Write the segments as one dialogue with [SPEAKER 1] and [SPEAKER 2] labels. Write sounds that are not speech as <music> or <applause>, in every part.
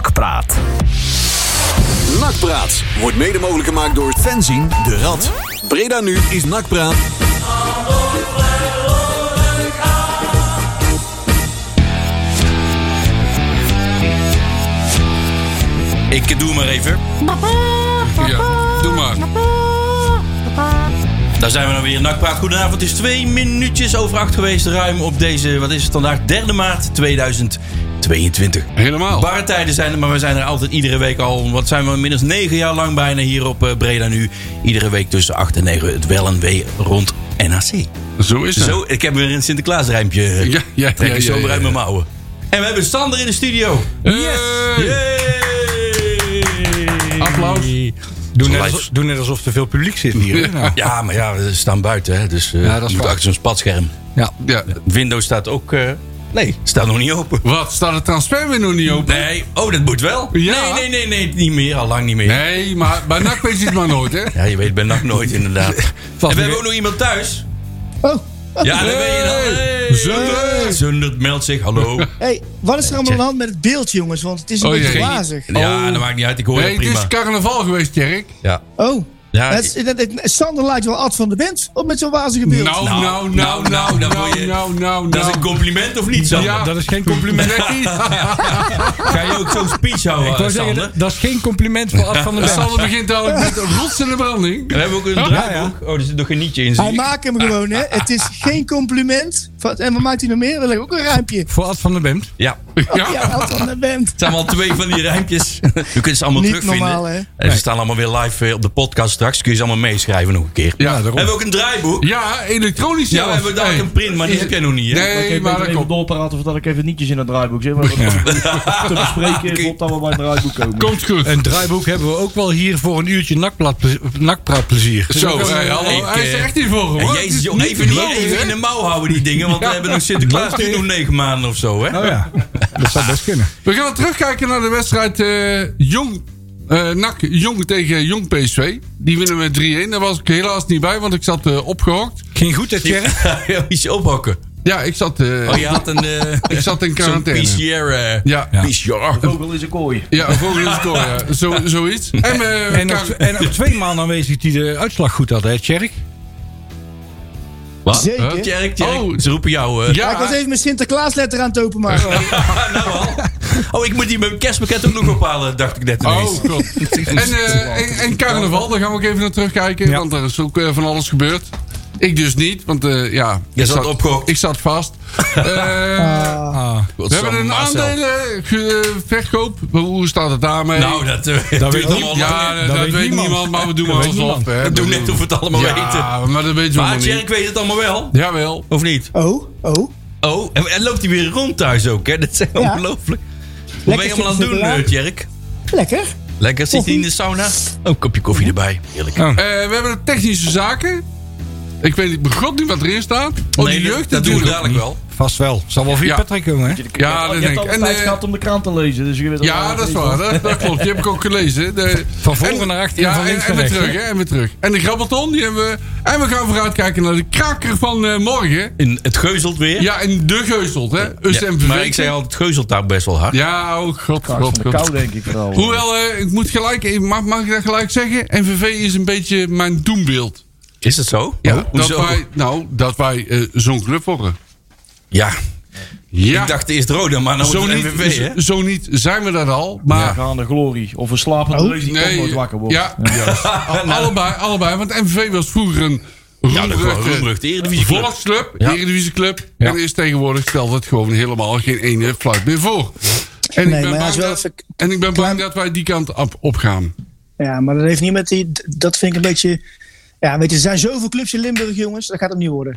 [SPEAKER 1] Nakpraat.
[SPEAKER 2] Nakpraat wordt mede mogelijk gemaakt door Fenzien de Rad. Breda nu is Nakpraat.
[SPEAKER 3] Ik doe maar even.
[SPEAKER 4] Ja, doe maar.
[SPEAKER 3] Daar zijn we dan weer. Nakpraat, goedenavond. Het is twee minuutjes over acht geweest. Ruim op deze, wat is het vandaag? 3 maart 2022.
[SPEAKER 4] Helemaal.
[SPEAKER 3] Barre tijden zijn er, maar we zijn er altijd iedere week al. Wat zijn we inmiddels negen jaar lang bijna hier op eh, Breda nu. Iedere week tussen acht en negen het wel en wee rond NAC.
[SPEAKER 4] Zo is het.
[SPEAKER 3] Zo, ik heb weer een Sinterklaas rijmpje.
[SPEAKER 4] Ja, ja,
[SPEAKER 3] Trek
[SPEAKER 4] ja,
[SPEAKER 3] ik
[SPEAKER 4] ja,
[SPEAKER 3] zo
[SPEAKER 4] ja,
[SPEAKER 3] weer uit
[SPEAKER 4] ja.
[SPEAKER 3] mijn mouwen. En we hebben Sander in de studio.
[SPEAKER 4] Hey!
[SPEAKER 3] Yay!
[SPEAKER 4] Applaus.
[SPEAKER 5] Doe net,
[SPEAKER 3] Live.
[SPEAKER 5] alsof, doe net alsof er veel publiek zit hier. hè? Nou,
[SPEAKER 3] <laughs> Ja, maar ja, we staan buiten, hè, dus eh
[SPEAKER 5] Ja, dat is
[SPEAKER 3] je moet
[SPEAKER 5] waar.
[SPEAKER 3] achter zo'n spatscherm.
[SPEAKER 5] ja.
[SPEAKER 4] Ja.
[SPEAKER 3] Windows staat ook... eh, nee, staat nog niet open.
[SPEAKER 4] Wat? Staat het transferwindow niet open?
[SPEAKER 3] Nee, oh, dat moet wel.
[SPEAKER 4] Ja.
[SPEAKER 3] Nee, nee, nee, nee, niet meer, al lang niet meer.
[SPEAKER 4] Nee, maar bij NAC weet je het maar nooit, hè?
[SPEAKER 3] Ja, je weet bij nacht nooit
[SPEAKER 4] <laughs>
[SPEAKER 3] inderdaad. en we
[SPEAKER 5] niet
[SPEAKER 3] hebben
[SPEAKER 5] meer.
[SPEAKER 3] ook nog iemand thuis.
[SPEAKER 6] Oh,
[SPEAKER 3] Ja, dat ben je dan. Hey.
[SPEAKER 4] Zundert.
[SPEAKER 3] Zundert meldt zich,
[SPEAKER 4] <laughs>
[SPEAKER 3] hallo.
[SPEAKER 6] hey, wat is er allemaal aan de hand met het beeld, jongens? Want het is een
[SPEAKER 4] Oh,
[SPEAKER 6] beetje
[SPEAKER 4] jee.
[SPEAKER 6] glazig.
[SPEAKER 3] Ja, dat maakt niet uit, ik hoor dat
[SPEAKER 4] Nee, het
[SPEAKER 3] prima.
[SPEAKER 4] is carnaval geweest, Jerk.
[SPEAKER 3] Ja.
[SPEAKER 6] Oh,
[SPEAKER 3] Ja,
[SPEAKER 6] het, is- het- het- Sander lijkt wel Ad van de Bent op met zo'n wazige beeld.
[SPEAKER 4] Nou,
[SPEAKER 3] Nou,
[SPEAKER 4] nou,
[SPEAKER 3] nou,
[SPEAKER 4] nou, nou,
[SPEAKER 3] nou,
[SPEAKER 4] nou,
[SPEAKER 3] nou,
[SPEAKER 4] nou, nou,
[SPEAKER 3] Dat is een
[SPEAKER 4] nou.
[SPEAKER 3] compliment of niet, Sander?
[SPEAKER 4] Ja.
[SPEAKER 5] Dat is geen compliment.
[SPEAKER 4] Nee,
[SPEAKER 3] Ga je ook zo'n speech houden,
[SPEAKER 5] Ik
[SPEAKER 3] Sander?
[SPEAKER 5] wou zeggen, dat- dat is geen compliment voor Ad van der Bent.
[SPEAKER 4] Sander begint dadelijk met rots in de branding.
[SPEAKER 3] <laughs> we hebben ook een draaiboek. Oh, er zit nog een nietje in. zie
[SPEAKER 6] Hij
[SPEAKER 3] ik.
[SPEAKER 6] maakt hem gewoon, hè. Het is geen compliment. Van- En wat maakt hij nog meer? Leg ook een ruimpje.
[SPEAKER 5] Voor Ad van der Bent.
[SPEAKER 3] Ja.
[SPEAKER 6] Ja, Ad van de Bent.
[SPEAKER 3] Het zijn wel twee van die rijmpjes. Je kunt ze allemaal
[SPEAKER 6] Niet
[SPEAKER 3] terugvinden.
[SPEAKER 6] normaal, hè?
[SPEAKER 3] En ze staan allemaal weer live eh, op de podcast straks. Kun je ze allemaal meeschrijven nog een keer.
[SPEAKER 4] Ja,
[SPEAKER 3] we
[SPEAKER 4] daarom.
[SPEAKER 3] hebben ook een draaiboek. Ja,
[SPEAKER 4] Ja, elektronisch
[SPEAKER 3] we
[SPEAKER 4] zelfs.
[SPEAKER 3] hebben daar
[SPEAKER 4] Hey.
[SPEAKER 3] een print, maar die heb jij nog niet, hè?
[SPEAKER 7] Ik
[SPEAKER 4] Nee,
[SPEAKER 7] heb
[SPEAKER 4] maar dat
[SPEAKER 7] even
[SPEAKER 4] komt.
[SPEAKER 7] doorpraten of dat ik even nietjes in het draaiboek zit. Maar
[SPEAKER 3] <laughs>
[SPEAKER 7] dat te bespreken is op dat we bij het draaiboek komen.
[SPEAKER 4] Komt goed.
[SPEAKER 5] Een draaiboek hebben we ook wel hier voor een uurtje nakplaatple- nakpraatplezier.
[SPEAKER 4] Zo,
[SPEAKER 5] Is ook
[SPEAKER 4] hey,
[SPEAKER 5] een-
[SPEAKER 4] hallo.
[SPEAKER 3] ik,
[SPEAKER 4] Oh, Hij is er
[SPEAKER 3] eh,
[SPEAKER 4] echt niet voor,
[SPEAKER 3] En
[SPEAKER 4] hoor.
[SPEAKER 3] jezus, joh, even, niet, even in de mouw houden die dingen. Want we
[SPEAKER 4] Ja.
[SPEAKER 3] hebben nog Sinterklaas nu nog negen maanden of zo, hè?
[SPEAKER 5] Oh ja, dat zou best kunnen.
[SPEAKER 4] We gaan terugkijken naar de wedstrijd eh, Jong. eh NAC Jong tegen Jong PSV. Die winnen we 3-1. Daar was ik helaas niet bij, want ik zat eh opgehokt.
[SPEAKER 5] Ging goed, hè, Tjerk?
[SPEAKER 3] <laughs> Ja, Iets ophokken.
[SPEAKER 4] Ja, ik zat. eh,
[SPEAKER 3] Oh, je had een... eh,
[SPEAKER 4] Ik zat in
[SPEAKER 3] Zo'n
[SPEAKER 4] quarantaine.
[SPEAKER 3] PCR... eh,
[SPEAKER 4] Ja.
[SPEAKER 3] ja. PCR.
[SPEAKER 7] Vogel is een kooi.
[SPEAKER 4] Ja, volgens het door, ja. Zo, zoiets. En, eh,
[SPEAKER 5] En op,
[SPEAKER 4] Kar-
[SPEAKER 5] en op twee maanden aanwezig die de uitslag goed had, hè, Tjerk?
[SPEAKER 3] Wat?
[SPEAKER 6] Zeker.
[SPEAKER 4] Huh?
[SPEAKER 3] Tjerk, Tjerk,
[SPEAKER 4] Oh.
[SPEAKER 3] ze roepen jou... eh.
[SPEAKER 6] Ja, ik was
[SPEAKER 4] ja,
[SPEAKER 6] even mijn Sinterklaasletter aan het openmaken.
[SPEAKER 3] <laughs> nou al. Oh, ik moet die mijn kerstpakket ook nog ophalen, dacht ik net ineens. <laughs>
[SPEAKER 4] Oh, god. En, eh, en, en carnaval, daar gaan we ook even naar terugkijken.
[SPEAKER 5] Ja.
[SPEAKER 4] Want er is ook eh, van alles gebeurd. Ik dus niet, want eh, ja...
[SPEAKER 3] Je
[SPEAKER 4] ik
[SPEAKER 3] zat Ah, opgehokt.
[SPEAKER 4] Ik zat
[SPEAKER 3] <laughs>
[SPEAKER 4] vast. Eh, we hebben een eh,
[SPEAKER 3] Marcel.
[SPEAKER 4] aandelenverkoop. Hoe staat het daarmee?
[SPEAKER 3] Nou, dat, eh, doet
[SPEAKER 5] weet
[SPEAKER 3] allemaal
[SPEAKER 5] niemand.
[SPEAKER 3] lang. eh.
[SPEAKER 4] ja, dat, dat weet, niemand. maar we doen maar
[SPEAKER 5] weet
[SPEAKER 4] alsof.
[SPEAKER 5] niemand.
[SPEAKER 4] hè.
[SPEAKER 3] We doen net of we het allemaal
[SPEAKER 4] ja,
[SPEAKER 3] weten.
[SPEAKER 4] maar dat weten we
[SPEAKER 3] Maar
[SPEAKER 4] nog niet.
[SPEAKER 3] Tjerk weet het allemaal wel.
[SPEAKER 4] Jawel.
[SPEAKER 3] Of niet?
[SPEAKER 6] Oh, oh.
[SPEAKER 3] Oh, en, en loopt hij weer rond thuis ook, hè? Dat is
[SPEAKER 6] Ja.
[SPEAKER 3] ongelooflijk. Wat ben je allemaal aan het doen,
[SPEAKER 6] chocola.
[SPEAKER 3] eh, Tjerk?
[SPEAKER 6] Lekker.
[SPEAKER 3] Lekker, zit hij in de sauna? Oh, een kopje koffie erbij. Heerlijk.
[SPEAKER 4] Eh, we hebben de technische zaken. Ik weet niet, begot niet wat erin staat. Oh,
[SPEAKER 3] Nee,
[SPEAKER 4] die
[SPEAKER 3] dat- dat
[SPEAKER 4] jeugd, dat
[SPEAKER 3] doen
[SPEAKER 4] doen
[SPEAKER 3] we dadelijk Oh,
[SPEAKER 4] niet.
[SPEAKER 3] wel.
[SPEAKER 5] Vast wel. Zal wel via
[SPEAKER 4] Ja.
[SPEAKER 5] Patrick komen, hè?
[SPEAKER 4] Ja, dat
[SPEAKER 7] je
[SPEAKER 4] denk
[SPEAKER 7] hebt
[SPEAKER 4] ik.
[SPEAKER 7] al
[SPEAKER 4] En,
[SPEAKER 7] tijd
[SPEAKER 4] eh,
[SPEAKER 7] gehad om de krant te lezen. Dus je weet al
[SPEAKER 4] Ja,
[SPEAKER 7] het
[SPEAKER 4] dat is
[SPEAKER 7] van.
[SPEAKER 4] waar. Dat, dat klopt. Die heb ik ook gelezen. De,
[SPEAKER 5] Van voren
[SPEAKER 4] en-
[SPEAKER 5] naar achteren,
[SPEAKER 4] Ja,
[SPEAKER 5] van links
[SPEAKER 4] en, en
[SPEAKER 5] naar
[SPEAKER 4] weer
[SPEAKER 5] rechts,
[SPEAKER 4] terug. Hè? En weer terug. En de grabbelton, die hebben we. En we gaan vooruitkijken naar de kraker van eh, morgen.
[SPEAKER 3] In, het geuzelt weer.
[SPEAKER 4] Ja, en de geuzelt, hè? Us
[SPEAKER 3] Ja,
[SPEAKER 4] en MVV.
[SPEAKER 3] maar ik zei al, het geuzelt daar best wel hard.
[SPEAKER 4] Ja, oh god,
[SPEAKER 7] Kaars van
[SPEAKER 4] god,
[SPEAKER 7] de
[SPEAKER 4] god.
[SPEAKER 7] kou, denk ik vooral.
[SPEAKER 4] Hoewel, eh, ik moet gelijk, mag, mag ik dat gelijk zeggen? NVV is een beetje mijn doembeeld.
[SPEAKER 3] Is dat zo? Oh,
[SPEAKER 4] dat
[SPEAKER 3] hoezo?
[SPEAKER 4] wij, nou, dat wij eh, zo'n club worden.
[SPEAKER 3] Ja.
[SPEAKER 4] Ja,
[SPEAKER 3] Ik dacht eerst Roda, maar nou
[SPEAKER 4] zo,
[SPEAKER 3] wordt
[SPEAKER 4] niet,
[SPEAKER 3] het MVV, hè?
[SPEAKER 4] zo- zo niet zijn we dat al.
[SPEAKER 7] Maar
[SPEAKER 4] Maar
[SPEAKER 7] gaan de glorie. Of een slapende
[SPEAKER 6] Oh.
[SPEAKER 7] reus die toch nooit wakker wordt.
[SPEAKER 4] Ja,
[SPEAKER 6] <laughs>
[SPEAKER 4] juist. Al- allebei, allebei. Want MVV was vroeger een
[SPEAKER 3] Ja, dat
[SPEAKER 4] roemruchte
[SPEAKER 3] Roembrug, de Eredivisieclub.
[SPEAKER 4] volksclub,
[SPEAKER 3] Ja.
[SPEAKER 4] Eredivisieclub. En is tegenwoordig stelt het gewoon helemaal geen ene fluit meer voor.
[SPEAKER 6] Nee,
[SPEAKER 4] En, ik, ben
[SPEAKER 6] maar hij
[SPEAKER 4] bang
[SPEAKER 6] is wel
[SPEAKER 4] dat,
[SPEAKER 6] even k-
[SPEAKER 4] en ik ben
[SPEAKER 6] klein-
[SPEAKER 4] bang dat wij die kant op, op gaan.
[SPEAKER 6] Ja, maar dat heeft niet met die... Dat vind ik een beetje... Ja, weet je, er zijn zoveel clubs in Limburg, jongens. Dat gaat hem niet worden.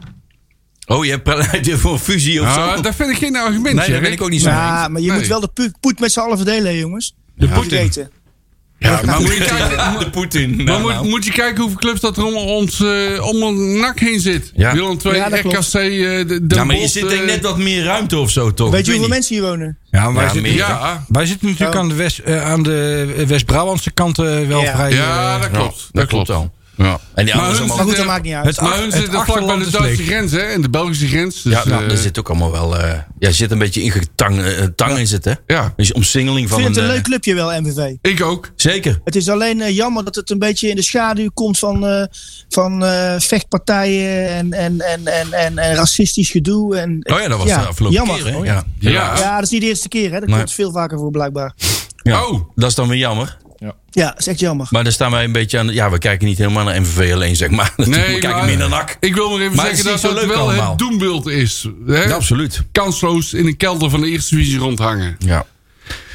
[SPEAKER 3] Oh, je pleit voor een fusie of
[SPEAKER 4] Ah,
[SPEAKER 3] zo?
[SPEAKER 4] dat vind ik geen argument.
[SPEAKER 3] Nee, daar
[SPEAKER 4] Jerry.
[SPEAKER 3] ben ik ook niet zo mee eens.
[SPEAKER 6] Ja, maar je
[SPEAKER 4] Nee.
[SPEAKER 6] moet wel de pu- poet met z'n allen verdelen, hè, jongens.
[SPEAKER 5] De
[SPEAKER 6] Moet je
[SPEAKER 5] Poetin.
[SPEAKER 6] weten.
[SPEAKER 4] Ja, maar moet je
[SPEAKER 3] <laughs>
[SPEAKER 4] kijken,
[SPEAKER 3] Ja, de Poetin. Nou,
[SPEAKER 4] maar
[SPEAKER 3] nou.
[SPEAKER 4] moet, moet je kijken hoeveel clubs dat er om ons, eh, om ons nak heen zit.
[SPEAKER 3] Ja.
[SPEAKER 4] Willem II,
[SPEAKER 6] Ja, dat klopt.
[SPEAKER 4] RKC, eh, de, de
[SPEAKER 3] ja, Nou, maar je
[SPEAKER 4] Bos,
[SPEAKER 3] zit denk ik
[SPEAKER 4] eh,
[SPEAKER 3] net wat meer ruimte of zo, toch?
[SPEAKER 6] Weet
[SPEAKER 3] Ik
[SPEAKER 6] je hoeveel
[SPEAKER 3] niet.
[SPEAKER 6] mensen hier wonen?
[SPEAKER 5] Ja, maar wij,
[SPEAKER 3] Ja,
[SPEAKER 5] zitten,
[SPEAKER 3] meer.
[SPEAKER 4] Ja,
[SPEAKER 5] wij zitten natuurlijk
[SPEAKER 6] Oh.
[SPEAKER 5] aan de, West, eh, aan de West-Brabantse kant eh, wel
[SPEAKER 6] Ja.
[SPEAKER 5] vrij...
[SPEAKER 4] ja,
[SPEAKER 5] eh,
[SPEAKER 4] dat klopt.
[SPEAKER 3] dat klopt wel.
[SPEAKER 4] Ja.
[SPEAKER 3] En die anderen
[SPEAKER 4] Maar hun
[SPEAKER 3] allemaal-
[SPEAKER 6] Maar goed, dat
[SPEAKER 4] zitten-
[SPEAKER 6] maakt niet uit.
[SPEAKER 3] Het-
[SPEAKER 4] Maar hun
[SPEAKER 5] het
[SPEAKER 4] zitten vlak bij
[SPEAKER 5] achterland
[SPEAKER 4] de
[SPEAKER 5] is
[SPEAKER 4] Duitse
[SPEAKER 5] leeg.
[SPEAKER 4] grens, hè? En de Belgische grens. Dus,
[SPEAKER 3] Ja, nou,
[SPEAKER 4] eh,
[SPEAKER 3] daar zit ook allemaal wel. eh ja, zit een beetje ingetang eh, tang in zitten. hè?
[SPEAKER 4] ja.
[SPEAKER 3] Dus omsingeling
[SPEAKER 6] Ik
[SPEAKER 3] van
[SPEAKER 6] vind het een
[SPEAKER 3] eh,
[SPEAKER 6] leuk clubje wel, MVV.
[SPEAKER 4] Ik ook.
[SPEAKER 3] Zeker.
[SPEAKER 6] Het is alleen eh, jammer dat het een beetje in de schaduw komt van, eh, van eh, vechtpartijen en, en, en, en, en, en racistisch gedoe. En,
[SPEAKER 3] Oh ja, dat was de afgelopen
[SPEAKER 6] jammer.
[SPEAKER 3] keer. Hè?
[SPEAKER 6] Oh,
[SPEAKER 3] ja.
[SPEAKER 4] Ja.
[SPEAKER 6] Ja, dat is niet de eerste keer. Hè. Dat
[SPEAKER 3] Nee.
[SPEAKER 6] komt veel vaker voor, blijkbaar.
[SPEAKER 3] Ja.
[SPEAKER 4] Oh.
[SPEAKER 3] Dat is dan weer jammer.
[SPEAKER 6] Ja, dat is echt jammer.
[SPEAKER 3] Maar daar staan wij een beetje aan. Ja, we kijken niet helemaal naar MVV alleen, zeg maar. <laughs> we kijken
[SPEAKER 4] maar-
[SPEAKER 3] meer naar NAC.
[SPEAKER 4] Ik wil maar even
[SPEAKER 3] Maar het is
[SPEAKER 4] zeggen dat
[SPEAKER 3] niet zo
[SPEAKER 4] dat
[SPEAKER 3] leuk
[SPEAKER 4] wel
[SPEAKER 3] allemaal.
[SPEAKER 4] het doembeeld is. Hè?
[SPEAKER 3] Ja, absoluut.
[SPEAKER 4] Kansloos in een kelder van de eerste divisie rondhangen.
[SPEAKER 3] Ja.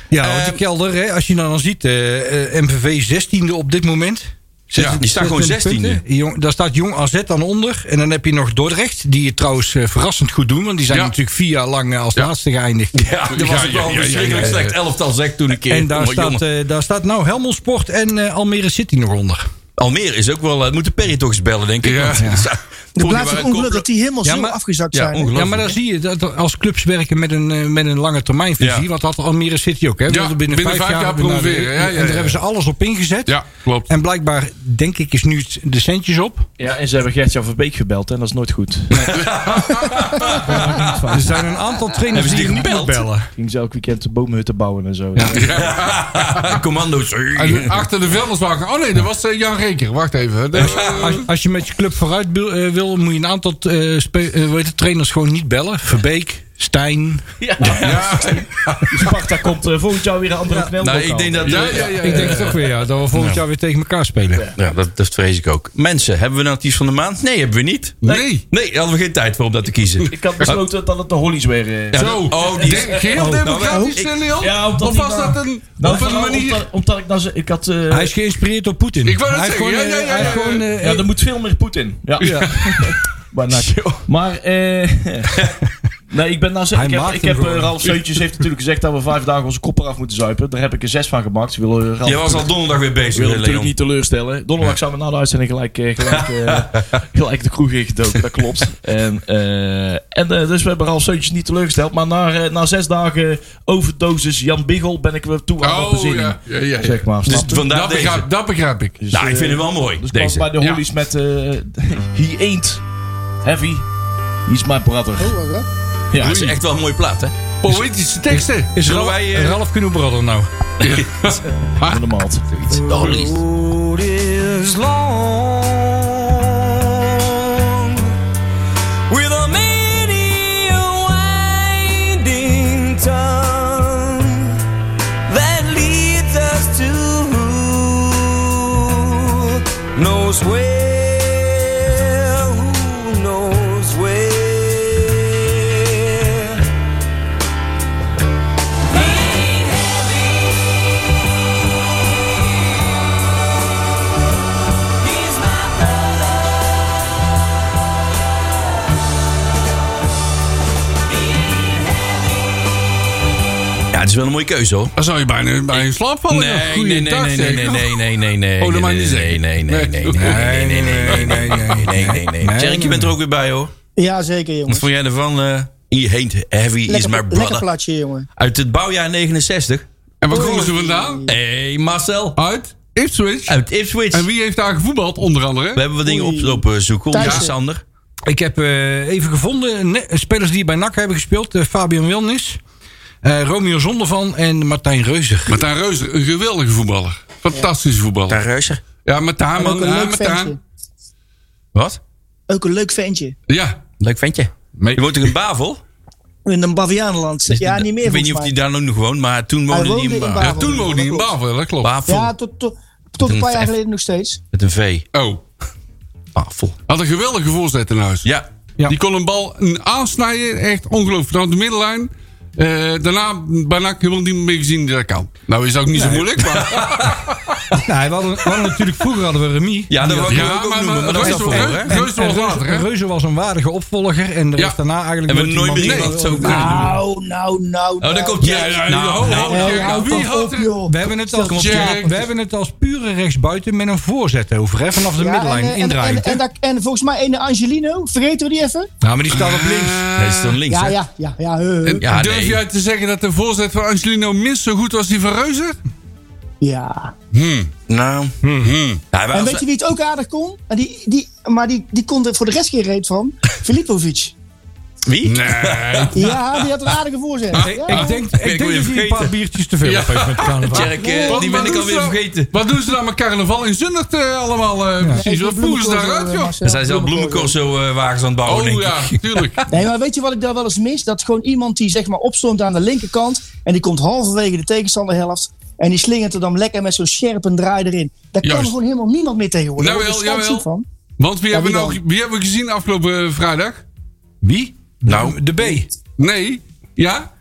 [SPEAKER 5] Ja,
[SPEAKER 3] eh,
[SPEAKER 5] want die kelder, hè, als je nou dan ziet, eh, eh, MVV 16e op dit moment.
[SPEAKER 3] Ja, die staat gewoon
[SPEAKER 5] 16e.
[SPEAKER 3] 16e.
[SPEAKER 5] Jong, daar staat Jong AZ dan onder. En dan heb je nog Dordrecht, die het trouwens eh, verrassend goed doen. Want die zijn
[SPEAKER 4] Ja.
[SPEAKER 5] natuurlijk vier jaar lang eh, als laatste geëindigd.
[SPEAKER 3] Ja, dat
[SPEAKER 4] Ja,
[SPEAKER 3] was ook wel
[SPEAKER 4] ja,
[SPEAKER 3] een
[SPEAKER 4] ja,
[SPEAKER 3] verschrikkelijk
[SPEAKER 4] ja, ja.
[SPEAKER 3] slecht elftal, zeg ik toen een keer.
[SPEAKER 5] En daar
[SPEAKER 3] Maar
[SPEAKER 5] staat,
[SPEAKER 3] jongen,
[SPEAKER 5] eh, daar staat nou Helmond Sport en eh, Almere City nog onder.
[SPEAKER 3] Almere is ook wel... eh, Het moet de Perry toch eens bellen, denk ik.
[SPEAKER 4] Ja.
[SPEAKER 3] want-
[SPEAKER 6] Het
[SPEAKER 3] Vorige
[SPEAKER 6] blijft
[SPEAKER 3] waren
[SPEAKER 6] het ongeluk dat
[SPEAKER 3] koplo-
[SPEAKER 6] die helemaal
[SPEAKER 5] Ja,
[SPEAKER 6] zo
[SPEAKER 5] maar-
[SPEAKER 6] afgezakt
[SPEAKER 3] Ja,
[SPEAKER 6] zijn. hè.
[SPEAKER 3] ongeluk.
[SPEAKER 5] Ja, maar dan zie je dat er als clubs werken met een, eh, met een lange termijnvisie.
[SPEAKER 3] Ja.
[SPEAKER 5] Wat had Almere City ook. Hè?
[SPEAKER 4] Ja,
[SPEAKER 5] Wilden binnen, vijf, jaar, naar de-
[SPEAKER 4] promoveren. Ja, ja,
[SPEAKER 5] En
[SPEAKER 4] ja,
[SPEAKER 5] daar hebben ze alles op ingezet.
[SPEAKER 4] Ja, klopt.
[SPEAKER 5] En blijkbaar, denk ik, is nu het- de centjes op.
[SPEAKER 7] Ja, en ze hebben Gert-Jan Verbeek gebeld en dat is nooit goed.
[SPEAKER 5] <laughs> Er zijn een aantal trainers
[SPEAKER 3] Hebben ze
[SPEAKER 5] die
[SPEAKER 3] die
[SPEAKER 5] je niet moet
[SPEAKER 3] gebeld?
[SPEAKER 5] bellen.
[SPEAKER 7] Ging ze elk weekend de boomhutten bouwen en zo.
[SPEAKER 3] <laughs>
[SPEAKER 4] <laughs>
[SPEAKER 3] Ah, Commando's.
[SPEAKER 4] En achter de vuilniswagen. Oh nee, dat was eh, Jan Reker. Wacht
[SPEAKER 3] <laughs>
[SPEAKER 4] even.
[SPEAKER 5] <laughs> Als, als je met je club vooruit wil, eh, wil moet je een aantal eh, spe- eh, hoe heet het, trainers gewoon niet bellen. Verbeek, Stijn.
[SPEAKER 7] Ja. Sparta komt eh, volgend jaar weer een andere knel.
[SPEAKER 3] Nou, ik denk dat...
[SPEAKER 4] Ja, ja, ja.
[SPEAKER 5] Ik denk toch weer ja, dat we volgend jaar weer tegen elkaar spelen.
[SPEAKER 3] Ja, dat, dat vrees ik ook. Mensen, hebben we nou het iets van de maand? Nee, hebben we niet.
[SPEAKER 4] Nee.
[SPEAKER 3] Nee, daar hadden we geen tijd voor om dat te kiezen.
[SPEAKER 7] Ik had besloten dat het de Hollies weer... eh,
[SPEAKER 3] Ja,
[SPEAKER 4] Zo.
[SPEAKER 3] Oh, die-
[SPEAKER 4] Denk- Geheel democratisch, eh,
[SPEAKER 3] ik-
[SPEAKER 4] Leon?
[SPEAKER 7] Ja, omdat
[SPEAKER 4] of
[SPEAKER 7] die
[SPEAKER 4] was
[SPEAKER 7] maar-
[SPEAKER 4] dat een,
[SPEAKER 7] Nou,
[SPEAKER 4] op een
[SPEAKER 7] vooral
[SPEAKER 4] manier...
[SPEAKER 7] Omdat, omdat ik nou zo- Ik had... eh,
[SPEAKER 5] Hij is geïnspireerd door Poetin.
[SPEAKER 4] Ik wou net
[SPEAKER 5] Hij heeft
[SPEAKER 4] zeggen,
[SPEAKER 5] gewoon,
[SPEAKER 4] ja, ja,
[SPEAKER 5] eh,
[SPEAKER 4] ja,
[SPEAKER 5] hij heeft
[SPEAKER 4] ja, ja.
[SPEAKER 5] gewoon, eh,
[SPEAKER 7] ja, er moet veel meer Poetin. Ja.
[SPEAKER 5] Ja.
[SPEAKER 7] <laughs> Maar, nou, maar eh, <laughs> nee, ik ben nou zo,
[SPEAKER 5] Hij
[SPEAKER 7] ik heb,
[SPEAKER 5] maakt
[SPEAKER 7] ik
[SPEAKER 5] hem
[SPEAKER 7] heb eh,
[SPEAKER 5] gewoon.
[SPEAKER 7] Ralf Seuntjes heeft natuurlijk gezegd dat we vijf dagen onze kop eraf moeten zuipen. Daar heb ik een zes van gemaakt. Wil, eh, Ralf,
[SPEAKER 3] Jij was al donderdag weer
[SPEAKER 7] ik
[SPEAKER 3] bezig, eh,
[SPEAKER 7] wil hem
[SPEAKER 3] Leon.
[SPEAKER 7] natuurlijk niet teleurstellen. Donderdag zijn we na de uitzending gelijk, eh, gelijk,
[SPEAKER 3] <laughs>
[SPEAKER 7] eh, gelijk de kroeg ingedoken. Dat klopt. En, eh, en, eh, dus we hebben Ralf Seuntjes niet teleurgesteld. Maar na, eh, na zes dagen overdosis Jan Biggel ben ik weer toe aan de
[SPEAKER 4] Oh,
[SPEAKER 7] bezinning.
[SPEAKER 4] ja. ja, ja, ja.
[SPEAKER 7] Zeg maar,
[SPEAKER 3] Dus
[SPEAKER 7] snap je?
[SPEAKER 3] vandaar
[SPEAKER 4] Dat
[SPEAKER 3] deze.
[SPEAKER 4] begrijp, dat begrijp ik.
[SPEAKER 7] Dus,
[SPEAKER 3] nou, ik
[SPEAKER 7] eh,
[SPEAKER 3] vind het wel mooi,
[SPEAKER 7] Dus deze. bij
[SPEAKER 3] deze.
[SPEAKER 7] de
[SPEAKER 4] Ja.
[SPEAKER 7] Hollies met eh <laughs> He Ain't Heavy. He's my brother.
[SPEAKER 3] Ja, dat is echt wel een mooie plaat, hè?
[SPEAKER 4] Poëtische teksten.
[SPEAKER 5] Is
[SPEAKER 3] Zullen
[SPEAKER 5] Ralf,
[SPEAKER 3] wij, eh,
[SPEAKER 5] Ralf genoeg brother nou?
[SPEAKER 7] Van de malt.
[SPEAKER 3] De Hollies.
[SPEAKER 1] road is long with a many a winding tongue that leads us to who knows where, who knows where. He's my brother.
[SPEAKER 3] Ja, het is wel een mooie keuze, hoor.
[SPEAKER 4] Dan zou je bijna bij Oh, een slaap vallen.
[SPEAKER 3] Nee, nee, nee, nee, nee, nee, nee, nee, nee, nee.
[SPEAKER 4] Oh, dat
[SPEAKER 3] nee,
[SPEAKER 4] mag
[SPEAKER 3] nee,
[SPEAKER 4] niet
[SPEAKER 3] nee,
[SPEAKER 4] zeggen.
[SPEAKER 3] nee, nee, nee, nee, nee, nee, nee, nee, nee, nee, nee, nee, nee. Tjerk, je bent er ook weer bij, hoor.
[SPEAKER 6] Ja, zeker, jongens.
[SPEAKER 3] Wat vond jij ervan? eh He Ain't Heavy is
[SPEAKER 6] Lekker,
[SPEAKER 3] My
[SPEAKER 6] lekker
[SPEAKER 3] Brother.
[SPEAKER 6] plaatje, jongen.
[SPEAKER 3] Uit het bouwjaar 69.
[SPEAKER 4] En waar komen ze vandaan?
[SPEAKER 3] Hey, Marcel.
[SPEAKER 4] Uit Ipswich.
[SPEAKER 3] Uit Ipswich.
[SPEAKER 4] En wie heeft daar gevoetbald, onder andere?
[SPEAKER 3] We hebben wat dingen eh,
[SPEAKER 6] Oei.
[SPEAKER 3] opgelopen zoeken. Onder
[SPEAKER 6] Thijssen.
[SPEAKER 3] Sander.
[SPEAKER 5] Ik heb eh, even gevonden ne- spelers die bij NAC hebben gespeeld. Eh, Fabian Wilnis, eh, Romeo Zondervan en Martijn <laughs> Reuzer.
[SPEAKER 4] Martijn Reuser, een geweldige voetballer. Fantastische voetballer.
[SPEAKER 3] Reuser.
[SPEAKER 4] Ja, Martijn,
[SPEAKER 6] En ook
[SPEAKER 4] man.
[SPEAKER 6] een
[SPEAKER 4] Ja,
[SPEAKER 6] leuk ventje.
[SPEAKER 4] Martijn.
[SPEAKER 3] Wat?
[SPEAKER 6] Ook een leuk ventje.
[SPEAKER 4] Ja.
[SPEAKER 3] Leuk ventje. Je woont toch in Bavel?
[SPEAKER 6] In een Bavianenland. Ja, niet meer
[SPEAKER 3] Dus Ik weet niet of
[SPEAKER 6] volgens
[SPEAKER 3] hij daar nog woont, maar toen
[SPEAKER 6] Hij
[SPEAKER 3] woonde hij in
[SPEAKER 6] woonde in
[SPEAKER 3] Bavel.
[SPEAKER 6] Bavel.
[SPEAKER 4] ja, toen woonde hij in Bavel, dat klopt.
[SPEAKER 3] Bavel.
[SPEAKER 6] mij. Ja, tot, tot, tot een paar jaar geleden nog steeds.
[SPEAKER 3] Met een V.
[SPEAKER 4] Oh,
[SPEAKER 3] Bavel.
[SPEAKER 4] had een geweldige voorzet in huis.
[SPEAKER 3] Ja.
[SPEAKER 5] Ja.
[SPEAKER 4] Die kon een bal aansnijden, echt ongelooflijk. Vanaf de middenlijn. Eh, daarna bijna helemaal niemand meer gezien die dat kan. Nou is dat ook niet zo moeilijk, maar...
[SPEAKER 5] Nou, we hadden, we hadden natuurlijk vroeger hadden we Remy.
[SPEAKER 3] Ja, dat wou ik
[SPEAKER 4] Ja,
[SPEAKER 3] ook
[SPEAKER 4] maar-
[SPEAKER 3] noemen, maar dat was
[SPEAKER 4] Reuser-
[SPEAKER 3] dat voor, hè?
[SPEAKER 4] Reuser- Reuzen was later, hè?
[SPEAKER 5] Reuzen was een waardige opvolger. En er
[SPEAKER 4] Ja.
[SPEAKER 5] is daarna eigenlijk
[SPEAKER 3] En we nooit meer
[SPEAKER 5] iemand-
[SPEAKER 3] iemand zo kunnen doen.
[SPEAKER 6] Nou, nou, nou.
[SPEAKER 3] Oh, daar
[SPEAKER 6] nou.
[SPEAKER 3] komt jij.
[SPEAKER 4] Ja, Oh. ja,
[SPEAKER 3] Nou,
[SPEAKER 4] ja,
[SPEAKER 3] nee.
[SPEAKER 4] ja, ja.
[SPEAKER 6] Hey, houd
[SPEAKER 4] Wie
[SPEAKER 6] toch
[SPEAKER 4] had
[SPEAKER 6] op,
[SPEAKER 4] er-
[SPEAKER 6] joh.
[SPEAKER 5] We hebben, het als,
[SPEAKER 3] Kom op,
[SPEAKER 4] Jack.
[SPEAKER 5] we hebben het als pure rechtsbuiten met een voorzet over. Hè? Vanaf de
[SPEAKER 6] Ja,
[SPEAKER 5] middenlijn
[SPEAKER 6] en, eh, en, en,
[SPEAKER 5] indraaien.
[SPEAKER 6] en, dat- en volgens mij ene Angelino, vergeten we die even?
[SPEAKER 5] nou, maar die staat op links.
[SPEAKER 4] Ah.
[SPEAKER 3] Nee, is dan links,
[SPEAKER 6] Ja,
[SPEAKER 3] hè?
[SPEAKER 6] ja, ja, <laughs> ja. he, he.
[SPEAKER 4] En
[SPEAKER 3] Ja,
[SPEAKER 4] durf
[SPEAKER 3] nee.
[SPEAKER 4] jij te zeggen dat de voorzet van Angelino minst zo goed was die van Reuzer?
[SPEAKER 6] Ja.
[SPEAKER 3] Nou, ja, wij
[SPEAKER 6] En
[SPEAKER 3] als-
[SPEAKER 6] weet je wie het ook aardig kon? En die, die, maar die, die kon er voor de rest geen reet van. Filipovic.
[SPEAKER 3] wie?
[SPEAKER 4] Nee.
[SPEAKER 6] Ja, die had een aardige voorzet. Ja.
[SPEAKER 5] Ik denk, ik denk
[SPEAKER 3] weer
[SPEAKER 5] dat hij een
[SPEAKER 3] vergeten.
[SPEAKER 5] paar biertjes te veel
[SPEAKER 4] Ja.
[SPEAKER 5] op heeft met carnaval.
[SPEAKER 3] Tjerk, eh,
[SPEAKER 4] Wat-
[SPEAKER 3] die
[SPEAKER 4] wat
[SPEAKER 3] ben ik
[SPEAKER 4] doen ze
[SPEAKER 3] alweer
[SPEAKER 4] dan-
[SPEAKER 3] vergeten.
[SPEAKER 4] Wat doen ze dan met carnaval in Zundert eh, allemaal eh, precies?
[SPEAKER 6] Nee,
[SPEAKER 4] Wat
[SPEAKER 6] die
[SPEAKER 4] voeren ze
[SPEAKER 6] bloemencorso,
[SPEAKER 4] daaruit,
[SPEAKER 6] eh,
[SPEAKER 4] joh?
[SPEAKER 6] Marcel.
[SPEAKER 3] Er zijn zelf bloemencorso-wagens aan het bouwen,
[SPEAKER 4] Oh
[SPEAKER 3] denk ik.
[SPEAKER 4] ja, <laughs> tuurlijk.
[SPEAKER 6] Nee, maar weet je wat ik daar wel eens mis? Dat gewoon iemand die zeg maar opstond aan de linkerkant. En die komt halverwege de tegenstanderhelft. En die slingert er dan lekker met zo'n scherpe draai erin. Daar kan
[SPEAKER 4] Juist.
[SPEAKER 6] gewoon helemaal niemand meer tegenwoordig.
[SPEAKER 4] Jawel,
[SPEAKER 6] Daar word ik
[SPEAKER 4] jawel.
[SPEAKER 6] schijtziek van.
[SPEAKER 4] Want wie, hebben, we
[SPEAKER 6] wie
[SPEAKER 4] nou,
[SPEAKER 6] dan?
[SPEAKER 4] wie hebben we gezien afgelopen eh, vrijdag?
[SPEAKER 5] Wie? Nou, de
[SPEAKER 3] Ah,
[SPEAKER 5] B.
[SPEAKER 4] Nee. Ja?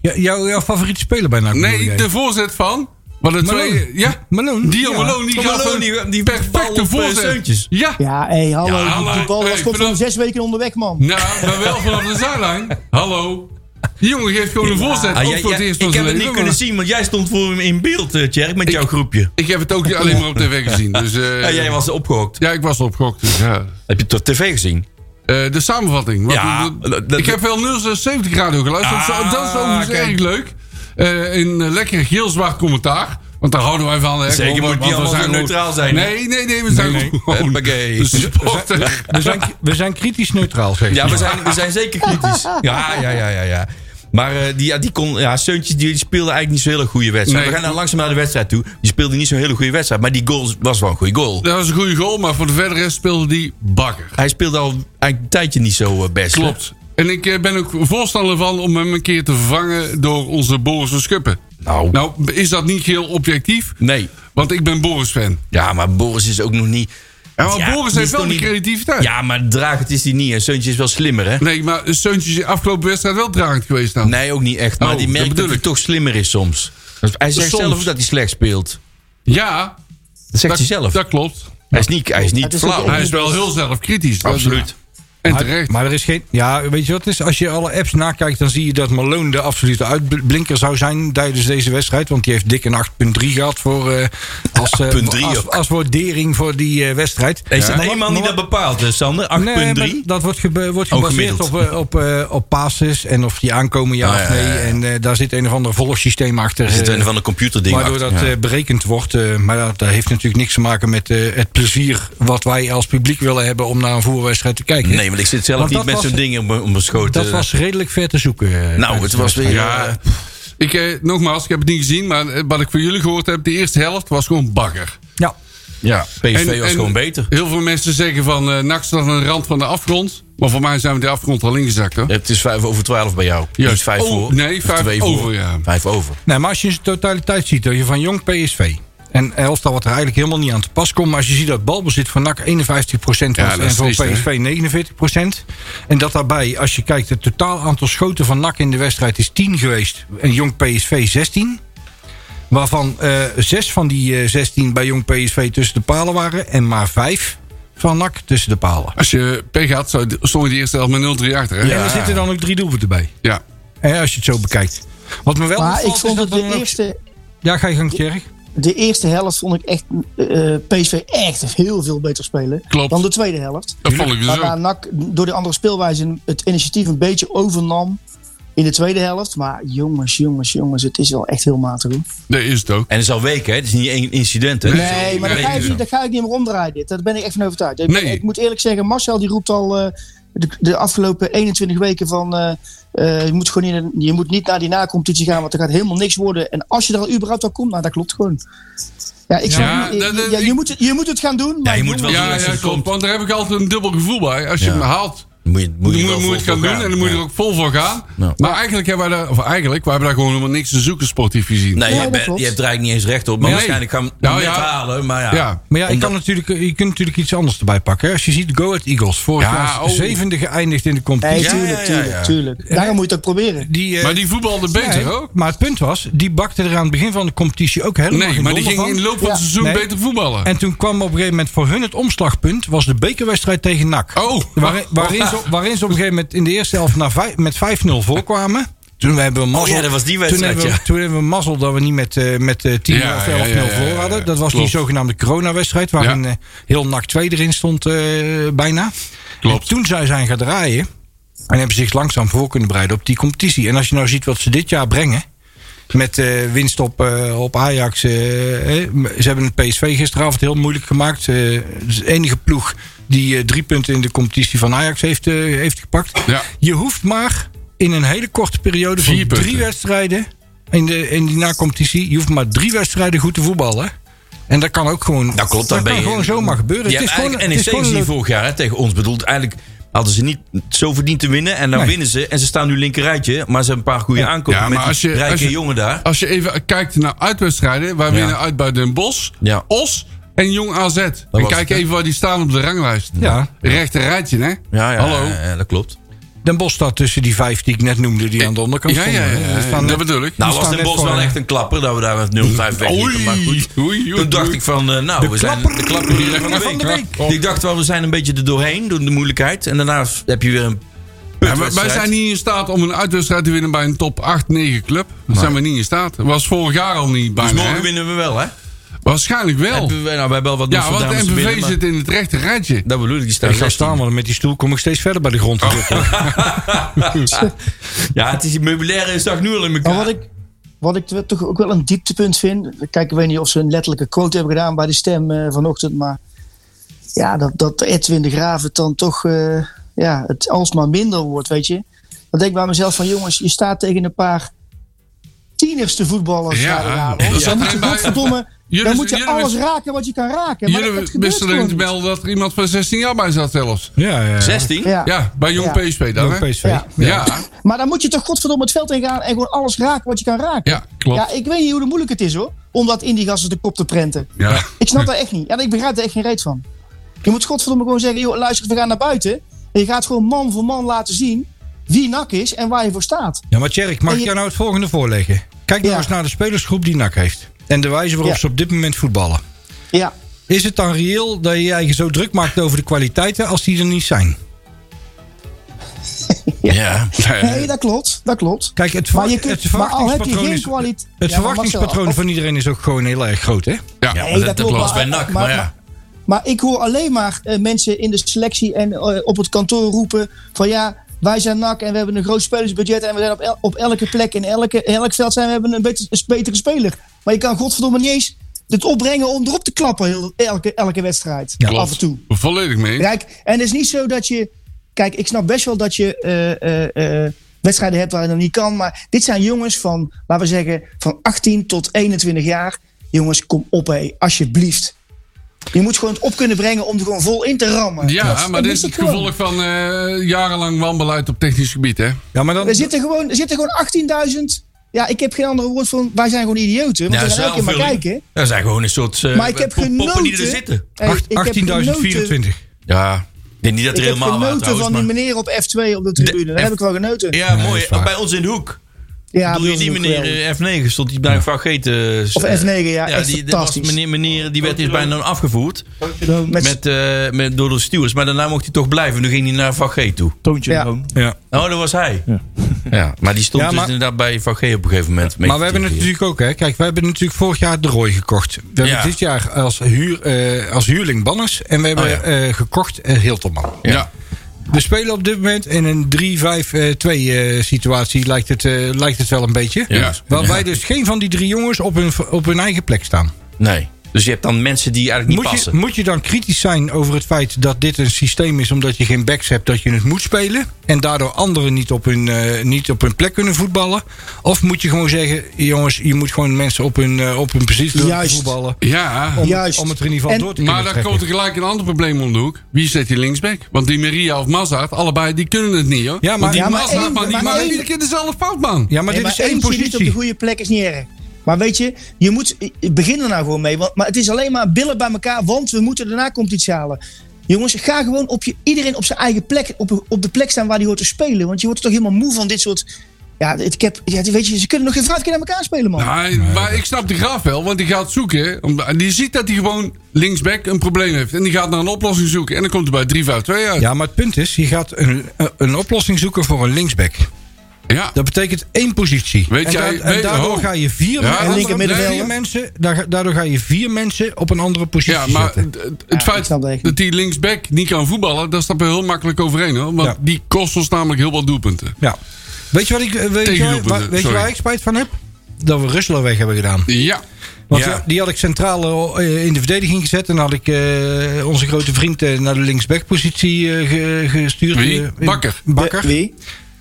[SPEAKER 5] Ja, jouw, jouw favoriete speler bij NAC? bedoel
[SPEAKER 4] Nee,
[SPEAKER 5] jij?
[SPEAKER 4] de voorzet van. Wat het
[SPEAKER 5] Malone.
[SPEAKER 4] twee. Ja.
[SPEAKER 5] Malone.
[SPEAKER 4] Dion
[SPEAKER 5] Ja.
[SPEAKER 4] Malone, die
[SPEAKER 3] Oh,
[SPEAKER 4] gaat
[SPEAKER 3] Malone,
[SPEAKER 4] een
[SPEAKER 3] die- die bal
[SPEAKER 4] perfecte
[SPEAKER 3] op, eh,
[SPEAKER 4] voorzet.
[SPEAKER 3] Zeuntjes.
[SPEAKER 4] Ja.
[SPEAKER 6] Ja, hé, hallo.
[SPEAKER 4] Ja,
[SPEAKER 6] die-
[SPEAKER 4] maar-
[SPEAKER 6] die bal
[SPEAKER 4] hey,
[SPEAKER 6] was
[SPEAKER 4] ik
[SPEAKER 6] komt
[SPEAKER 4] bedoel-
[SPEAKER 6] gewoon zes weken onderweg, man.
[SPEAKER 4] Nou, maar wel vanaf de
[SPEAKER 3] <laughs>
[SPEAKER 4] zijlijn. Hallo. Die jongen geeft gewoon een voorzet.
[SPEAKER 3] Ah,
[SPEAKER 4] ook
[SPEAKER 3] jij-
[SPEAKER 4] voor het
[SPEAKER 3] jij-
[SPEAKER 4] eerst van
[SPEAKER 3] ik
[SPEAKER 4] zijn
[SPEAKER 3] heb het niet
[SPEAKER 4] leven,
[SPEAKER 3] kunnen
[SPEAKER 4] maar-
[SPEAKER 3] zien, want jij stond voor hem in beeld, eh, Tjerk, met jouw groepje.
[SPEAKER 4] Ik heb het ook alleen maar op tv gezien.
[SPEAKER 3] <laughs>
[SPEAKER 4] Dus, eh,
[SPEAKER 3] Ja, jij was opgehokt.
[SPEAKER 4] ja, ik was opgehokt. Dus, ja.
[SPEAKER 3] Heb je het op tv gezien?
[SPEAKER 4] Eh, de samenvatting. Want
[SPEAKER 3] Ja,
[SPEAKER 4] de-
[SPEAKER 3] dat- dat-
[SPEAKER 4] ik heb wel 076 radio geluisterd.
[SPEAKER 3] Ah,
[SPEAKER 4] dat is overigens
[SPEAKER 3] kijk.
[SPEAKER 4] erg leuk. Eh in eh, lekker geel-zwart commentaar. Want daar houden wij van. Hè,
[SPEAKER 3] Zeker,
[SPEAKER 4] Gewoon,
[SPEAKER 3] moet
[SPEAKER 4] want
[SPEAKER 3] niet
[SPEAKER 4] we
[SPEAKER 3] allemaal zo
[SPEAKER 4] gewoon-
[SPEAKER 3] neutraal zijn, hè?
[SPEAKER 4] Nee, nee, nee. We zijn
[SPEAKER 3] nee.
[SPEAKER 4] gewoon <laughs>
[SPEAKER 3] Hoppakee.
[SPEAKER 4] de
[SPEAKER 3] <laughs>
[SPEAKER 4] supporter.
[SPEAKER 5] We zijn, we zijn kritisch neutraal, zeg
[SPEAKER 3] Ja,
[SPEAKER 5] je.
[SPEAKER 3] we zijn, we zijn zeker kritisch. <laughs> Ja, ja, ja, ja. ja. Maar eh, die, ja, die kon, ja, Seuntjes die speelde eigenlijk niet zo'n hele goede wedstrijd.
[SPEAKER 4] Nee.
[SPEAKER 3] We gaan nou langzaam naar de wedstrijd toe. Die speelde niet zo'n hele goede wedstrijd. Maar die goal was wel een goede goal.
[SPEAKER 4] Dat was een goede goal, maar voor de verdere rest speelde die bakker.
[SPEAKER 3] Hij speelde al eigenlijk een tijdje niet zo eh, best.
[SPEAKER 4] Klopt. En ik eh, ben ook voorstander van om hem een keer te vervangen door onze Boris van Schuppen.
[SPEAKER 3] Nou.
[SPEAKER 4] nou is dat niet heel objectief?
[SPEAKER 3] Nee.
[SPEAKER 4] Want ik ben Boris-fan.
[SPEAKER 3] Ja, maar Boris is ook nog niet...
[SPEAKER 4] Ja, maar
[SPEAKER 3] Ja,
[SPEAKER 4] Boris
[SPEAKER 3] die
[SPEAKER 4] heeft
[SPEAKER 3] is
[SPEAKER 4] wel
[SPEAKER 3] toch
[SPEAKER 4] die
[SPEAKER 3] niet-
[SPEAKER 4] creativiteit.
[SPEAKER 3] Ja, maar dragend is hij niet. En Seuntje is wel slimmer, hè?
[SPEAKER 4] Nee, maar Seuntje is de afgelopen wedstrijd wel dragend geweest nou.
[SPEAKER 3] Nee, ook niet echt. Maar
[SPEAKER 4] Oh,
[SPEAKER 3] die
[SPEAKER 4] dat
[SPEAKER 3] merkt dat
[SPEAKER 4] bedoel
[SPEAKER 3] hij
[SPEAKER 4] ik.
[SPEAKER 3] toch slimmer is soms. Hij zegt
[SPEAKER 4] Soms.
[SPEAKER 3] zelf ook dat hij slecht speelt.
[SPEAKER 4] Ja,
[SPEAKER 3] Dat zegt
[SPEAKER 4] dat,
[SPEAKER 3] hij zelf.
[SPEAKER 4] dat klopt.
[SPEAKER 3] hij is niet, hij is niet
[SPEAKER 6] Het is ook
[SPEAKER 3] flauw.
[SPEAKER 6] echt-
[SPEAKER 4] Hij is wel heel zelfkritisch. Dat-
[SPEAKER 3] Absoluut.
[SPEAKER 4] En
[SPEAKER 5] Maar-
[SPEAKER 4] terecht.
[SPEAKER 5] Maar er is geen. Ja, weet je wat het is? Als je alle apps nakijkt, dan zie je dat Malone de absolute uitblinker zou zijn tijdens deze wedstrijd. Want die heeft dik een 8,3 gehad voor. eh als, eh,
[SPEAKER 3] 8,3
[SPEAKER 5] als,
[SPEAKER 3] ook.
[SPEAKER 5] als waardering voor die eh, wedstrijd.
[SPEAKER 3] Is er
[SPEAKER 5] Maar-
[SPEAKER 3] helemaal niet
[SPEAKER 5] maar-
[SPEAKER 3] dat bepaald, eh, Sander? 8.3?
[SPEAKER 5] Nee, maar dat wordt, gebe- wordt
[SPEAKER 3] Oh,
[SPEAKER 5] gebaseerd op,
[SPEAKER 3] gemiddeld.
[SPEAKER 5] eh, op, eh, op passes en of die aankomen ja
[SPEAKER 3] Ah,
[SPEAKER 5] of
[SPEAKER 3] ja,
[SPEAKER 5] nee.
[SPEAKER 3] ja, ja.
[SPEAKER 5] En eh, daar zit een of ander volgsysteem achter.
[SPEAKER 3] Er zit
[SPEAKER 5] eh,
[SPEAKER 3] een van de computerdingen
[SPEAKER 5] Waardoor dat
[SPEAKER 3] achter.
[SPEAKER 5] eh, berekend wordt. eh, maar dat, dat heeft natuurlijk niks te maken met eh, het plezier wat wij als publiek willen hebben om naar een voerwedstrijd te kijken.
[SPEAKER 3] Nee, want ik zit zelf
[SPEAKER 5] Want
[SPEAKER 3] niet
[SPEAKER 5] dat
[SPEAKER 3] met
[SPEAKER 5] was-
[SPEAKER 3] zo'n ding om, om mijn schoot.
[SPEAKER 5] Dat
[SPEAKER 3] eh,
[SPEAKER 5] was redelijk ver te zoeken. eh,
[SPEAKER 3] nou,
[SPEAKER 5] tijdens
[SPEAKER 3] het
[SPEAKER 5] de
[SPEAKER 3] was weer...
[SPEAKER 5] wedstrijd.
[SPEAKER 3] eh,
[SPEAKER 4] Ja, ik, eh, nogmaals, ik heb het niet gezien, maar eh, wat ik van jullie gehoord heb, de eerste helft was gewoon bakker.
[SPEAKER 5] Ja.
[SPEAKER 3] ja, PSV
[SPEAKER 4] En-
[SPEAKER 3] was
[SPEAKER 4] en
[SPEAKER 3] gewoon beter.
[SPEAKER 4] Heel veel mensen zeggen van eh NAC staat aan de rand van de afgrond. Maar voor mij zijn we de afgrond al ingezakt hoor.
[SPEAKER 3] Het is vijf over twaalf bij jou.
[SPEAKER 4] Juist.
[SPEAKER 3] Niet vijf
[SPEAKER 4] Oh,
[SPEAKER 3] voor.
[SPEAKER 4] nee,
[SPEAKER 3] of
[SPEAKER 4] vijf
[SPEAKER 3] twee
[SPEAKER 4] over, ja.
[SPEAKER 3] Vijf over.
[SPEAKER 5] Nee, maar als je in zijn totaliteit ziet, dat je van jong PSV. En elftal wat er eigenlijk helemaal niet aan te pas komt. Maar als je ziet dat balbezit van NAC 51% was
[SPEAKER 4] Ja, dat
[SPEAKER 5] en
[SPEAKER 4] is
[SPEAKER 5] voor
[SPEAKER 4] triest, hè?
[SPEAKER 5] PSV 49%. En dat daarbij, als je kijkt, het totaal aantal schoten van NAC in de wedstrijd is 10 geweest. En jong PSV 16. Waarvan eh 6 van die eh, 16 bij jong PSV tussen de palen waren. En maar 5 van NAC tussen de palen.
[SPEAKER 4] Als je pech had, zou- stond je de eerste helft met 0-3 achter. Hè?
[SPEAKER 5] En er zitten dan ook drie doelpunten bij.
[SPEAKER 4] Ja.
[SPEAKER 5] Hè, als je het zo bekijkt. Wat me wel
[SPEAKER 6] Maar ik
[SPEAKER 5] opvalt is
[SPEAKER 6] vond dat
[SPEAKER 5] er
[SPEAKER 6] de
[SPEAKER 5] dan ook-
[SPEAKER 6] eerste,
[SPEAKER 5] Ja, ga je gang, Tjerk.
[SPEAKER 6] de eerste helft vond ik echt eh, PSV echt heel veel beter spelen
[SPEAKER 4] Klopt.
[SPEAKER 6] dan de tweede helft.
[SPEAKER 4] Dat vond ik dus
[SPEAKER 6] Waarna
[SPEAKER 4] ook.
[SPEAKER 6] NAC door de andere speelwijze het initiatief een beetje overnam in de tweede helft. Maar jongens, jongens, jongens, het is wel echt heel matig. hoor.
[SPEAKER 4] Dat is het ook.
[SPEAKER 3] En het is al weken, hè? Het is niet één incident, hè?
[SPEAKER 6] Nee, maar dat ga, ik
[SPEAKER 3] Weken
[SPEAKER 6] niet,
[SPEAKER 3] zo.
[SPEAKER 6] dat ga ik niet meer omdraaien dit. Daar ben ik echt van overtuigd. Ik, ben-
[SPEAKER 4] Nee.
[SPEAKER 6] ik moet eerlijk zeggen, Marcel die roept al eh, de, de afgelopen 21 weken van... eh, eh, je, moet gewoon niet, je moet niet naar die nacompetitie gaan, want er gaat helemaal niks worden. En als je er al überhaupt al komt, nou dat klopt gewoon. Ja, ik snap
[SPEAKER 4] Ja,
[SPEAKER 6] niet-
[SPEAKER 4] dat- dat-
[SPEAKER 6] ja, je,
[SPEAKER 4] ik-
[SPEAKER 6] moet het, je moet het gaan doen.
[SPEAKER 3] Ja,
[SPEAKER 6] maar
[SPEAKER 3] je moet wel
[SPEAKER 4] Ja,
[SPEAKER 3] doen als je
[SPEAKER 4] ja,
[SPEAKER 3] het
[SPEAKER 4] klopt.
[SPEAKER 3] komt.
[SPEAKER 4] Want daar heb ik altijd een dubbel gevoel bij. Als je
[SPEAKER 3] Ja.
[SPEAKER 4] hem haalt,
[SPEAKER 3] Moet je, moet
[SPEAKER 4] moet
[SPEAKER 3] je,
[SPEAKER 4] je,
[SPEAKER 3] wel
[SPEAKER 4] moet je
[SPEAKER 3] vol
[SPEAKER 4] het gaan
[SPEAKER 3] voor
[SPEAKER 4] doen. En dan moet je
[SPEAKER 3] Ja.
[SPEAKER 4] er ook vol voor gaan.
[SPEAKER 3] Ja. Nou.
[SPEAKER 4] Maar eigenlijk hebben wij daar, of eigenlijk, wij hebben daar gewoon helemaal niks te zoeken sportief gezien.
[SPEAKER 3] Nee,
[SPEAKER 6] Ja,
[SPEAKER 3] je,
[SPEAKER 6] dat
[SPEAKER 3] bent-
[SPEAKER 6] klopt.
[SPEAKER 3] je hebt er eigenlijk niet eens recht op. Maar
[SPEAKER 4] Nee.
[SPEAKER 3] waarschijnlijk gaan we het
[SPEAKER 4] Nou,
[SPEAKER 3] net
[SPEAKER 4] ja.
[SPEAKER 3] halen. Maar ja.
[SPEAKER 4] Ja.
[SPEAKER 5] Maar ja, je,
[SPEAKER 3] Omdat-
[SPEAKER 5] kan natuurlijk, eh, je kunt natuurlijk iets anders erbij pakken. hè. Als je ziet, Go Ahead Eagles. Vorig
[SPEAKER 4] Ja,
[SPEAKER 5] jaar
[SPEAKER 4] oh.
[SPEAKER 5] is zevende geëindigd in de
[SPEAKER 6] Nee,
[SPEAKER 5] competitie.
[SPEAKER 3] Ja,
[SPEAKER 6] tuurlijk,
[SPEAKER 3] ja,
[SPEAKER 6] tuurlijk,
[SPEAKER 3] ja, ja.
[SPEAKER 6] tuurlijk. Daarom moet je het ook proberen.
[SPEAKER 5] Die, eh,
[SPEAKER 4] Maar die voetbalde
[SPEAKER 5] nee,
[SPEAKER 4] beter hoor.
[SPEAKER 5] Maar het punt was, die bakte er aan het begin van de competitie ook helemaal
[SPEAKER 4] Nee,
[SPEAKER 5] geen
[SPEAKER 4] maar die
[SPEAKER 5] donder
[SPEAKER 4] ging in
[SPEAKER 5] van.
[SPEAKER 4] de loop van het
[SPEAKER 6] Ja.
[SPEAKER 4] seizoen
[SPEAKER 5] Nee.
[SPEAKER 4] beter voetballen.
[SPEAKER 5] En toen kwam op een gegeven moment voor hun het omslagpunt... was de bekerwedstrijd tegen NAC.
[SPEAKER 4] Oh.
[SPEAKER 5] Waarin, waarin, ze, waarin ze op een gegeven moment in de eerste helft naar vij- met 5-0 voorkwamen. Toen hebben we mazzel,
[SPEAKER 4] Oh
[SPEAKER 3] ja, dat was die
[SPEAKER 5] toen
[SPEAKER 3] wedstrijd,
[SPEAKER 5] hebben, we-
[SPEAKER 3] ja.
[SPEAKER 5] toen hebben we mazzel dat we niet met, eh, met eh 10
[SPEAKER 4] Ja,
[SPEAKER 5] of 11-0
[SPEAKER 4] ja, ja, ja,
[SPEAKER 5] voor
[SPEAKER 4] ja,
[SPEAKER 5] hadden. Dat was
[SPEAKER 4] klopt.
[SPEAKER 5] die zogenaamde coronawedstrijd... waarin
[SPEAKER 4] Ja.
[SPEAKER 5] eh, heel NAC 2 erin stond eh, bijna.
[SPEAKER 4] Klopt.
[SPEAKER 5] En toen zij zijn gaan draaien... en hebben zich langzaam voor kunnen bereiden op die competitie. En als je nou ziet wat ze dit jaar brengen... Met eh, winst op, eh, op Ajax. eh, hè. ze hebben het PSV gisteravond heel moeilijk gemaakt. Eh, het is de enige ploeg die eh, drie punten in de competitie van Ajax heeft, eh, heeft gepakt.
[SPEAKER 4] Ja.
[SPEAKER 5] Je hoeft maar in een hele korte periode van
[SPEAKER 4] Vier punten.
[SPEAKER 5] drie wedstrijden. In, de, in die nacompetitie. Je hoeft maar drie wedstrijden goed te voetballen. En dat kan ook gewoon.
[SPEAKER 3] Dat klopt, dan
[SPEAKER 5] kan
[SPEAKER 3] ben je-
[SPEAKER 5] gewoon zomaar gebeuren.
[SPEAKER 3] Ja,
[SPEAKER 5] het is gewoon,
[SPEAKER 3] eigenlijk E
[SPEAKER 5] het is
[SPEAKER 3] NEC is
[SPEAKER 5] gewoon een
[SPEAKER 3] niet vorig jaar hè, tegen ons bedoeld. Eigenlijk hadden ze niet zo verdiend te winnen. En dan
[SPEAKER 5] Nee.
[SPEAKER 3] winnen ze. En ze staan nu linkerrijtje. Maar ze hebben een paar goede aankopen
[SPEAKER 4] Ja,
[SPEAKER 3] met
[SPEAKER 4] maar
[SPEAKER 3] die
[SPEAKER 4] als je-
[SPEAKER 3] rijke
[SPEAKER 4] als je-
[SPEAKER 3] jongen daar.
[SPEAKER 4] Als je even kijkt naar uitwedstrijden. Wij
[SPEAKER 3] Ja.
[SPEAKER 4] winnen uit bij Den Bosch,
[SPEAKER 3] Ja.
[SPEAKER 4] Os en Jong AZ. en
[SPEAKER 3] was
[SPEAKER 4] kijk
[SPEAKER 3] het, hè?
[SPEAKER 4] even waar die staan op de ranglijst.
[SPEAKER 5] Ja.
[SPEAKER 4] Rechter rijtje, hè?
[SPEAKER 3] Ja, ja,
[SPEAKER 4] Hallo.
[SPEAKER 3] ja, dat klopt. Nou,
[SPEAKER 5] Den Bosch staat tussen die vijf die ik net noemde, die aan de onderkant
[SPEAKER 4] Ja, ja, ja,
[SPEAKER 5] stonden. Dus
[SPEAKER 4] ja,
[SPEAKER 5] Er
[SPEAKER 4] ja,
[SPEAKER 5] staan
[SPEAKER 4] dat
[SPEAKER 5] net-
[SPEAKER 4] bedoel ik.
[SPEAKER 5] er
[SPEAKER 3] Nou, was
[SPEAKER 5] staan
[SPEAKER 3] Den
[SPEAKER 5] net
[SPEAKER 3] Bos
[SPEAKER 5] voor-
[SPEAKER 3] wel echt een klapper dat we daar met 0-5 wegliepen. Maar goed,
[SPEAKER 4] oei, oei,
[SPEAKER 3] toen dacht
[SPEAKER 4] oei.
[SPEAKER 3] ik van, eh, nou, we zijn de klapper hier van de week. Ik
[SPEAKER 4] Oh.
[SPEAKER 3] dacht wel, we zijn een beetje er doorheen door de moeilijkheid. En daarna heb je weer een
[SPEAKER 4] Ja, maar wij
[SPEAKER 3] wedstrijd.
[SPEAKER 4] zijn niet in staat om een uitwedstrijd te winnen bij een top 8, 9 club. Daar zijn we niet in staat. Was vorig jaar al niet
[SPEAKER 3] Dus
[SPEAKER 4] bijna.
[SPEAKER 3] morgen
[SPEAKER 4] hè?
[SPEAKER 3] winnen we wel, hè?
[SPEAKER 4] Waarschijnlijk wel.
[SPEAKER 3] Hebben we, nou, we hebben wel wat
[SPEAKER 4] Ja, want de
[SPEAKER 3] Nostradamus te
[SPEAKER 4] MVV
[SPEAKER 3] winnen, maar
[SPEAKER 4] zit in het rechter rijtje.
[SPEAKER 3] Dat bedoel ik, die staan
[SPEAKER 5] Ik ga
[SPEAKER 3] 16.
[SPEAKER 5] staan, want met die stoel kom ik steeds verder bij de grond. te drukken.
[SPEAKER 3] Ja, het is die meubilaire zag nu al in
[SPEAKER 6] Maar
[SPEAKER 3] elkaar.
[SPEAKER 6] wat ik, wat ik te- toch ook wel een dieptepunt vind. Kijk, ik weet niet of ze een letterlijke quote hebben gedaan bij de stem eh, vanochtend. Maar ja, dat, dat Edwin de Graaf het dan toch eh, ja, het alsmaar minder wordt, weet je. Dan denk ik bij mezelf van jongens, je staat tegen een paar tieners te voetballen.
[SPEAKER 4] Ja,
[SPEAKER 6] Ja,
[SPEAKER 4] dat
[SPEAKER 6] dan
[SPEAKER 4] staat
[SPEAKER 6] moet
[SPEAKER 4] er
[SPEAKER 6] je
[SPEAKER 4] bij.
[SPEAKER 6] godverdomme,
[SPEAKER 4] <laughs> Jullie-
[SPEAKER 6] dan moet je
[SPEAKER 4] jullie
[SPEAKER 6] alles
[SPEAKER 4] wisten-
[SPEAKER 6] raken wat je kan raken. Maar dat, dat
[SPEAKER 4] Jullie
[SPEAKER 6] gebeurt
[SPEAKER 4] wisten
[SPEAKER 6] gewoon
[SPEAKER 4] alleen te
[SPEAKER 6] niet.
[SPEAKER 4] melden dat er iemand van 16 jaar bij zat zelfs.
[SPEAKER 5] <laughs> ja, ja.
[SPEAKER 3] 16?
[SPEAKER 6] Ja.
[SPEAKER 4] Ja, bij Jong
[SPEAKER 6] Ja.
[SPEAKER 4] PSV dan,
[SPEAKER 5] Door
[SPEAKER 4] hè?
[SPEAKER 5] PSV.
[SPEAKER 6] Ja.
[SPEAKER 4] Ja,
[SPEAKER 6] Maar dan moet je toch godverdomme het veld ingaan en gewoon alles raken wat je kan raken.
[SPEAKER 4] ja, klopt.
[SPEAKER 6] Ja, ik weet niet hoe moeilijk het is hoor. Om dat in die gasten de kop te prenten.
[SPEAKER 4] Ja.
[SPEAKER 6] Ik snap daar echt niet. En ik begrijp daar echt geen reet van. Je moet godverdomme gewoon zeggen, joh, luister, we gaan naar buiten. En je gaat gewoon man voor man laten zien wie nak is en waar je voor staat.
[SPEAKER 5] Ja, maar Tjerk, mag
[SPEAKER 6] En
[SPEAKER 5] ik
[SPEAKER 6] je-
[SPEAKER 5] jou nou het volgende voorleggen? Kijk nou
[SPEAKER 6] Ja.
[SPEAKER 5] eens naar de spelersgroep die NAC heeft. En de wijze waarop
[SPEAKER 6] Ja.
[SPEAKER 5] ze op dit moment voetballen.
[SPEAKER 6] Ja,
[SPEAKER 5] Is het dan reëel dat je je eigen zo druk maakt over de kwaliteiten als die er niet zijn?
[SPEAKER 3] Ja.
[SPEAKER 6] nee, dat klopt. Dat klopt.
[SPEAKER 5] Kijk, het,
[SPEAKER 6] Maar, je
[SPEAKER 5] verwacht- het
[SPEAKER 6] kunt, maar al heb je
[SPEAKER 5] verwachtingspatroon,
[SPEAKER 6] geen
[SPEAKER 5] is,
[SPEAKER 6] kwaliteit.
[SPEAKER 5] het verwachtingspatroon van iedereen is ook gewoon heel erg groot, hè?
[SPEAKER 4] Ja.
[SPEAKER 3] Ja,
[SPEAKER 6] Nee,
[SPEAKER 3] maar
[SPEAKER 6] dat
[SPEAKER 3] dat, dat
[SPEAKER 6] klopt,
[SPEAKER 3] was bij
[SPEAKER 6] maar-
[SPEAKER 3] NAC,
[SPEAKER 6] maar-
[SPEAKER 3] maar ja.
[SPEAKER 6] maar- Maar ik hoor alleen maar eh, mensen in de selectie en eh, op het kantoor roepen van ja, wij zijn NAC en we hebben een groot spelersbudget en we zijn op, el- op elke plek en elke, in elk veld zijn we hebben een, beter, een betere speler. Maar je kan godverdomme niet eens dit opbrengen om erop te klappen heel, elke, elke wedstrijd.
[SPEAKER 5] Ja.
[SPEAKER 6] af en toe.
[SPEAKER 4] Volledig mee. eens.
[SPEAKER 6] Kijk, en het is niet zo dat je... Kijk, ik snap best wel dat je eh, eh, eh, wedstrijden hebt waar je nog niet kan. Maar dit zijn jongens van, laten we zeggen, van 18 tot 21 jaar. Jongens, kom op hé, alsjeblieft. Je moet gewoon het op kunnen brengen om er gewoon vol in te rammen. Dat-
[SPEAKER 4] Ja, maar
[SPEAKER 6] dat
[SPEAKER 4] dit is het
[SPEAKER 6] gewoon.
[SPEAKER 4] gevolg van eh, jarenlang wanbeleid op technisch gebied, hè?
[SPEAKER 5] Ja, maar dan,
[SPEAKER 6] Er zitten gewoon, er zitten gewoon 18.000... Ja, ik heb geen andere woord van, wij zijn gewoon idioten. Want
[SPEAKER 3] Ja,
[SPEAKER 6] we gaan elke keer maar
[SPEAKER 3] zelfvulling.
[SPEAKER 6] kijken.
[SPEAKER 3] Dat zijn gewoon een soort eh,
[SPEAKER 6] Maar ik heb
[SPEAKER 3] pop- poppen die er
[SPEAKER 6] genoten.
[SPEAKER 3] zitten.
[SPEAKER 6] Hey,
[SPEAKER 5] acht-
[SPEAKER 6] ik heb
[SPEAKER 5] 18.024.
[SPEAKER 6] genoten-
[SPEAKER 3] Ja. Ik denk niet dat er
[SPEAKER 6] Ik heb
[SPEAKER 3] helemaal waren
[SPEAKER 6] genoten
[SPEAKER 3] trouwens,
[SPEAKER 6] van die
[SPEAKER 3] maar-
[SPEAKER 6] meneer op F2 op de tribune. Daar
[SPEAKER 3] F-
[SPEAKER 6] heb ik wel genoten.
[SPEAKER 3] Ja,
[SPEAKER 5] Nee,
[SPEAKER 3] mooi.
[SPEAKER 5] is waar.
[SPEAKER 3] Bij ons in de hoek.
[SPEAKER 6] Ja,
[SPEAKER 3] Bedoel je
[SPEAKER 6] dat is
[SPEAKER 3] die
[SPEAKER 6] ook
[SPEAKER 3] meneer
[SPEAKER 6] geweldig.
[SPEAKER 3] eh, F9 stond die bijna van gegeten. eh,
[SPEAKER 6] Of
[SPEAKER 5] Eh,
[SPEAKER 6] F9, ja, echt
[SPEAKER 3] die, dat was
[SPEAKER 6] fantastisch.
[SPEAKER 3] meneer, meneer, die werd dus bijna afgevoerd
[SPEAKER 6] Met,
[SPEAKER 3] met, eh, met, door de stewards. Maar daarna mocht hij toch blijven. Nu ging hij naar Van G toe.
[SPEAKER 7] Toontje
[SPEAKER 6] Ja.
[SPEAKER 7] gewoon.
[SPEAKER 5] ja.
[SPEAKER 3] Oh, dat was hij. <laughs> Ja,
[SPEAKER 7] Ja.
[SPEAKER 3] maar die stond
[SPEAKER 5] Ja, maar-
[SPEAKER 3] dus inderdaad bij Van G op een gegeven moment. mee
[SPEAKER 5] Maar we
[SPEAKER 3] te
[SPEAKER 5] hebben het
[SPEAKER 3] tikken.
[SPEAKER 5] natuurlijk ook, hè. Kijk, we hebben natuurlijk vorig jaar de Roy gekocht. We hebben
[SPEAKER 3] Ja.
[SPEAKER 5] dit jaar als, huur, eh, als huurling Banners. En we hebben
[SPEAKER 3] Oh, ja.
[SPEAKER 5] eh, gekocht eh, Hilterman.
[SPEAKER 4] Ja.
[SPEAKER 5] We spelen op dit moment in een 3-5-2 eh, situatie, lijkt het, eh, lijkt het wel een beetje.
[SPEAKER 3] Ja.
[SPEAKER 5] Waarbij dus geen van die drie jongens op hun, op hun eigen plek staan.
[SPEAKER 3] Nee. Dus je hebt dan mensen die eigenlijk niet
[SPEAKER 5] Moet je,
[SPEAKER 3] passen.
[SPEAKER 5] moet je dan kritisch zijn over het feit dat dit een systeem is omdat je geen backs hebt dat je het moet spelen? En daardoor anderen niet op hun, eh, niet op hun plek kunnen voetballen? Of moet je gewoon zeggen, jongens, je moet gewoon mensen op hun, eh, op hun positie laten
[SPEAKER 6] Juist.
[SPEAKER 5] voetballen?
[SPEAKER 4] Ja.
[SPEAKER 5] Om,
[SPEAKER 6] Juist.
[SPEAKER 5] om het er in ieder geval
[SPEAKER 6] En-
[SPEAKER 5] door te
[SPEAKER 4] Maar
[SPEAKER 5] kunnen
[SPEAKER 4] daar
[SPEAKER 5] trekken.
[SPEAKER 4] komt er gelijk een ander probleem om de hoek. Wie zet die linksback? Want die Maria of Mazart, allebei, die kunnen het niet, hoor.
[SPEAKER 5] Ja, maar-
[SPEAKER 4] Want die
[SPEAKER 5] Ja,
[SPEAKER 6] maar
[SPEAKER 4] Mazart,
[SPEAKER 6] één-
[SPEAKER 4] man, die
[SPEAKER 6] maar
[SPEAKER 4] maakt
[SPEAKER 6] één-
[SPEAKER 4] iedere keer dezelfde fout, man.
[SPEAKER 5] Ja,
[SPEAKER 6] Nee,
[SPEAKER 5] maar dit
[SPEAKER 6] maar
[SPEAKER 5] is één
[SPEAKER 6] eentje niet op
[SPEAKER 5] positie.
[SPEAKER 6] de goede plek is niet erg. Maar weet je, je moet, begin er nou gewoon mee. Want, maar het is alleen maar billen bij elkaar, want we moeten daarna komt iets halen. Jongens, ga gewoon op je, iedereen op zijn eigen plek, op, op de plek staan waar die hoort te spelen. Want je wordt er toch helemaal moe van dit soort... Ja, het- ik heb, ja, weet je, ze kunnen nog geen vijf keer naar elkaar spelen, man.
[SPEAKER 5] Nou,
[SPEAKER 4] Nee, maar ik snap die graaf wel, want die gaat zoeken. om- En die ziet dat hij gewoon linksback een probleem heeft. En die gaat naar een oplossing zoeken. En dan komt hij bij 3-5-2 uit. Ja.
[SPEAKER 5] Ja, maar het punt is, je gaat een, een oplossing zoeken voor een linksback. Dat betekent één positie.
[SPEAKER 4] Weet
[SPEAKER 5] en,
[SPEAKER 4] jij-
[SPEAKER 5] da- en
[SPEAKER 4] weet-
[SPEAKER 5] daardoor
[SPEAKER 4] ho.
[SPEAKER 5] ga je vier,
[SPEAKER 4] Ja,
[SPEAKER 5] mensen-
[SPEAKER 4] linker middenvelder.
[SPEAKER 5] vier mensen, daar- daardoor ga je vier mensen op een andere positie
[SPEAKER 4] Ja, maar
[SPEAKER 5] zetten.
[SPEAKER 4] het, het feit
[SPEAKER 6] ik snap dat echt
[SPEAKER 4] dat die linksback niet kan voetballen, daar stappen we heel makkelijk overheen. Hoor. Want
[SPEAKER 5] Ja.
[SPEAKER 4] die kost ons namelijk heel wat doelpunten.
[SPEAKER 5] Ja. Weet je wat ik, weet je, waar-
[SPEAKER 4] Tegendoelpunten,
[SPEAKER 5] waar, weet je
[SPEAKER 4] eh, sorry.
[SPEAKER 5] waar ik spijt van heb? dat we Rustler weg hebben gedaan.
[SPEAKER 4] Ja.
[SPEAKER 5] Want
[SPEAKER 3] Ja.
[SPEAKER 5] ja, die had ik centraal eh, in de verdediging gezet. En had ik eh, onze grote vriend eh, naar de linksbackpositie eh, ge- gestuurd.
[SPEAKER 4] Wie?
[SPEAKER 5] Eh, in-
[SPEAKER 4] Bakker.
[SPEAKER 5] Bakker.
[SPEAKER 6] Wie?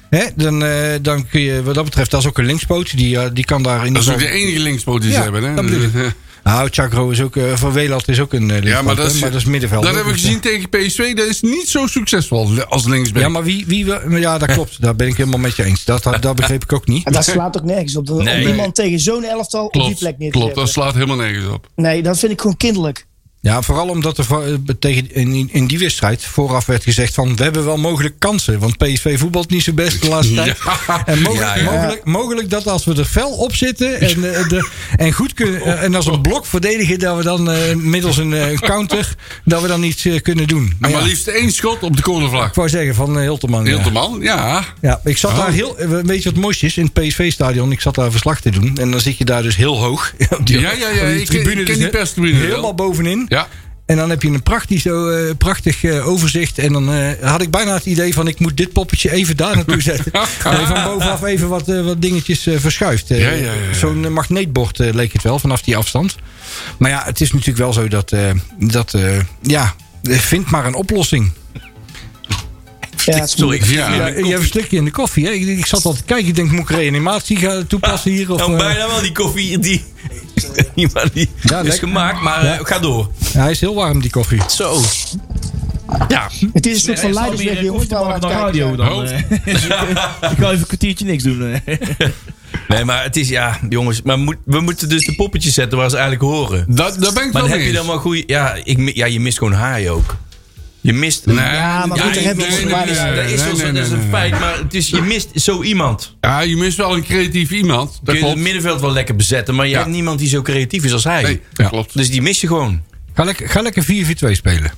[SPEAKER 5] Hè? Dan, eh, dan kun je, wat dat betreft, dat is ook een linkspoot. Die, eh, die kan daar in
[SPEAKER 4] Dat is
[SPEAKER 5] ieder
[SPEAKER 4] ook de
[SPEAKER 5] geval-
[SPEAKER 4] enige linkspoot die ze
[SPEAKER 5] Ja,
[SPEAKER 4] hebben. Hè?
[SPEAKER 5] dat bedoel ik. Nou, Chagro is ook, eh, van Welat is ook een eh, linkspoot.
[SPEAKER 4] Ja, maar dat is,
[SPEAKER 5] hè, maar dat is Dus, middenveld.
[SPEAKER 4] Dat hebben we gezien tegen PSV. Dat is niet zo succesvol als linksback.
[SPEAKER 5] eh, Ja, maar wie, wie wil- ja, dat klopt. Daar ben ik helemaal met je eens. Dat, dat, dat begreep ik ook niet.
[SPEAKER 6] En dat slaat ook nergens op. Om
[SPEAKER 3] Nee.
[SPEAKER 6] iemand tegen zo'n elftal op die plek
[SPEAKER 4] klopt,
[SPEAKER 6] neer te
[SPEAKER 4] klopt, dat
[SPEAKER 6] zetten.
[SPEAKER 4] slaat helemaal nergens op.
[SPEAKER 6] Nee, dat vind ik gewoon kinderlijk.
[SPEAKER 5] Ja, vooral omdat er voor- eh, tegen, in, in die wedstrijd vooraf werd gezegd van... we hebben wel mogelijk kansen, want PSV voetbalt niet zo best de
[SPEAKER 4] <laughs>
[SPEAKER 5] laatste tijd. En mogelijk,
[SPEAKER 3] Ja, ja.
[SPEAKER 5] Mogelijk, mogelijk dat als we er fel op zitten en, eh, de, en goed
[SPEAKER 4] Oh,
[SPEAKER 5] kunnen... eh, en als een blok verdedigen, dat we dan eh, middels een eh, counter... dat we dan iets eh, kunnen doen. Maar
[SPEAKER 4] En maar
[SPEAKER 5] ja,
[SPEAKER 4] liefst één schot op de cornervlag.
[SPEAKER 5] ik wou zeggen van eh, Hilterman. ja.
[SPEAKER 4] Hilterman, ja.
[SPEAKER 5] Ja, ik zat
[SPEAKER 4] Oh.
[SPEAKER 5] daar heel. eh, Weet je wat moois is? In het PSV-stadion. Ik zat daar verslag te doen. En dan zit je daar dus heel hoog. <laughs> op die-
[SPEAKER 4] Ja, ja, ja,
[SPEAKER 5] op die
[SPEAKER 4] ik ken- ik ken
[SPEAKER 5] dus,
[SPEAKER 4] die
[SPEAKER 5] hè,
[SPEAKER 4] perstribune wel.
[SPEAKER 5] Helemaal bovenin.
[SPEAKER 4] Ja.
[SPEAKER 5] En dan heb je een prachtig, zo, eh, prachtig eh, overzicht. En dan eh, had ik bijna het idee van... ik moet dit poppetje even daar naartoe zetten. Dat je van bovenaf even wat, eh, wat dingetjes eh, verschuift. Eh,
[SPEAKER 4] Ja, ja, ja, ja.
[SPEAKER 5] Zo'n eh, magneetbord eh, leek het wel vanaf die afstand. Maar ja, het is natuurlijk wel zo dat... eh, dat eh, ja, vind maar een oplossing.
[SPEAKER 6] Ja, het is
[SPEAKER 3] Sorry, ik
[SPEAKER 4] Ja.
[SPEAKER 5] Ja, jij verslik je in de koffie, hè? Ik, ik zat al te kijken, ik denk, moet ik reanimatie gaan toepassen hier? Of,
[SPEAKER 3] nou,
[SPEAKER 5] eh,
[SPEAKER 3] bijna wel die koffie die, <laughs> die, maar die
[SPEAKER 5] Ja,
[SPEAKER 3] is
[SPEAKER 5] lekker.
[SPEAKER 3] gemaakt, maar eh, ga door.
[SPEAKER 5] ja, hij is heel warm, die koffie.
[SPEAKER 3] Zo. Ja,
[SPEAKER 6] Het is een soort van
[SPEAKER 7] Eh, Sam,
[SPEAKER 6] leidersweg.
[SPEAKER 7] hier,
[SPEAKER 6] Je
[SPEAKER 7] eh,
[SPEAKER 6] hoeft
[SPEAKER 7] koffie
[SPEAKER 6] nou aan
[SPEAKER 7] maken
[SPEAKER 6] het
[SPEAKER 7] naar
[SPEAKER 6] kijken.
[SPEAKER 7] radio
[SPEAKER 6] te zijn.
[SPEAKER 7] dan. eh. <laughs> ik ga even een kwartiertje niks doen. eh.
[SPEAKER 3] nee, maar het is, ja, jongens, maar moet, we moeten dus de poppetjes zetten waar ze eigenlijk horen.
[SPEAKER 4] Dat, daar ben
[SPEAKER 3] Maar
[SPEAKER 4] ik wel
[SPEAKER 3] dan
[SPEAKER 4] mee
[SPEAKER 3] heb je
[SPEAKER 4] eens.
[SPEAKER 3] dan wel goede, ja, ik, mi- ja, je mist gewoon haai ook. Je mist,
[SPEAKER 4] Nee,
[SPEAKER 6] Ja, maar goed, daar hebben we
[SPEAKER 4] nee,
[SPEAKER 6] onze
[SPEAKER 4] nee,
[SPEAKER 3] dat is,
[SPEAKER 6] waardes.
[SPEAKER 4] nee,
[SPEAKER 3] dat is,
[SPEAKER 4] nee,
[SPEAKER 3] wel zo-
[SPEAKER 4] nee,
[SPEAKER 3] dat is
[SPEAKER 4] nee,
[SPEAKER 3] een
[SPEAKER 4] nee.
[SPEAKER 3] feit, maar het is, je mist zo iemand.
[SPEAKER 4] Ja, je mist wel een creatief iemand. Dat
[SPEAKER 3] Kun je het
[SPEAKER 4] klopt.
[SPEAKER 3] middenveld wel lekker bezetten, maar je
[SPEAKER 4] Ja.
[SPEAKER 3] hebt niemand die zo creatief is als hij.
[SPEAKER 4] Nee, dat klopt.
[SPEAKER 3] Dus die mis je gewoon.
[SPEAKER 5] Ga lekker, ga lekker 4-4-2 spelen.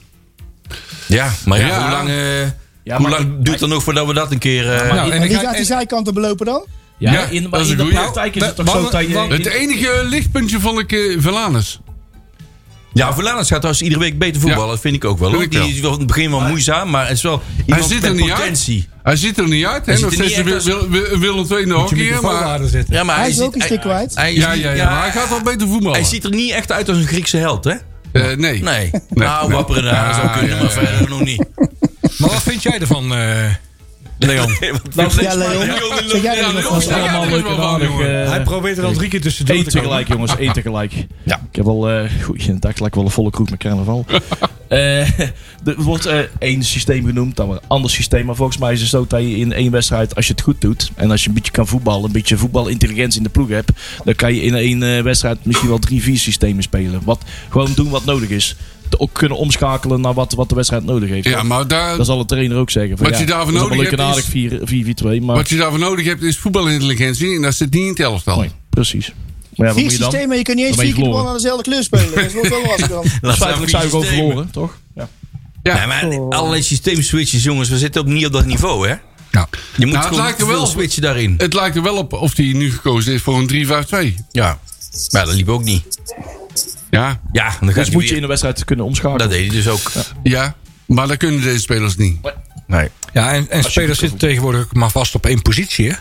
[SPEAKER 3] Ja, maar ja,
[SPEAKER 4] Ja.
[SPEAKER 3] hoe lang, eh,
[SPEAKER 7] Ja,
[SPEAKER 3] hoe
[SPEAKER 7] maar-
[SPEAKER 3] lang duurt het nog voordat we dat een keer... eh,
[SPEAKER 5] Nou,
[SPEAKER 6] En wie
[SPEAKER 5] ik ga-
[SPEAKER 6] gaat die zijkanten belopen dan?
[SPEAKER 7] Ja,
[SPEAKER 4] Ja,
[SPEAKER 7] in,
[SPEAKER 4] dat
[SPEAKER 7] maar
[SPEAKER 4] is
[SPEAKER 7] in
[SPEAKER 4] een
[SPEAKER 7] de
[SPEAKER 4] goeie.
[SPEAKER 7] praktijk is het toch
[SPEAKER 5] Nou,
[SPEAKER 7] zo
[SPEAKER 5] wa-
[SPEAKER 7] dat je...
[SPEAKER 5] wa-
[SPEAKER 4] Het enige lichtpuntje vond ik eh Velanus.
[SPEAKER 3] Ja, Verlanens gaat trouwens iedere week beter voetballen.
[SPEAKER 4] Ja.
[SPEAKER 3] Dat vind ik ook wel.
[SPEAKER 4] Vind
[SPEAKER 3] hoor.
[SPEAKER 4] ik
[SPEAKER 3] Die
[SPEAKER 4] wel.
[SPEAKER 3] is wel in het begin wel moeizaam, maar het is wel iemand
[SPEAKER 4] zit
[SPEAKER 3] met
[SPEAKER 4] er niet uit.
[SPEAKER 3] potentie.
[SPEAKER 4] Hij ziet er niet uit, hè?
[SPEAKER 3] Hij ziet
[SPEAKER 4] Nog
[SPEAKER 3] er niet
[SPEAKER 4] steeds wil,
[SPEAKER 3] echt
[SPEAKER 4] wil, wil, Willem II in de
[SPEAKER 5] Je
[SPEAKER 4] hockey, hè,
[SPEAKER 5] microfoon
[SPEAKER 4] maar...
[SPEAKER 5] harder zetten.
[SPEAKER 3] Ja, maar
[SPEAKER 6] Hij is
[SPEAKER 3] ziet-
[SPEAKER 6] ook een stuk kwijt.
[SPEAKER 3] Hij, is
[SPEAKER 4] Ja,
[SPEAKER 3] niet-
[SPEAKER 4] ja, ja, maar hij gaat wel beter voetballen.
[SPEAKER 3] hij ziet er niet echt uit als een Griekse held, hè?
[SPEAKER 4] Eh, nee.
[SPEAKER 3] Nee. nou, wapperen daar zou
[SPEAKER 4] Ah,
[SPEAKER 3] kunnen,
[SPEAKER 4] ja,
[SPEAKER 3] maar
[SPEAKER 4] ja.
[SPEAKER 3] verder nog
[SPEAKER 4] <laughs>
[SPEAKER 3] niet.
[SPEAKER 5] Maar wat vind jij ervan, eh, Leon?
[SPEAKER 6] Ja, Leon. Zeg jij dat nog
[SPEAKER 4] Leon,
[SPEAKER 6] wel?
[SPEAKER 4] zeg jij
[SPEAKER 7] allemaal
[SPEAKER 4] dat
[SPEAKER 7] leuk en
[SPEAKER 4] wel,
[SPEAKER 7] aardig.
[SPEAKER 4] jongen?
[SPEAKER 7] eh,
[SPEAKER 5] Hij probeert er al drie keer tussen
[SPEAKER 7] Eén tegelijk, jongens. Eén tegelijk.
[SPEAKER 3] Ja.
[SPEAKER 7] Ik heb al, eh goed, in dag lijkt wel een volle kroeg met
[SPEAKER 4] <laughs>
[SPEAKER 7] carnaval. Eh, <laughs> er wordt eh, één systeem genoemd, dan weer een ander systeem. Maar volgens mij is het zo dat je in één wedstrijd, als je het goed doet... en als je een beetje kan voetballen, een beetje voetbalintelligentie in de ploeg hebt... dan kan je in één eh, wedstrijd misschien wel drie, vier systemen spelen. Wat, gewoon doen wat nodig is. Te- Ook kunnen omschakelen naar wat, wat de wedstrijd nodig heeft.
[SPEAKER 4] Ja, maar daar,
[SPEAKER 7] dat zal de trainer ook zeggen. Van,
[SPEAKER 4] Wat
[SPEAKER 7] ja,
[SPEAKER 4] je daarvoor
[SPEAKER 7] het is allemaal
[SPEAKER 4] nodig hebt is-
[SPEAKER 7] leuk en aardig, 4 4-4-2, maar...
[SPEAKER 4] wat je daarvoor nodig hebt is voetbalintelligentie. En dat zit niet in het elftal.
[SPEAKER 7] Nee, precies. Maar ja, wat
[SPEAKER 6] Vier
[SPEAKER 7] moet je dan?
[SPEAKER 6] systemen, je kunt niet eens
[SPEAKER 7] Dan ben
[SPEAKER 6] vier
[SPEAKER 7] je
[SPEAKER 6] keer de bal aan dezelfde
[SPEAKER 7] verloren.
[SPEAKER 6] kleur spelen. Dat wordt wel lastig dan.
[SPEAKER 7] Feitelijk zou ik ook verloren, toch? Dus Ja.
[SPEAKER 3] Nee,
[SPEAKER 6] Oh.
[SPEAKER 3] maar allerlei systeemswitches, jongens. We zitten ook niet op dat niveau, hè?
[SPEAKER 4] Nou,
[SPEAKER 3] Je moet
[SPEAKER 4] het
[SPEAKER 3] gewoon
[SPEAKER 4] lijkt er
[SPEAKER 3] veel
[SPEAKER 4] wel-
[SPEAKER 3] switchen daarin.
[SPEAKER 4] het lijkt er wel op of hij nu gekozen is voor een 3-5-2.
[SPEAKER 3] Ja. Maar dat liep ook niet.
[SPEAKER 4] Ja,
[SPEAKER 3] Ja, dan gaat
[SPEAKER 7] Dus
[SPEAKER 3] hij
[SPEAKER 7] moet je
[SPEAKER 3] weer-
[SPEAKER 7] in de wedstrijd kunnen omschakelen.
[SPEAKER 3] Dat deed hij dus ook.
[SPEAKER 4] ja. Maar dat kunnen deze spelers niet.
[SPEAKER 3] Nee,
[SPEAKER 5] Ja, en, en spelers zitten tegenwoordig ook maar vast op één positie, hè?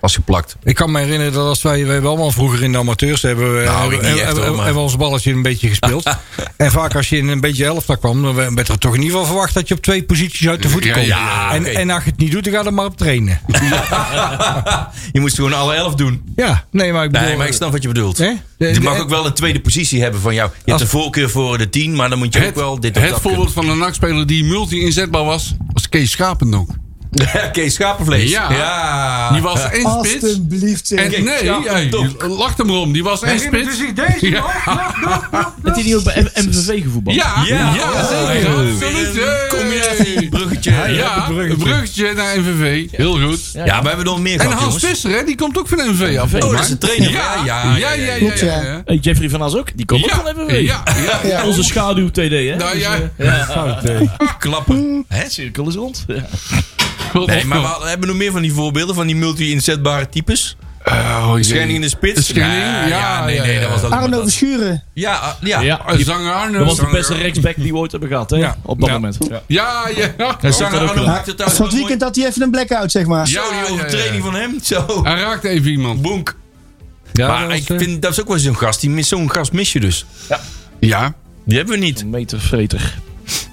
[SPEAKER 3] was geplakt.
[SPEAKER 5] Ik kan me herinneren dat als wij, wij hebben allemaal vroeger in de amateurs hebben, we-
[SPEAKER 3] Nou, ik
[SPEAKER 5] hebben,
[SPEAKER 3] niet echt,
[SPEAKER 5] hebben-
[SPEAKER 3] hoor, maar-
[SPEAKER 5] hebben we ons balletje een beetje gespeeld. en vaak als je in een beetje helft kwam, dan werd er toch in ieder geval verwacht dat je op twee posities uit de voeten
[SPEAKER 4] Ja,
[SPEAKER 5] komt.
[SPEAKER 3] ja,
[SPEAKER 5] en,
[SPEAKER 3] oké.
[SPEAKER 5] en als je het niet doet, dan ga je er maar op trainen.
[SPEAKER 3] <laughs> Je moest gewoon alle elf doen.
[SPEAKER 5] ja, nee, maar ik bedoel... eh,
[SPEAKER 3] Nee, maar ik snap wat je bedoelt.
[SPEAKER 5] Hè? De-
[SPEAKER 3] Je
[SPEAKER 5] de-
[SPEAKER 3] mag ook wel een tweede positie hebben van jou. Je hebt
[SPEAKER 5] Als-
[SPEAKER 3] de voorkeur voor de 10, maar dan moet je ook
[SPEAKER 4] Het,
[SPEAKER 3] wel dit of
[SPEAKER 4] het
[SPEAKER 3] dat
[SPEAKER 4] voorbeeld van een nachtspeler die multi-inzetbaar was, was Kees Schapendonk.
[SPEAKER 3] kunnen. <laughs> Kees Schapenvlees.
[SPEAKER 4] Ja.
[SPEAKER 3] ja.
[SPEAKER 4] Die was één spits.
[SPEAKER 6] Alsjeblieft
[SPEAKER 4] En
[SPEAKER 6] zeg.
[SPEAKER 4] nee, hey,
[SPEAKER 3] Schapendonk.
[SPEAKER 4] lach er maar om. Die was één spits.
[SPEAKER 7] Het is niet ook bij M- MVV gevoetbald.
[SPEAKER 4] Ja,
[SPEAKER 3] Ja,
[SPEAKER 4] ja,
[SPEAKER 3] oh,
[SPEAKER 4] zeker.
[SPEAKER 3] oh,
[SPEAKER 4] absoluut.
[SPEAKER 3] weer een
[SPEAKER 4] Hey.
[SPEAKER 3] combinatie, bruggetje.
[SPEAKER 4] Ja,
[SPEAKER 5] ja, een bruggetje.
[SPEAKER 4] een bruggetje naar MVV. Heel goed.
[SPEAKER 3] Ja, we hebben er nog meer
[SPEAKER 4] En
[SPEAKER 3] gehad,
[SPEAKER 4] Hans
[SPEAKER 3] jongens.
[SPEAKER 4] Visser, hè, die komt ook van MVV af. volgens
[SPEAKER 7] Oh,
[SPEAKER 3] dat
[SPEAKER 4] mij.
[SPEAKER 3] is de trainer.
[SPEAKER 4] Ja,
[SPEAKER 3] Ja,
[SPEAKER 4] ja,
[SPEAKER 3] ja,
[SPEAKER 4] ja.
[SPEAKER 3] ja,
[SPEAKER 4] ja,
[SPEAKER 6] Klopt,
[SPEAKER 4] ja,
[SPEAKER 6] ja.
[SPEAKER 4] ja.
[SPEAKER 7] Hey, Jeffrey van As ook, die komt ook van
[SPEAKER 4] Ja,
[SPEAKER 7] MVV.
[SPEAKER 4] ja, ja.
[SPEAKER 6] Ja.
[SPEAKER 7] Onze schaduw TD, hè?
[SPEAKER 4] Nou
[SPEAKER 7] Dus,
[SPEAKER 4] ja.
[SPEAKER 7] eh, ja.
[SPEAKER 5] fout, eh.
[SPEAKER 3] Klappen. Hè?
[SPEAKER 7] Het cirkel is rond. Ja.
[SPEAKER 3] Nee, maar we hadden- hebben nog meer van die voorbeelden, van die multi-inzetbare types.
[SPEAKER 4] Oh, jee.
[SPEAKER 3] Schenning in de spits.
[SPEAKER 4] Schenning,
[SPEAKER 3] Nee,
[SPEAKER 4] ja,
[SPEAKER 3] nee,
[SPEAKER 4] ja,
[SPEAKER 3] nee,
[SPEAKER 4] ja.
[SPEAKER 3] dat was dat.
[SPEAKER 6] Arno Verschuren.
[SPEAKER 3] Ja, ah, ja.
[SPEAKER 7] Ja.
[SPEAKER 4] Eh, Zanger Arno.
[SPEAKER 7] Dat was de
[SPEAKER 4] Zanger.
[SPEAKER 7] beste rechtsback die we ooit hebben gehad, hè?
[SPEAKER 5] Ja.
[SPEAKER 7] Op dat
[SPEAKER 5] Ja.
[SPEAKER 7] moment. Ja.
[SPEAKER 4] Ja, ja.
[SPEAKER 3] En Zanger Arno maakte
[SPEAKER 6] Van
[SPEAKER 3] trouwens
[SPEAKER 6] het
[SPEAKER 3] wel mooi-
[SPEAKER 6] weekend had hij even een blackout, zeg maar.
[SPEAKER 3] Zo, die
[SPEAKER 4] Ja, ja, ja.
[SPEAKER 3] overtreding van hem. Zo.
[SPEAKER 4] Hij raakt even iemand.
[SPEAKER 3] Bonk.
[SPEAKER 4] Ja,
[SPEAKER 3] maar
[SPEAKER 4] dat
[SPEAKER 3] ik
[SPEAKER 4] was, eh,
[SPEAKER 3] vind, dat is ook wel zo'n gast. Die mis- Zo'n gast mis je dus.
[SPEAKER 4] Ja,
[SPEAKER 3] Die hebben we niet.
[SPEAKER 7] Een metervreter.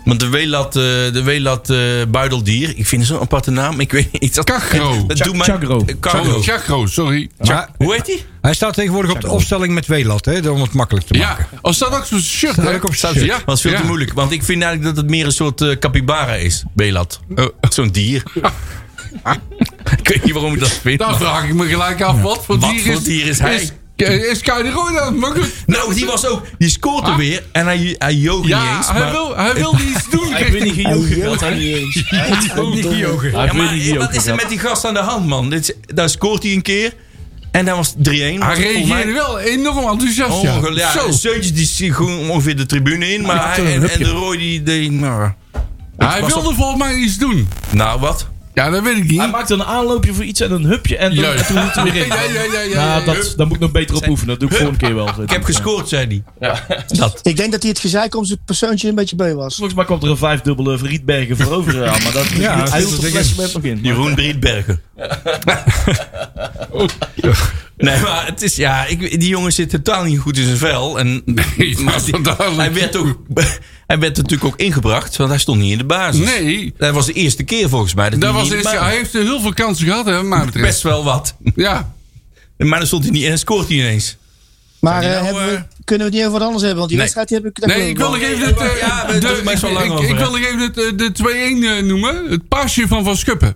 [SPEAKER 3] Want de Welat, eh, de Welat eh, Buideldier, ik vind het zo'n aparte naam. Ik weet niet. Dat,
[SPEAKER 4] Kagro.
[SPEAKER 3] <laughs> Dat doet mij-
[SPEAKER 7] Chagro.
[SPEAKER 3] Eh, Kagro.
[SPEAKER 4] sorry, Chagro, sorry.
[SPEAKER 5] Maar
[SPEAKER 3] Hoe heet die?
[SPEAKER 5] hij staat tegenwoordig op de opstelling met Welat, hè, om het makkelijk te maken.
[SPEAKER 4] Ja, oh, staat ook zo'n shirt,
[SPEAKER 5] Staat
[SPEAKER 4] hè?
[SPEAKER 5] ook op zijn
[SPEAKER 4] Ja,
[SPEAKER 5] shirt.
[SPEAKER 3] Dat is veel
[SPEAKER 4] ja.
[SPEAKER 3] te moeilijk. Want ik vind eigenlijk dat het meer een soort eh, capybara is. Welat.
[SPEAKER 4] Oh.
[SPEAKER 3] <laughs> Zo'n dier. ik weet niet waarom ik dat vind.
[SPEAKER 4] Daar
[SPEAKER 3] maar-
[SPEAKER 4] vraag ik me gelijk af, wat voor
[SPEAKER 3] Wat
[SPEAKER 4] dier
[SPEAKER 3] voor
[SPEAKER 4] is...
[SPEAKER 3] dier is hij?
[SPEAKER 4] Is, is Kai de Roy dan? Maar goed.
[SPEAKER 3] Nou, die was ook. Die scoorde
[SPEAKER 4] Ah.
[SPEAKER 3] weer. En hij, hij joogt niet
[SPEAKER 4] Ja,
[SPEAKER 3] eens.
[SPEAKER 4] hij
[SPEAKER 3] maar-
[SPEAKER 4] wil, hij wil
[SPEAKER 3] <laughs>
[SPEAKER 4] iets doen.
[SPEAKER 7] Ik ben
[SPEAKER 4] richting-
[SPEAKER 7] niet
[SPEAKER 6] Hij
[SPEAKER 7] gejogen.
[SPEAKER 6] jeukt niet eens. Verdomme.
[SPEAKER 3] Ja,
[SPEAKER 7] Hij
[SPEAKER 3] maar
[SPEAKER 7] weet niet
[SPEAKER 3] wat is er met die gast aan de hand, man? Dit, is- daar scoort hij een keer. En dan was het 3-1.
[SPEAKER 4] Hij
[SPEAKER 3] Volgens mij-
[SPEAKER 4] reageerde wel enorm enthousiast, ja.
[SPEAKER 3] Ongel- ja,
[SPEAKER 4] Zo.
[SPEAKER 3] Seuntjes die zie- gewoon ongeveer de tribune in. Maar
[SPEAKER 7] had
[SPEAKER 3] hij,
[SPEAKER 7] een
[SPEAKER 3] en, en
[SPEAKER 7] hupje.
[SPEAKER 3] de Roy die... die nou,
[SPEAKER 4] Hij wilde volgens mij iets doen.
[SPEAKER 3] nou, wat?
[SPEAKER 4] Ja, dat weet ik
[SPEAKER 7] Hij
[SPEAKER 4] niet.
[SPEAKER 7] maakte een aanloopje voor iets en een hupje en, dan,
[SPEAKER 4] Hm. Juist.
[SPEAKER 7] en toen moet hij weer
[SPEAKER 4] <laughs>
[SPEAKER 7] in.
[SPEAKER 4] Ja, ja, ja, ja,
[SPEAKER 7] Nou,
[SPEAKER 4] ja, ja.
[SPEAKER 7] dat, daar moet ik nog beter op oefenen. Dat doe ik volgende keer wel.
[SPEAKER 3] Ik heb gescoord, zei hij. Dat.
[SPEAKER 6] Ik denk dat hij het gezeik om zijn persoontje een beetje beu was.
[SPEAKER 7] Volgens mij kwam er een vijfdubbele Rietbergen voorover aan. Maar dat,
[SPEAKER 5] Ja, dat
[SPEAKER 7] hij
[SPEAKER 5] is
[SPEAKER 7] hield het
[SPEAKER 5] het
[SPEAKER 7] flesje
[SPEAKER 5] ding.
[SPEAKER 7] met nog in.
[SPEAKER 3] Jeroen
[SPEAKER 4] <laughs>
[SPEAKER 3] Brietbergen. Nee, maar het is... Ja, ik, die jongen zit totaal niet goed in zijn vel. En,
[SPEAKER 4] <laughs> Nee,
[SPEAKER 3] maar
[SPEAKER 4] dat is
[SPEAKER 3] die-
[SPEAKER 4] wel duidelijk.
[SPEAKER 3] hij, werd ook, <laughs> hij werd natuurlijk ook ingebracht, want hij stond niet in de basis.
[SPEAKER 4] Nee,
[SPEAKER 3] Dat was de eerste keer volgens mij. Dat,
[SPEAKER 4] dat
[SPEAKER 3] hij
[SPEAKER 4] was
[SPEAKER 3] niet in
[SPEAKER 4] eerst,
[SPEAKER 3] de basis
[SPEAKER 4] hij heeft heel veel kansen gehad, hè, wat mij betreft.
[SPEAKER 3] Best wel wat.
[SPEAKER 4] Ja.
[SPEAKER 3] Maar dan stond hij niet en dan scoort hij ineens.
[SPEAKER 6] Maar
[SPEAKER 3] die
[SPEAKER 6] eh,
[SPEAKER 3] nou,
[SPEAKER 6] hebben we-
[SPEAKER 3] eh,
[SPEAKER 6] kunnen we het niet over wat anders hebben? Want die
[SPEAKER 3] Nee.
[SPEAKER 6] wedstrijd die heb ik... daar
[SPEAKER 4] Nee, ik wil nog
[SPEAKER 6] wel.
[SPEAKER 4] even het, eh,
[SPEAKER 3] Ja, we doen
[SPEAKER 4] de-
[SPEAKER 3] er best wel lang
[SPEAKER 4] ik-
[SPEAKER 3] over,
[SPEAKER 4] ik
[SPEAKER 3] hè.
[SPEAKER 4] wil nog even het, eh, de 2-1 eh, noemen. Het pasje van Van Schuppen.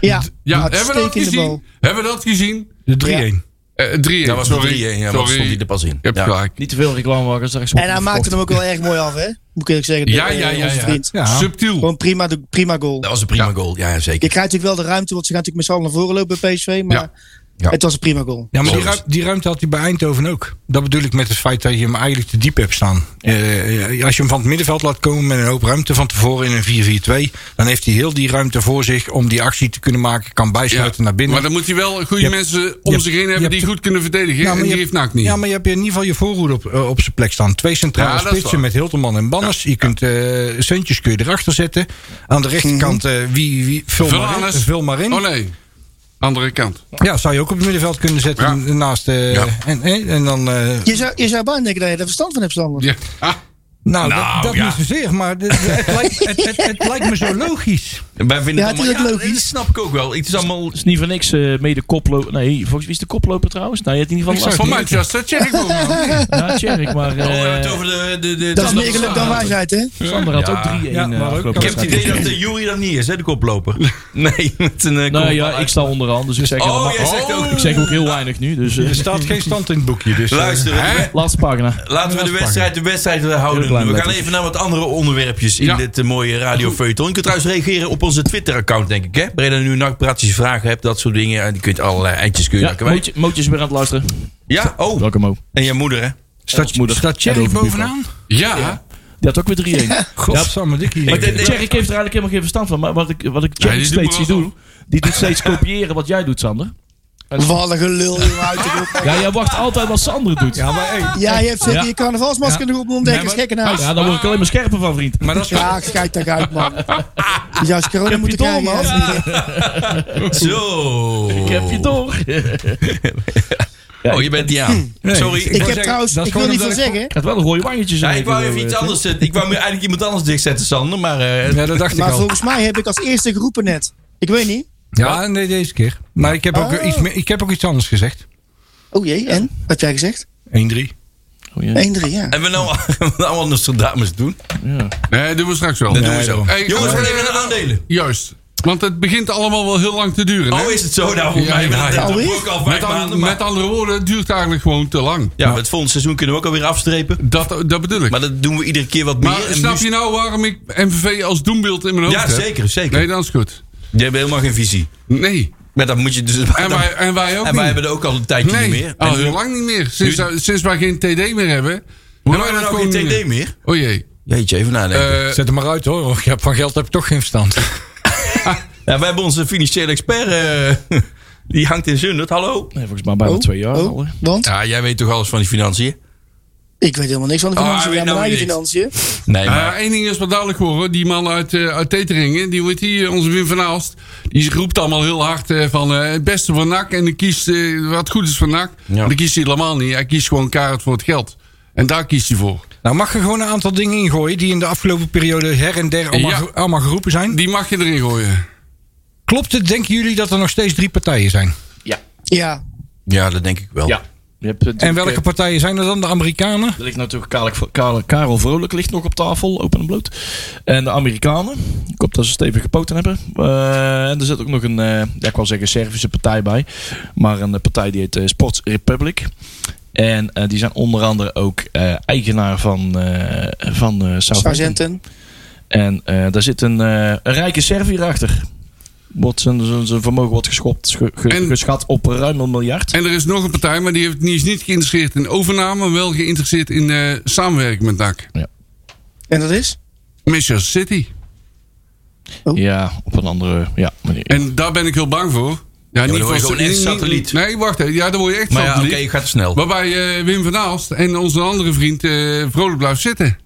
[SPEAKER 6] Ja,
[SPEAKER 4] Ja, hebben we
[SPEAKER 6] uitstekende
[SPEAKER 4] dat gezien?
[SPEAKER 6] bal.
[SPEAKER 4] Hebben we dat gezien?
[SPEAKER 5] De 3-1.
[SPEAKER 4] Eh, 3-1.
[SPEAKER 3] Dat was wel 3-1.
[SPEAKER 4] sorry.
[SPEAKER 3] Ja, maar dan
[SPEAKER 4] Sorry.
[SPEAKER 3] stond hij er pas in.
[SPEAKER 4] Je hebt
[SPEAKER 3] Ja.
[SPEAKER 4] gelijk.
[SPEAKER 7] Niet te veel reclamewagens. daar is
[SPEAKER 6] En hij maakte hem ook wel erg mooi af, hè? Moet ik eerlijk zeggen. de-
[SPEAKER 4] Ja, ja,
[SPEAKER 6] eh,
[SPEAKER 4] ja,
[SPEAKER 6] onze
[SPEAKER 4] ja.
[SPEAKER 6] vriend.
[SPEAKER 5] Ja.
[SPEAKER 4] Subtiel.
[SPEAKER 6] Gewoon prima, de, prima goal.
[SPEAKER 3] Dat was een prima goal. Ja,
[SPEAKER 6] Je
[SPEAKER 3] zeker.
[SPEAKER 6] krijgt natuurlijk wel de ruimte, want ze gaan natuurlijk met z'n allen naar voren lopen bij PSV. Maar
[SPEAKER 4] Ja.
[SPEAKER 3] Ja.
[SPEAKER 6] het was een prima goal.
[SPEAKER 5] Ja, maar die,
[SPEAKER 3] Logisch.
[SPEAKER 5] ruim- die ruimte had hij bij Eindhoven ook. Dat bedoel ik met het feit dat je hem eigenlijk te diep hebt staan. Eh, eh, als je hem van het middenveld laat komen met een hoop ruimte van tevoren in een 4-4-2, dan heeft hij heel die ruimte voor zich om die actie te kunnen maken, kan bijsluiten naar binnen.
[SPEAKER 4] Maar dan moet hij wel goede
[SPEAKER 5] Je hebt-
[SPEAKER 4] mensen
[SPEAKER 5] je
[SPEAKER 4] om
[SPEAKER 5] hebt-
[SPEAKER 4] zich heen
[SPEAKER 5] je
[SPEAKER 4] hebben die
[SPEAKER 5] hebt-
[SPEAKER 4] goed kunnen verdedigen. en
[SPEAKER 5] maar
[SPEAKER 4] die
[SPEAKER 5] je-
[SPEAKER 4] heeft NAC niet.
[SPEAKER 5] Ja, maar je hebt in ieder geval je voorhoede op, eh, op zijn plek staan. Twee centrale
[SPEAKER 4] Ja, dat is
[SPEAKER 5] spitsen
[SPEAKER 4] waar.
[SPEAKER 5] met Hilterman en Banners. Je kunt eh Suntjes kun je erachter zetten. Aan de rechterkant, eh, wie, wie, vul, maar in,
[SPEAKER 4] Velanus.
[SPEAKER 5] vul maar in.
[SPEAKER 4] Mhm. Oh nee, andere kant.
[SPEAKER 5] Ja, zou je ook op het middenveld kunnen zetten
[SPEAKER 4] Ja.
[SPEAKER 5] naast... eh,
[SPEAKER 3] Ja.
[SPEAKER 5] en, en, en dan... eh,
[SPEAKER 6] Je zou, je zou bijna denken dat je er verstand van hebt, Sander.
[SPEAKER 4] Ja. Ah,
[SPEAKER 5] Nou,
[SPEAKER 3] Nou,
[SPEAKER 5] dat, dat
[SPEAKER 3] ja.
[SPEAKER 5] niet zozeer, maar de- de- het, lijkt, het, het, het lijkt me zo logisch.
[SPEAKER 3] Wij vinden
[SPEAKER 6] Ja,
[SPEAKER 3] het
[SPEAKER 6] het is
[SPEAKER 3] allemaal,
[SPEAKER 6] ook
[SPEAKER 3] Dat
[SPEAKER 6] logisch.
[SPEAKER 3] snap ik ook wel. Het is allemaal...
[SPEAKER 7] Het is niet voor niks eh, mede koploper. Nee, volgens wie is de koploper trouwens? Nou, je hebt in ieder geval
[SPEAKER 4] van
[SPEAKER 7] last van
[SPEAKER 4] Manchester, check ik ook
[SPEAKER 5] <laughs>
[SPEAKER 4] nog.
[SPEAKER 7] Ja, Tjerk, maar
[SPEAKER 3] Oh, we hebben het
[SPEAKER 7] eh
[SPEAKER 3] over de... de, de
[SPEAKER 6] Dat is
[SPEAKER 3] Sander
[SPEAKER 6] meer geluk dan
[SPEAKER 3] Verstappen.
[SPEAKER 6] waarheid, hè?
[SPEAKER 7] Sander had
[SPEAKER 3] Ja.
[SPEAKER 7] ook 3-1
[SPEAKER 5] Ja,
[SPEAKER 7] eh,
[SPEAKER 5] maar ook
[SPEAKER 7] afgelopen
[SPEAKER 3] Ik heb het
[SPEAKER 7] wedstrijd.
[SPEAKER 3] idee Oh, dat de jury dat niet is, hè, de koploper. <laughs> Nee, met een... eh,
[SPEAKER 7] Nou
[SPEAKER 3] kopbal
[SPEAKER 7] ja, ik
[SPEAKER 3] uit.
[SPEAKER 7] sta onderaan, dus ik zeg,
[SPEAKER 3] Oh,
[SPEAKER 7] helemaal-
[SPEAKER 3] jij zegt ook...
[SPEAKER 7] ik zeg ook heel weinig nu. Dus, eh,
[SPEAKER 5] Er staat geen stand in het boekje, dus... eh,
[SPEAKER 3] Luister,
[SPEAKER 4] Hè?
[SPEAKER 7] laatste pagina.
[SPEAKER 3] laten we de wedstrijd de wedstrijd eh, houden.
[SPEAKER 7] Heel kleine
[SPEAKER 3] We gaan
[SPEAKER 7] letters.
[SPEAKER 3] even naar wat andere onderwerpjes in
[SPEAKER 4] Ja.
[SPEAKER 3] dit eh, mooie radiofeuilleton. Je kunt trouwens reageren op onze Twitter-account, denk ik, hè? Breda nu nachtpraat, als je vragen hebt, dat soort dingen. eh, Die kunt allerlei eindjes kun je
[SPEAKER 7] Ja,
[SPEAKER 3] naar kwijt.
[SPEAKER 7] Mootje, Mootje is weer aan het luisteren.
[SPEAKER 3] Ja, oh,
[SPEAKER 7] Welkom, Mo.
[SPEAKER 3] en je moeder, hè?
[SPEAKER 5] staat,
[SPEAKER 7] Engels moeder.
[SPEAKER 5] staat Thierry
[SPEAKER 7] En over
[SPEAKER 5] bovenaan?
[SPEAKER 4] Ja,
[SPEAKER 7] Die had ook weer 3-1.
[SPEAKER 5] Godsamme dikkie.
[SPEAKER 7] Maar
[SPEAKER 3] denk-
[SPEAKER 7] Jack, ik heeft er eigenlijk helemaal geen verstand van. Maar wat ik, wat ik
[SPEAKER 4] Nee,
[SPEAKER 7] Jack
[SPEAKER 4] die doet
[SPEAKER 7] steeds
[SPEAKER 4] me
[SPEAKER 7] zie
[SPEAKER 4] wel
[SPEAKER 7] doen, die doet steeds kopiëren wat jij doet, Sander.
[SPEAKER 6] Wat een gelul, jongen, uit de
[SPEAKER 7] <laughs>
[SPEAKER 6] groep.
[SPEAKER 7] Ja, jij wacht altijd wat Sander doet. Ja,
[SPEAKER 5] Ja, maar, hey,
[SPEAKER 6] Ja, je hebt zeker
[SPEAKER 7] Ja.
[SPEAKER 6] je carnavalsmasker erop moeten ontdekken,
[SPEAKER 5] Nee,
[SPEAKER 6] is
[SPEAKER 5] maar-
[SPEAKER 6] gekke naast.
[SPEAKER 7] daar word ik alleen maar scherper van, vriend.
[SPEAKER 5] maar dat is...
[SPEAKER 6] Ja, kijk daar uit, man. Je zou eens corona moeten
[SPEAKER 7] door,
[SPEAKER 6] krijgen.
[SPEAKER 7] man.
[SPEAKER 6] hè?
[SPEAKER 3] Zo.
[SPEAKER 7] Ik heb je door.
[SPEAKER 3] Oh, je bent niet aan.
[SPEAKER 5] Nee,
[SPEAKER 3] Sorry.
[SPEAKER 5] ik
[SPEAKER 6] Ik
[SPEAKER 5] wou
[SPEAKER 6] heb
[SPEAKER 5] zeggen,
[SPEAKER 6] trouwens,
[SPEAKER 5] dat is
[SPEAKER 6] ik wil
[SPEAKER 5] gewoon
[SPEAKER 6] niet veel
[SPEAKER 5] omdat ik-
[SPEAKER 6] zeggen,
[SPEAKER 7] Het wel een rode wangetje
[SPEAKER 3] Ja,
[SPEAKER 7] zijn.
[SPEAKER 3] ik wou even iets anders zetten. Ik wou me eigenlijk iemand anders dichtzetten, Sander. Maar eh,
[SPEAKER 5] Ja, dat dacht ik
[SPEAKER 6] maar
[SPEAKER 5] al.
[SPEAKER 6] volgens mij heb ik als eerste geroepen net. Ik weet niet.
[SPEAKER 5] Ja, nee, deze keer. Maar ik heb ook,
[SPEAKER 6] Oh.
[SPEAKER 5] iets, meer- ik heb ook iets anders gezegd. 1-3.
[SPEAKER 6] Oh jee, en? Wat heb jij gezegd? 1-3, ja.
[SPEAKER 3] hebben we nou <laughs> allemaal Nostradamus doen?
[SPEAKER 4] nee, doen we straks wel.
[SPEAKER 3] Dat doen we zo.
[SPEAKER 4] Hey, gaan
[SPEAKER 3] Jongens,
[SPEAKER 4] we-
[SPEAKER 3] we gaan even naar aandelen.
[SPEAKER 4] Juist. Want het begint allemaal wel heel lang te duren. hè?
[SPEAKER 3] Oh, is het zo? Nou, volgens
[SPEAKER 4] Ja,
[SPEAKER 3] mij
[SPEAKER 4] ja,
[SPEAKER 3] hebben we
[SPEAKER 4] ja.
[SPEAKER 3] dat
[SPEAKER 6] Alweer?
[SPEAKER 3] ook al vijf
[SPEAKER 4] met, an-
[SPEAKER 3] maanden. maar-
[SPEAKER 4] met andere woorden, het duurt eigenlijk gewoon te lang.
[SPEAKER 3] Ja, maar het volgende seizoen kunnen we ook alweer afstrepen.
[SPEAKER 4] Dat, dat bedoel ik.
[SPEAKER 3] Maar
[SPEAKER 4] Maar,
[SPEAKER 3] dat doen we iedere keer wat meer. En
[SPEAKER 4] snap
[SPEAKER 3] nu-
[SPEAKER 4] je nou waarom ik MVV als doembeeld in mijn hoofd
[SPEAKER 3] Ja,
[SPEAKER 4] heb?
[SPEAKER 3] zeker, zeker.
[SPEAKER 4] Nee, dan is goed.
[SPEAKER 3] Je hebt helemaal geen visie.
[SPEAKER 4] Nee.
[SPEAKER 3] Maar dat moet je dus... dan-
[SPEAKER 4] En wij, en wij ook
[SPEAKER 3] en
[SPEAKER 4] niet.
[SPEAKER 3] wij hebben het ook al een tijdje
[SPEAKER 4] nee,
[SPEAKER 3] niet meer.
[SPEAKER 4] al
[SPEAKER 3] En nu-
[SPEAKER 4] heel lang niet meer. Sinds,
[SPEAKER 3] nu-
[SPEAKER 4] uh, sinds wij geen TD meer hebben.
[SPEAKER 3] Hoe
[SPEAKER 4] hebben
[SPEAKER 3] lang
[SPEAKER 4] wij
[SPEAKER 3] hebben
[SPEAKER 4] dat
[SPEAKER 3] we
[SPEAKER 4] gewoon
[SPEAKER 3] nou geen
[SPEAKER 4] niet
[SPEAKER 3] TD meer?
[SPEAKER 4] O jee.
[SPEAKER 3] Jeetje, even nadenken.
[SPEAKER 4] Eh,
[SPEAKER 5] Zet hem maar uit hoor, want je hebt- van geld heb ik toch geen verstand.
[SPEAKER 3] ja, we hebben onze financiële expert... eh, <laughs> die hangt in Zundert. Hallo.
[SPEAKER 7] Nee, volgens mij bijna
[SPEAKER 6] Oh,
[SPEAKER 7] twee jaar
[SPEAKER 6] oh,
[SPEAKER 7] al. hè.
[SPEAKER 6] want?
[SPEAKER 3] Ja, jij weet toch alles van die financiën?
[SPEAKER 6] Ik weet helemaal niks van de
[SPEAKER 3] Oh,
[SPEAKER 6] financiën.
[SPEAKER 3] hij
[SPEAKER 6] ja,
[SPEAKER 3] weet
[SPEAKER 6] mijn
[SPEAKER 3] nou
[SPEAKER 6] eigen
[SPEAKER 3] weer niks.
[SPEAKER 6] financiën.
[SPEAKER 3] Nee,
[SPEAKER 4] Nou
[SPEAKER 3] maar...
[SPEAKER 4] ja, één ding is wat duidelijk hoor. hoor. Die man uit, eh uit Teteringen, die wordt hier, onze Wim van Aalst, die roept allemaal heel hard eh, van eh, het beste voor NAC en die kiest eh, wat goed is voor NAC.
[SPEAKER 3] Ja.
[SPEAKER 4] Maar die kiest hij helemaal niet. Hij kiest gewoon kaart voor het geld. En daar kiest hij voor.
[SPEAKER 5] Nou, mag je gewoon een aantal dingen ingooien die in de afgelopen periode her en der allemaal,
[SPEAKER 4] Ja.
[SPEAKER 5] ge- allemaal geroepen zijn?
[SPEAKER 4] Die mag je erin gooien.
[SPEAKER 5] Klopt het, denken jullie, dat er nog steeds drie partijen zijn?
[SPEAKER 6] Ja,
[SPEAKER 3] Ja, dat denk ik wel.
[SPEAKER 7] Ja. Je hebt natuurlijk,
[SPEAKER 5] En welke
[SPEAKER 7] eh,
[SPEAKER 5] partijen zijn er dan? De Amerikanen?
[SPEAKER 7] Er ligt natuurlijk Karel, Karel, Karel Vrolijk ligt nog op tafel, open en bloot. En de Amerikanen. Ik hoop dat ze stevige poten hebben. Eh, en er zit ook nog een, eh, ja, ik wil zeggen, Servische partij bij. Maar een eh, partij die heet eh, Sports Republic. En eh, die zijn onder andere ook eh, eigenaar van, eh van eh Southampton.
[SPEAKER 6] Sargenten.
[SPEAKER 7] En eh, daar zit een, eh, een rijke Servier achter. Wordt zijn, zijn, zijn vermogen wordt geschopt, sche- ge-
[SPEAKER 4] En-
[SPEAKER 7] geschat op ruim een miljard.
[SPEAKER 4] En er is nog een partij, maar die, heeft, die is niet geïnteresseerd in overname, maar wel geïnteresseerd in eh, samenwerking met NAC.
[SPEAKER 6] En dat is?
[SPEAKER 4] Manchester City.
[SPEAKER 7] Ja, op een andere ja, manier.
[SPEAKER 4] En daar ben ik heel bang voor. Ja,
[SPEAKER 3] dan word je
[SPEAKER 4] voor-
[SPEAKER 3] gewoon echt
[SPEAKER 4] niet-
[SPEAKER 3] satelliet.
[SPEAKER 4] Nee, wacht even. Ja, dan word je echt
[SPEAKER 3] Maar ja, oké,
[SPEAKER 4] satelliet.
[SPEAKER 3] je gaat te snel.
[SPEAKER 4] Waarbij eh, Wim van Aalst en onze andere vriend eh, vrolijk blijft zitten.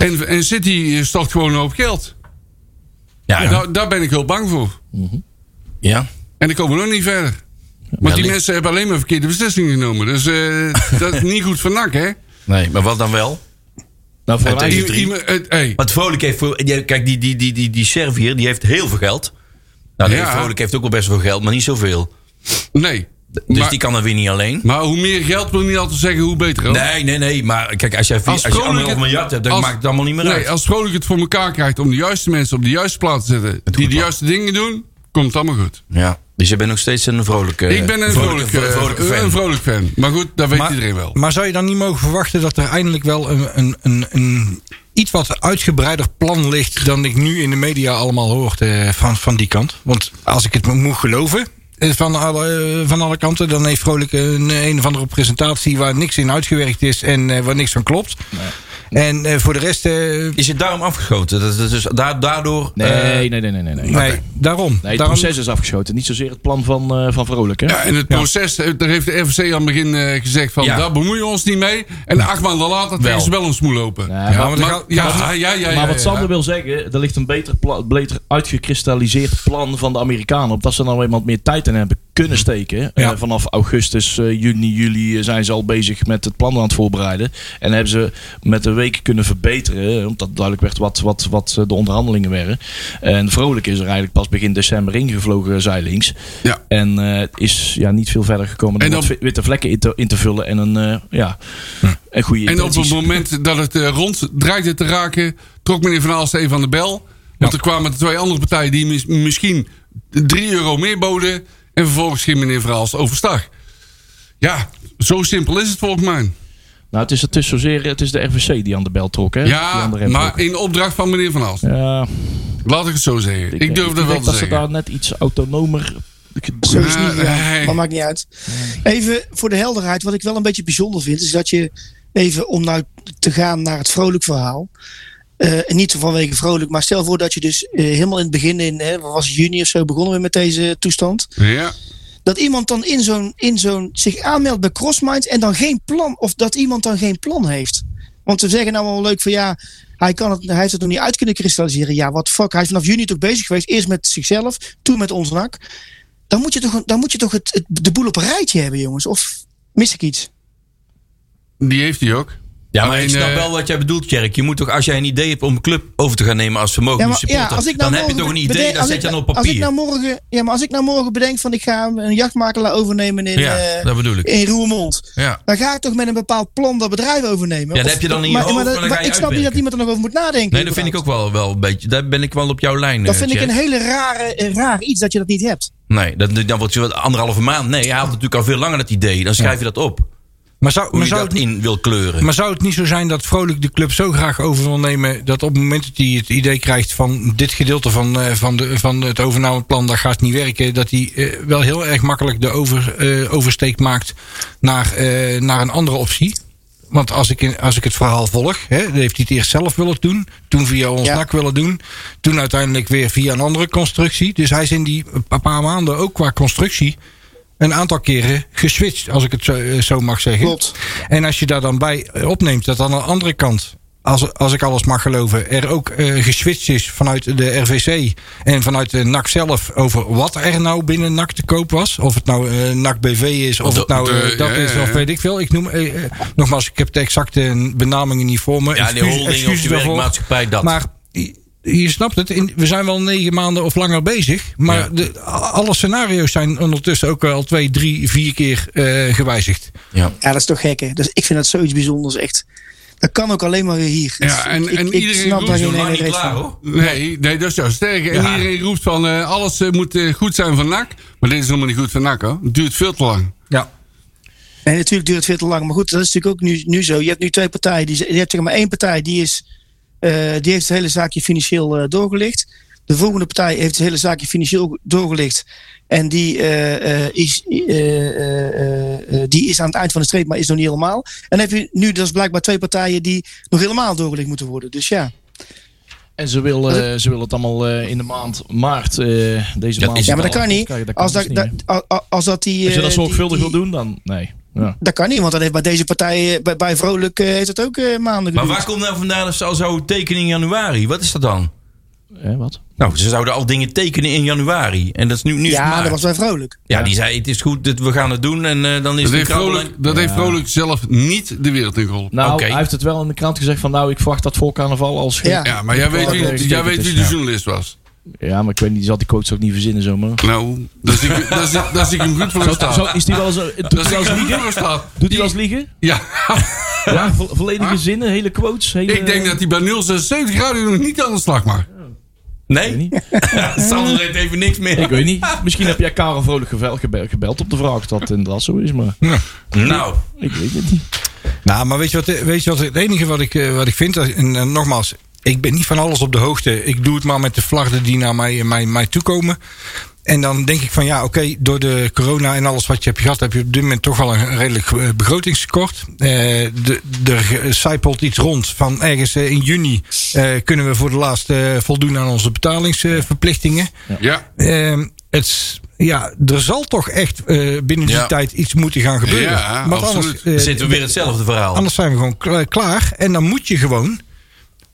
[SPEAKER 4] En, en City eh, stort gewoon een hoop geld.
[SPEAKER 3] Ja, nou-
[SPEAKER 4] En daar- daar ben ik heel bang voor.
[SPEAKER 3] ja.
[SPEAKER 4] En dan komen we nog niet verder. Want die
[SPEAKER 3] ligt-
[SPEAKER 4] mensen hebben alleen maar verkeerde beslissingen genomen. Dus eh, <laughs> dat is niet goed voor NAC, hè?
[SPEAKER 3] Nee, maar wat dan wel?
[SPEAKER 7] nou, voor
[SPEAKER 3] het
[SPEAKER 7] mij-
[SPEAKER 3] is-
[SPEAKER 4] I-
[SPEAKER 3] drie.
[SPEAKER 4] iemand- het- hey,
[SPEAKER 3] Want Vrolijk heeft... voor- die- Kijk, die, die, die, die, die Servier, die heeft heel veel geld. Nou, die
[SPEAKER 4] Ja.
[SPEAKER 3] Vrolijk heeft ook wel best veel geld, maar niet zoveel.
[SPEAKER 4] Nee.
[SPEAKER 3] Dus
[SPEAKER 4] maar,
[SPEAKER 3] die kan er weer niet alleen.
[SPEAKER 4] maar hoe meer geld wil niet altijd zeggen hoe beter. hoor.
[SPEAKER 3] Nee, nee, nee. Maar kijk, als jij, vier, als je
[SPEAKER 4] Vrolijk
[SPEAKER 3] anderhalf
[SPEAKER 4] het-
[SPEAKER 3] miljard hebt, dan
[SPEAKER 4] als-
[SPEAKER 3] maakt het allemaal niet meer
[SPEAKER 4] Nee,
[SPEAKER 3] uit.
[SPEAKER 4] als Vrolijk het voor elkaar krijgt om de juiste mensen op de juiste plaats te zetten. Die
[SPEAKER 3] goed
[SPEAKER 4] de
[SPEAKER 3] plan.
[SPEAKER 4] juiste dingen doen, komt het allemaal goed.
[SPEAKER 3] Ja. Dus je bent nog steeds een vrolijke
[SPEAKER 4] ik ben een vrolijk,
[SPEAKER 3] vrolijke,
[SPEAKER 4] eh,
[SPEAKER 3] fan.
[SPEAKER 4] Een vrolijk fan. Maar goed, dat weet iedereen wel.
[SPEAKER 5] maar zou je dan niet mogen verwachten dat er eindelijk wel een, een, een, een iets wat uitgebreider plan ligt dan ik nu in de media allemaal hoor eh, van, van die kant? Want als ik het mo- moet geloven eh, van alle, eh, van alle kanten, dan heeft Vrolijk een, een of andere presentatie waar niks in uitgewerkt is en eh, waar niks van klopt. En eh, voor de rest, eh,
[SPEAKER 3] Is het daarom afgeschoten? Dat, dat is dus da- daardoor...
[SPEAKER 7] Nee,
[SPEAKER 3] eh,
[SPEAKER 7] nee, nee, nee, nee. nee.
[SPEAKER 5] nee, daarom.
[SPEAKER 7] Nee, het
[SPEAKER 5] daarom
[SPEAKER 7] proces is afgeschoten. Niet zozeer het plan van, eh, van Vrolijk. Hè?
[SPEAKER 4] Ja, en het proces, eh, daar heeft de RVC aan het begin eh, gezegd van,
[SPEAKER 3] Ja.
[SPEAKER 4] daar bemoeien we ons niet mee. En acht maanden later
[SPEAKER 3] Wel.
[SPEAKER 4] tegen ze wel ons moe lopen.
[SPEAKER 7] Ja, maar-
[SPEAKER 4] maar-
[SPEAKER 5] maar-
[SPEAKER 4] ja, ja, ja, ja,
[SPEAKER 7] maar wat
[SPEAKER 4] ja,
[SPEAKER 7] Sander
[SPEAKER 4] ja.
[SPEAKER 7] wil zeggen, er ligt een beter, pla- beter uitgekristalliseerd plan van de Amerikanen. Op dat ze nou eenmaal meer tijd in hebben
[SPEAKER 4] Mhm.
[SPEAKER 7] kunnen steken. Eh, vanaf augustus, eh, juni, juli eh, zijn ze al bezig met het plan aan het voorbereiden. En hebben ze met de week kunnen verbeteren. eh, Omdat duidelijk werd wat, wat, wat eh, de onderhandelingen werden. En Vrolijk is er eigenlijk pas begin december ingevlogen, zijlings.
[SPEAKER 4] Ja.
[SPEAKER 7] En eh, is ja, niet veel verder gekomen dan,
[SPEAKER 4] En dan-
[SPEAKER 7] wat witte vlekken in te, in te vullen. En een, eh, ja, een goede
[SPEAKER 4] En op
[SPEAKER 7] intenties.
[SPEAKER 4] het moment dat het eh, rond dreigde te raken, trok meneer Van Aalst even aan de bel. Want er kwamen de twee andere partijen die mis- misschien 3 euro meer boden. En vervolgens ging meneer Van Aalst overstag. Ja, zo simpel is het volgens mij.
[SPEAKER 7] Nou, het is, het is zozeer het is de RVC die aan de bel trok, hè? Die
[SPEAKER 4] Ja,
[SPEAKER 7] aan de rem
[SPEAKER 4] maar
[SPEAKER 7] trok.
[SPEAKER 4] in opdracht van meneer Van Aalst.
[SPEAKER 7] Ja,
[SPEAKER 4] Laat ik het zo zeggen. Ik,
[SPEAKER 7] denk-
[SPEAKER 4] durf dat wel
[SPEAKER 7] denk
[SPEAKER 4] te
[SPEAKER 7] dat ze
[SPEAKER 4] zeggen.
[SPEAKER 7] daar net iets autonomer...
[SPEAKER 6] Zo is het
[SPEAKER 4] Ja,
[SPEAKER 6] niet gegaan,
[SPEAKER 4] nee.
[SPEAKER 6] maar maakt niet uit. Even voor de helderheid, wat ik wel een beetje bijzonder vind, is dat je even om nou te gaan naar het vrolijk verhaal. eh, en niet vanwege vrolijk, maar stel voor dat je dus eh, helemaal in het begin, in hè, wat was het, juni of zo, begonnen we met deze toestand.
[SPEAKER 4] Ja.
[SPEAKER 6] Dat iemand dan in zo'n, in zo'n zich aanmeldt bij CrossMind en dan geen plan, of dat iemand dan geen plan heeft. Want ze zeggen nou wel leuk van ja, hij, kan het, hij heeft het nog niet uit kunnen kristalliseren. Ja, wat fuck, hij is vanaf juni toch bezig geweest. Eerst met zichzelf, toen met ons nak dan moet je toch, dan moet je toch het, het- de boel op een rijtje hebben, jongens. Of mis ik iets?
[SPEAKER 4] Die heeft hij ook.
[SPEAKER 3] Ja, maar
[SPEAKER 4] Alleen,
[SPEAKER 3] ik snap
[SPEAKER 4] eh,
[SPEAKER 3] wel wat jij bedoelt, Tjerk. Je moet toch, als jij een idee hebt om een club over te gaan nemen als vermogende
[SPEAKER 6] maar-
[SPEAKER 3] supporter, dan heb je toch
[SPEAKER 6] nou morgen
[SPEAKER 3] een
[SPEAKER 6] bede-
[SPEAKER 3] idee, dat
[SPEAKER 6] als
[SPEAKER 3] zet
[SPEAKER 6] ik-
[SPEAKER 3] je dan op
[SPEAKER 6] Als ik
[SPEAKER 3] papier.
[SPEAKER 6] nou morgen, ja, maar als ik nou morgen bedenk van ik ga een jachtmakelaar overnemen in,
[SPEAKER 3] ja,
[SPEAKER 6] eh,
[SPEAKER 3] dat bedoel ik.
[SPEAKER 6] in Roermond.
[SPEAKER 4] Ja.
[SPEAKER 6] Dan ga ik toch met een bepaald plan dat bedrijf overnemen.
[SPEAKER 3] Ja, dat
[SPEAKER 6] Of-
[SPEAKER 3] heb je dan in je
[SPEAKER 6] maar,
[SPEAKER 3] hoofd,
[SPEAKER 6] dat-
[SPEAKER 3] maar dan ga je
[SPEAKER 6] Ik snap niet dat
[SPEAKER 3] uitwerken.
[SPEAKER 6] iemand er nog over moet nadenken.
[SPEAKER 3] Nee, dat vind ik ook
[SPEAKER 6] überhaupt.
[SPEAKER 3] wel, wel een beetje. Daar ben ik wel op jouw lijn.
[SPEAKER 6] Dat
[SPEAKER 3] eh,
[SPEAKER 6] vind ik
[SPEAKER 3] Tjerk.
[SPEAKER 6] een hele rare, een raar iets dat je dat niet hebt.
[SPEAKER 3] Nee, dat, dan wordt je wat anderhalve maand. Nee, je haalt natuurlijk al veel langer dat idee. Dan schrijf je dat op.
[SPEAKER 5] Maar zou,
[SPEAKER 3] Hoe
[SPEAKER 5] maar
[SPEAKER 3] je
[SPEAKER 5] zou het
[SPEAKER 3] dat
[SPEAKER 5] niet
[SPEAKER 3] in wil kleuren.
[SPEAKER 5] Maar zou het niet zo zijn dat Vrolijk de club zo graag over wil nemen... dat op het moment dat hij het idee krijgt van dit gedeelte van, eh, van, de, van het overnameplan... dat gaat niet werken, dat hij eh, wel heel erg makkelijk de over, eh, oversteek maakt naar, eh, naar een andere optie? Want als ik, in, als ik het verhaal volg, hè, dan heeft hij het eerst zelf willen doen. Toen via ons
[SPEAKER 6] Ja.
[SPEAKER 5] NAC willen doen. Toen uiteindelijk weer via een andere constructie. Dus hij is in die eh, paar maanden ook qua constructie een aantal keren geswitcht, als ik het zo, eh, zo mag zeggen.
[SPEAKER 6] Klopt.
[SPEAKER 5] En als je daar dan bij eh, opneemt dat aan de andere kant, als, als ik alles mag geloven, er ook eh, geswitcht is vanuit de RVC en vanuit de NAC zelf over wat er nou binnen NAC te koop was. Of het nou eh, NAC BV is, of
[SPEAKER 4] de-
[SPEAKER 5] het nou eh,
[SPEAKER 4] de-
[SPEAKER 5] dat
[SPEAKER 4] ja,
[SPEAKER 5] is,
[SPEAKER 4] ja,
[SPEAKER 5] of
[SPEAKER 4] ja.
[SPEAKER 5] weet ik veel. Ik noem, eh, eh, nogmaals, ik heb de exacte benamingen niet voor
[SPEAKER 3] Ja,
[SPEAKER 5] me.
[SPEAKER 3] die
[SPEAKER 5] Excuus-
[SPEAKER 3] holding of
[SPEAKER 5] excuses
[SPEAKER 3] die
[SPEAKER 5] daarvoor.
[SPEAKER 3] werkmaatschappij, dat.
[SPEAKER 5] Maar je- je snapt het, in- we zijn wel negen maanden of langer bezig. Maar
[SPEAKER 3] Ja.
[SPEAKER 5] de, alle scenario's zijn ondertussen ook al twee, drie, vier keer eh, gewijzigd.
[SPEAKER 3] Ja.
[SPEAKER 6] Ja, dat is toch gek, hè? Dus ik vind dat zoiets bijzonders, echt. Dat kan ook alleen maar weer hier. Dus
[SPEAKER 4] Ja, en-
[SPEAKER 6] ik,
[SPEAKER 4] en
[SPEAKER 6] ik
[SPEAKER 4] iedereen
[SPEAKER 6] snap
[SPEAKER 4] roept
[SPEAKER 6] daar
[SPEAKER 4] zo
[SPEAKER 6] geen
[SPEAKER 3] Nog
[SPEAKER 6] ene
[SPEAKER 3] niet
[SPEAKER 6] reet
[SPEAKER 3] klaar,
[SPEAKER 6] van.
[SPEAKER 3] hoor.
[SPEAKER 4] Nee, nee, dat is juist sterk. En
[SPEAKER 3] Ja.
[SPEAKER 4] iedereen roept van eh, alles eh, moet eh, goed zijn van NAC. Maar dit is helemaal niet goed van NAC hoor. Het duurt veel te lang.
[SPEAKER 5] Ja.
[SPEAKER 6] Nee, natuurlijk duurt het veel te lang. Maar goed, dat is natuurlijk ook nu, nu zo. Je hebt nu twee partijen. Die, z- je hebt zeg maar één partij die, is, eh, die heeft het hele zaakje financieel eh, doorgelicht. De volgende partij heeft het hele zaakje financieel doorgelicht. En die, eh, eh, is, eh, eh, eh, eh, die is aan het eind van de streep, maar is nog niet helemaal. En dan heb je nu dus blijkbaar twee partijen die nog helemaal doorgelicht moeten worden. Dus ja.
[SPEAKER 7] En ze wil, eh, ze wil het allemaal eh, in de maand maart, eh, deze
[SPEAKER 3] Ja,
[SPEAKER 7] maand.
[SPEAKER 3] is-
[SPEAKER 6] Ja, maar dat kan niet. Als dat,
[SPEAKER 7] dat, dus
[SPEAKER 6] dat-
[SPEAKER 7] niet, hè.
[SPEAKER 6] a- a- als dat die.
[SPEAKER 7] Als je dat
[SPEAKER 6] eh, die-
[SPEAKER 7] zorgvuldig
[SPEAKER 6] die-
[SPEAKER 7] wil doen, dan nee. Ja.
[SPEAKER 6] Dat kan niet, want dat heeft bij deze partij, eh, bij, bij Vrolijk, eh, heeft het ook eh, maanden
[SPEAKER 3] Maar
[SPEAKER 6] geduurd.
[SPEAKER 3] waar komt nou vandaan als ze al zo tekenen in januari? Wat is dat dan?
[SPEAKER 7] Eh, wat?
[SPEAKER 3] Nou, ze zouden al dingen tekenen in januari. En dat is nu, nu is het
[SPEAKER 6] ja,
[SPEAKER 3] maart.
[SPEAKER 6] dat was bij Vrolijk.
[SPEAKER 3] Ja, die zei: Het is goed, dat we gaan het doen. En eh, dan is
[SPEAKER 4] Dat
[SPEAKER 3] het
[SPEAKER 4] heeft Vrolijk, dat heeft Vrolijk zelf niet de wereld in geholpen.
[SPEAKER 7] Nou,
[SPEAKER 3] Oké.
[SPEAKER 7] hij heeft het wel in de krant gezegd van nou, ik verwacht dat voor carnaval als... ge-
[SPEAKER 6] Ja.
[SPEAKER 4] Ja, maar jij weet
[SPEAKER 7] Vrolijk
[SPEAKER 4] wie,
[SPEAKER 7] heeft
[SPEAKER 4] jij
[SPEAKER 7] het
[SPEAKER 4] weet
[SPEAKER 7] dus,
[SPEAKER 4] wie de
[SPEAKER 7] ja.
[SPEAKER 4] journalist was.
[SPEAKER 7] Ja, maar ik weet niet, die zal die coach ook niet verzinnen zomaar.
[SPEAKER 4] Nou, daar zie ik- daar zie- daar zie ik hem goed voor
[SPEAKER 7] Zo, zo
[SPEAKER 4] staan.
[SPEAKER 7] is die wel eens, doet hij
[SPEAKER 4] Daar zie
[SPEAKER 7] wel
[SPEAKER 4] ik
[SPEAKER 7] eens
[SPEAKER 4] hem goed
[SPEAKER 7] liegen?
[SPEAKER 4] voor staan.
[SPEAKER 7] Doet hij wel eens liegen?
[SPEAKER 4] Ja,
[SPEAKER 7] Ja, vo- volledige zinnen, hele quotes. Hele,
[SPEAKER 4] ik denk dat hij bij 076 Radio nog niet aan de slag mag.
[SPEAKER 7] Ik weet
[SPEAKER 3] Nee,
[SPEAKER 7] niet.
[SPEAKER 3] <laughs> Sander heeft even niks
[SPEAKER 7] Ik
[SPEAKER 3] meer.
[SPEAKER 7] weet niet. Misschien heb jij Karel Vrolijk gevel- gebel- gebeld op de vraag of dat inderdaad zo is, maar
[SPEAKER 3] Nou,
[SPEAKER 7] ik weet het niet.
[SPEAKER 5] Nou, maar weet je wat, weet je wat het enige wat ik, eh, wat ik vind? En eh, nogmaals, ik ben niet van alles op de hoogte. Ik doe het maar met de vlaggen die naar mij, eh, mij, mij toekomen. En dan denk ik van ja, oké, door de corona en alles wat je hebt gehad, heb je op dit moment toch wel een redelijk eh, begrotingstekort. Eh, de- er zijpelt iets rond van ergens eh, in juni eh, kunnen we voor de laatste eh, voldoen aan onze betalingsverplichtingen.
[SPEAKER 4] Ja,
[SPEAKER 5] Ehm, het, s- ja, er zal toch echt eh, binnen die
[SPEAKER 4] Ja.
[SPEAKER 5] tijd iets moeten gaan gebeuren.
[SPEAKER 4] Ja,
[SPEAKER 5] Want
[SPEAKER 4] absoluut.
[SPEAKER 5] eh,
[SPEAKER 3] dan zitten we weer hetzelfde verhaal.
[SPEAKER 5] Oh. Anders zijn we gewoon kla- klaar. En dan moet je gewoon.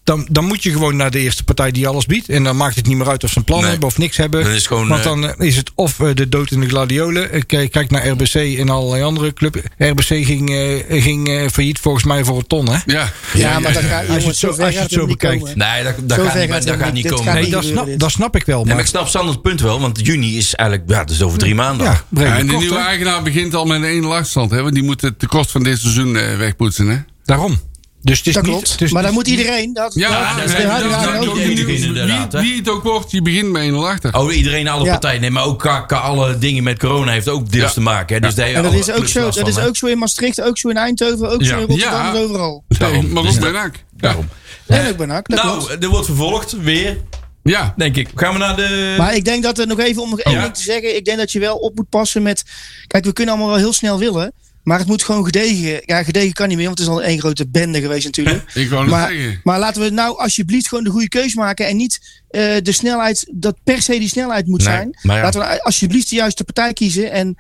[SPEAKER 5] Dan, dan moet je gewoon naar de eerste partij die alles biedt. En dan maakt het niet meer uit of ze een plan
[SPEAKER 3] Nee.
[SPEAKER 5] hebben of niks hebben.
[SPEAKER 3] Dan is het gewoon,
[SPEAKER 5] Want
[SPEAKER 3] eh,
[SPEAKER 5] dan eh, is het of eh, de dood in de gladiolen. Eh, Kijk, kijk naar RBC en allerlei andere club. RBC ging, eh, ging eh, failliet volgens mij voor een ton. Hè?
[SPEAKER 4] ja.
[SPEAKER 6] Ja, maar dat gaat,
[SPEAKER 5] Als je het
[SPEAKER 6] jongens,
[SPEAKER 5] zo-
[SPEAKER 6] zover
[SPEAKER 5] als je
[SPEAKER 6] gaat
[SPEAKER 5] het zo
[SPEAKER 6] het niet
[SPEAKER 5] bekijkt. Nou,
[SPEAKER 6] komen.
[SPEAKER 3] Nee, dat, dat
[SPEAKER 6] Zo
[SPEAKER 3] gaat
[SPEAKER 6] ver gaat
[SPEAKER 3] niet, maar
[SPEAKER 6] het
[SPEAKER 3] dat gaat
[SPEAKER 6] helemaal
[SPEAKER 3] niet
[SPEAKER 6] niet. Dit
[SPEAKER 3] komen.
[SPEAKER 6] gaat
[SPEAKER 3] Nee,
[SPEAKER 5] Nee,
[SPEAKER 6] niet.
[SPEAKER 5] dat
[SPEAKER 6] gebeuren
[SPEAKER 5] snap,
[SPEAKER 6] dit.
[SPEAKER 5] dat snap ik wel.
[SPEAKER 3] maar
[SPEAKER 5] Maar,
[SPEAKER 3] ik snap Sander's punt wel, want juni is eigenlijk, ja, dat is over drie maanden.
[SPEAKER 5] ja,
[SPEAKER 4] Ja,
[SPEAKER 5] redelijk
[SPEAKER 4] en de
[SPEAKER 5] kort,
[SPEAKER 4] nieuwe
[SPEAKER 5] hè?
[SPEAKER 4] eigenaar begint al met een ene lachstand. Hè, want die moet het tekort van dit seizoen eh, wegpoetsen. Hè?
[SPEAKER 5] Daarom. Dus het is
[SPEAKER 6] Dat
[SPEAKER 5] niet,
[SPEAKER 6] klopt.
[SPEAKER 5] het is
[SPEAKER 6] maar dan
[SPEAKER 5] niet-
[SPEAKER 6] moet iedereen. Dat,
[SPEAKER 4] Ja,
[SPEAKER 3] dat
[SPEAKER 4] dat
[SPEAKER 3] is-
[SPEAKER 4] is
[SPEAKER 3] dat is- dat is-
[SPEAKER 4] ook
[SPEAKER 3] dat is-
[SPEAKER 4] nieuw. Wie
[SPEAKER 3] inderdaad, hè.
[SPEAKER 4] wie het ook wordt, die begint met een lachter.
[SPEAKER 3] Oh, iedereen, alle
[SPEAKER 6] Ja.
[SPEAKER 3] partijen. Nee, maar ook ka- ka- alle dingen met corona heeft ook deels
[SPEAKER 4] Ja.
[SPEAKER 3] te maken. Hè? Dus daar
[SPEAKER 6] en dat
[SPEAKER 3] alle
[SPEAKER 6] is ook
[SPEAKER 3] clubs
[SPEAKER 6] zo.
[SPEAKER 3] last
[SPEAKER 6] Dat
[SPEAKER 3] van,
[SPEAKER 6] is
[SPEAKER 3] hè.
[SPEAKER 6] ook zo in Maastricht, ook zo in Eindhoven, ook
[SPEAKER 3] Ja.
[SPEAKER 6] zo in Rotterdam,
[SPEAKER 4] Ja.
[SPEAKER 6] en overal.
[SPEAKER 4] Nee,
[SPEAKER 3] Daarom.
[SPEAKER 4] maar
[SPEAKER 3] Dus
[SPEAKER 4] ook bij
[SPEAKER 3] dat-
[SPEAKER 4] NAC. Ja.
[SPEAKER 3] daarom.
[SPEAKER 6] En ook bij NAC, dat klopt.
[SPEAKER 3] Nou, er wordt vervolgd weer,
[SPEAKER 4] Ja.
[SPEAKER 3] denk ik. Gaan we naar de.
[SPEAKER 5] eh,
[SPEAKER 6] Maar ik denk dat er nog even om nog één
[SPEAKER 3] Ja.
[SPEAKER 6] ding te zeggen. Ik denk dat je wel op moet passen met. Kijk, we kunnen allemaal wel heel snel willen. Maar het moet gewoon gedegen. Ja, gedegen kan niet meer, want het is al één grote bende geweest natuurlijk.
[SPEAKER 4] Ik
[SPEAKER 3] Oh,
[SPEAKER 4] wou het
[SPEAKER 6] maar,
[SPEAKER 4] zeggen.
[SPEAKER 6] maar laten we nou alsjeblieft gewoon de goede keus maken. En niet eh, de snelheid, dat per se die snelheid moet
[SPEAKER 3] Nee,
[SPEAKER 6] zijn.
[SPEAKER 3] maar ja.
[SPEAKER 6] Laten we nou alsjeblieft de juiste partij kiezen. En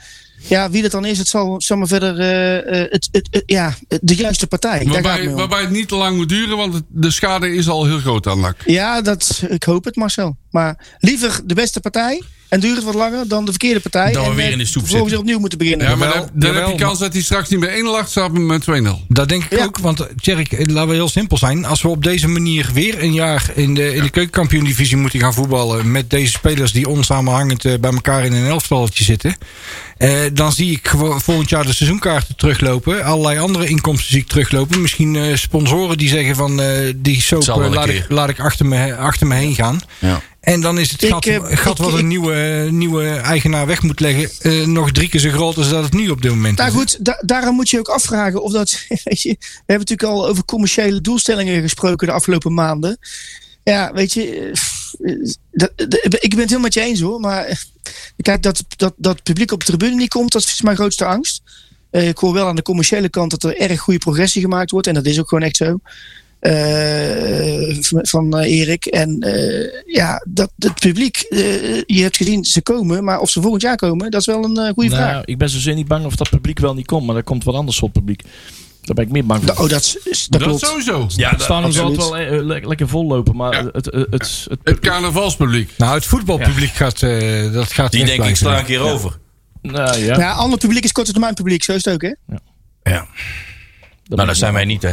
[SPEAKER 6] ja, wie dat dan is, het zal, zal maar verder. eh, eh, het, het, het- ja, de juiste partij. Daar gaat het
[SPEAKER 4] Waarbij,
[SPEAKER 6] mee om.
[SPEAKER 4] waarbij het niet te lang moet duren, want het- de schade is al heel groot aan NAC.
[SPEAKER 6] Ja, dat, ik hoop het Marcel. Maar liever de beste partij. En duurt het wat langer dan de verkeerde partij.
[SPEAKER 3] Dan we
[SPEAKER 6] en
[SPEAKER 3] weer
[SPEAKER 6] eh,
[SPEAKER 3] in de soep
[SPEAKER 6] vervolgens
[SPEAKER 3] zitten.
[SPEAKER 6] weer opnieuw moeten beginnen.
[SPEAKER 4] Ja, maar
[SPEAKER 5] Jawel,
[SPEAKER 4] dan, dan
[SPEAKER 5] jawel,
[SPEAKER 4] heb je kans dat hij straks niet met één lacht staat, maar met 2-0.
[SPEAKER 5] Dat denk ik
[SPEAKER 6] Ja.
[SPEAKER 5] ook, want eh, Tjerk, eh, laten we heel simpel zijn. Als we op deze manier weer een jaar in de, in de keukenkampioen-divisie moeten gaan voetballen... met deze spelers die onsamenhangend eh, bij elkaar in een elftalletje zitten... eh, dan zie ik gewo- volgend jaar de seizoenkaarten teruglopen. Allerlei andere inkomsten zie ik teruglopen. Misschien eh, sponsoren die zeggen van eh, die soap
[SPEAKER 3] zal wel
[SPEAKER 5] eh,
[SPEAKER 3] een
[SPEAKER 5] laat,
[SPEAKER 3] keer.
[SPEAKER 5] ik, laat ik achter me, achter me heen gaan.
[SPEAKER 3] Ja.
[SPEAKER 5] En dan is het
[SPEAKER 6] Ik,
[SPEAKER 5] gat,
[SPEAKER 6] eh,
[SPEAKER 5] gat
[SPEAKER 6] ik-
[SPEAKER 5] wat
[SPEAKER 6] ik-
[SPEAKER 5] een nieuwe, eh, nieuwe eigenaar weg moet leggen... eh, nog drie keer zo groot als dat het nu op dit moment
[SPEAKER 6] Nou
[SPEAKER 5] is.
[SPEAKER 6] goed, da- daarom moet je ook afvragen of dat. <laughs> Weet je, we hebben natuurlijk al over commerciële doelstellingen gesproken de afgelopen maanden. Ja, weet je. eh, pff, eh, dat- dat- ik ben het heel met je eens hoor. Maar eh, kijk, dat, dat, dat het publiek op de tribune niet komt, dat is mijn grootste angst. Eh, ik hoor wel aan de commerciële kant dat er erg goede progressie gemaakt wordt. En dat is ook gewoon echt zo. eh, van, van, eh, Erik. En eh, ja, dat het publiek, eh, je hebt gezien, ze komen. Maar of ze volgend jaar komen, dat is wel een eh, goede
[SPEAKER 7] Nou,
[SPEAKER 6] vraag.
[SPEAKER 7] Ik ben zozeer niet bang of dat publiek wel niet komt, maar er komt wat anders soort publiek. Daar ben ik meer bang voor.
[SPEAKER 6] Da- oh, dat, is- is- dat,
[SPEAKER 4] Dat,
[SPEAKER 6] klopt.
[SPEAKER 4] sowieso.
[SPEAKER 3] Ja,
[SPEAKER 7] het stadion zal het wel eh, le- lekker vol lopen, maar
[SPEAKER 4] Ja.
[SPEAKER 7] het, het, het, het-
[SPEAKER 4] Het carnavalspubliek.
[SPEAKER 5] Nou, het voetbalpubliek gaat, eh, dat gaat
[SPEAKER 3] die denk
[SPEAKER 5] weg
[SPEAKER 3] ik
[SPEAKER 5] blijven.
[SPEAKER 3] sla een keer over.
[SPEAKER 7] nou ja,
[SPEAKER 6] Ja, ander publiek is korte termijn publiek, zo is het ook, hè?
[SPEAKER 3] Ja. Nou, dat zijn wij niet, hè?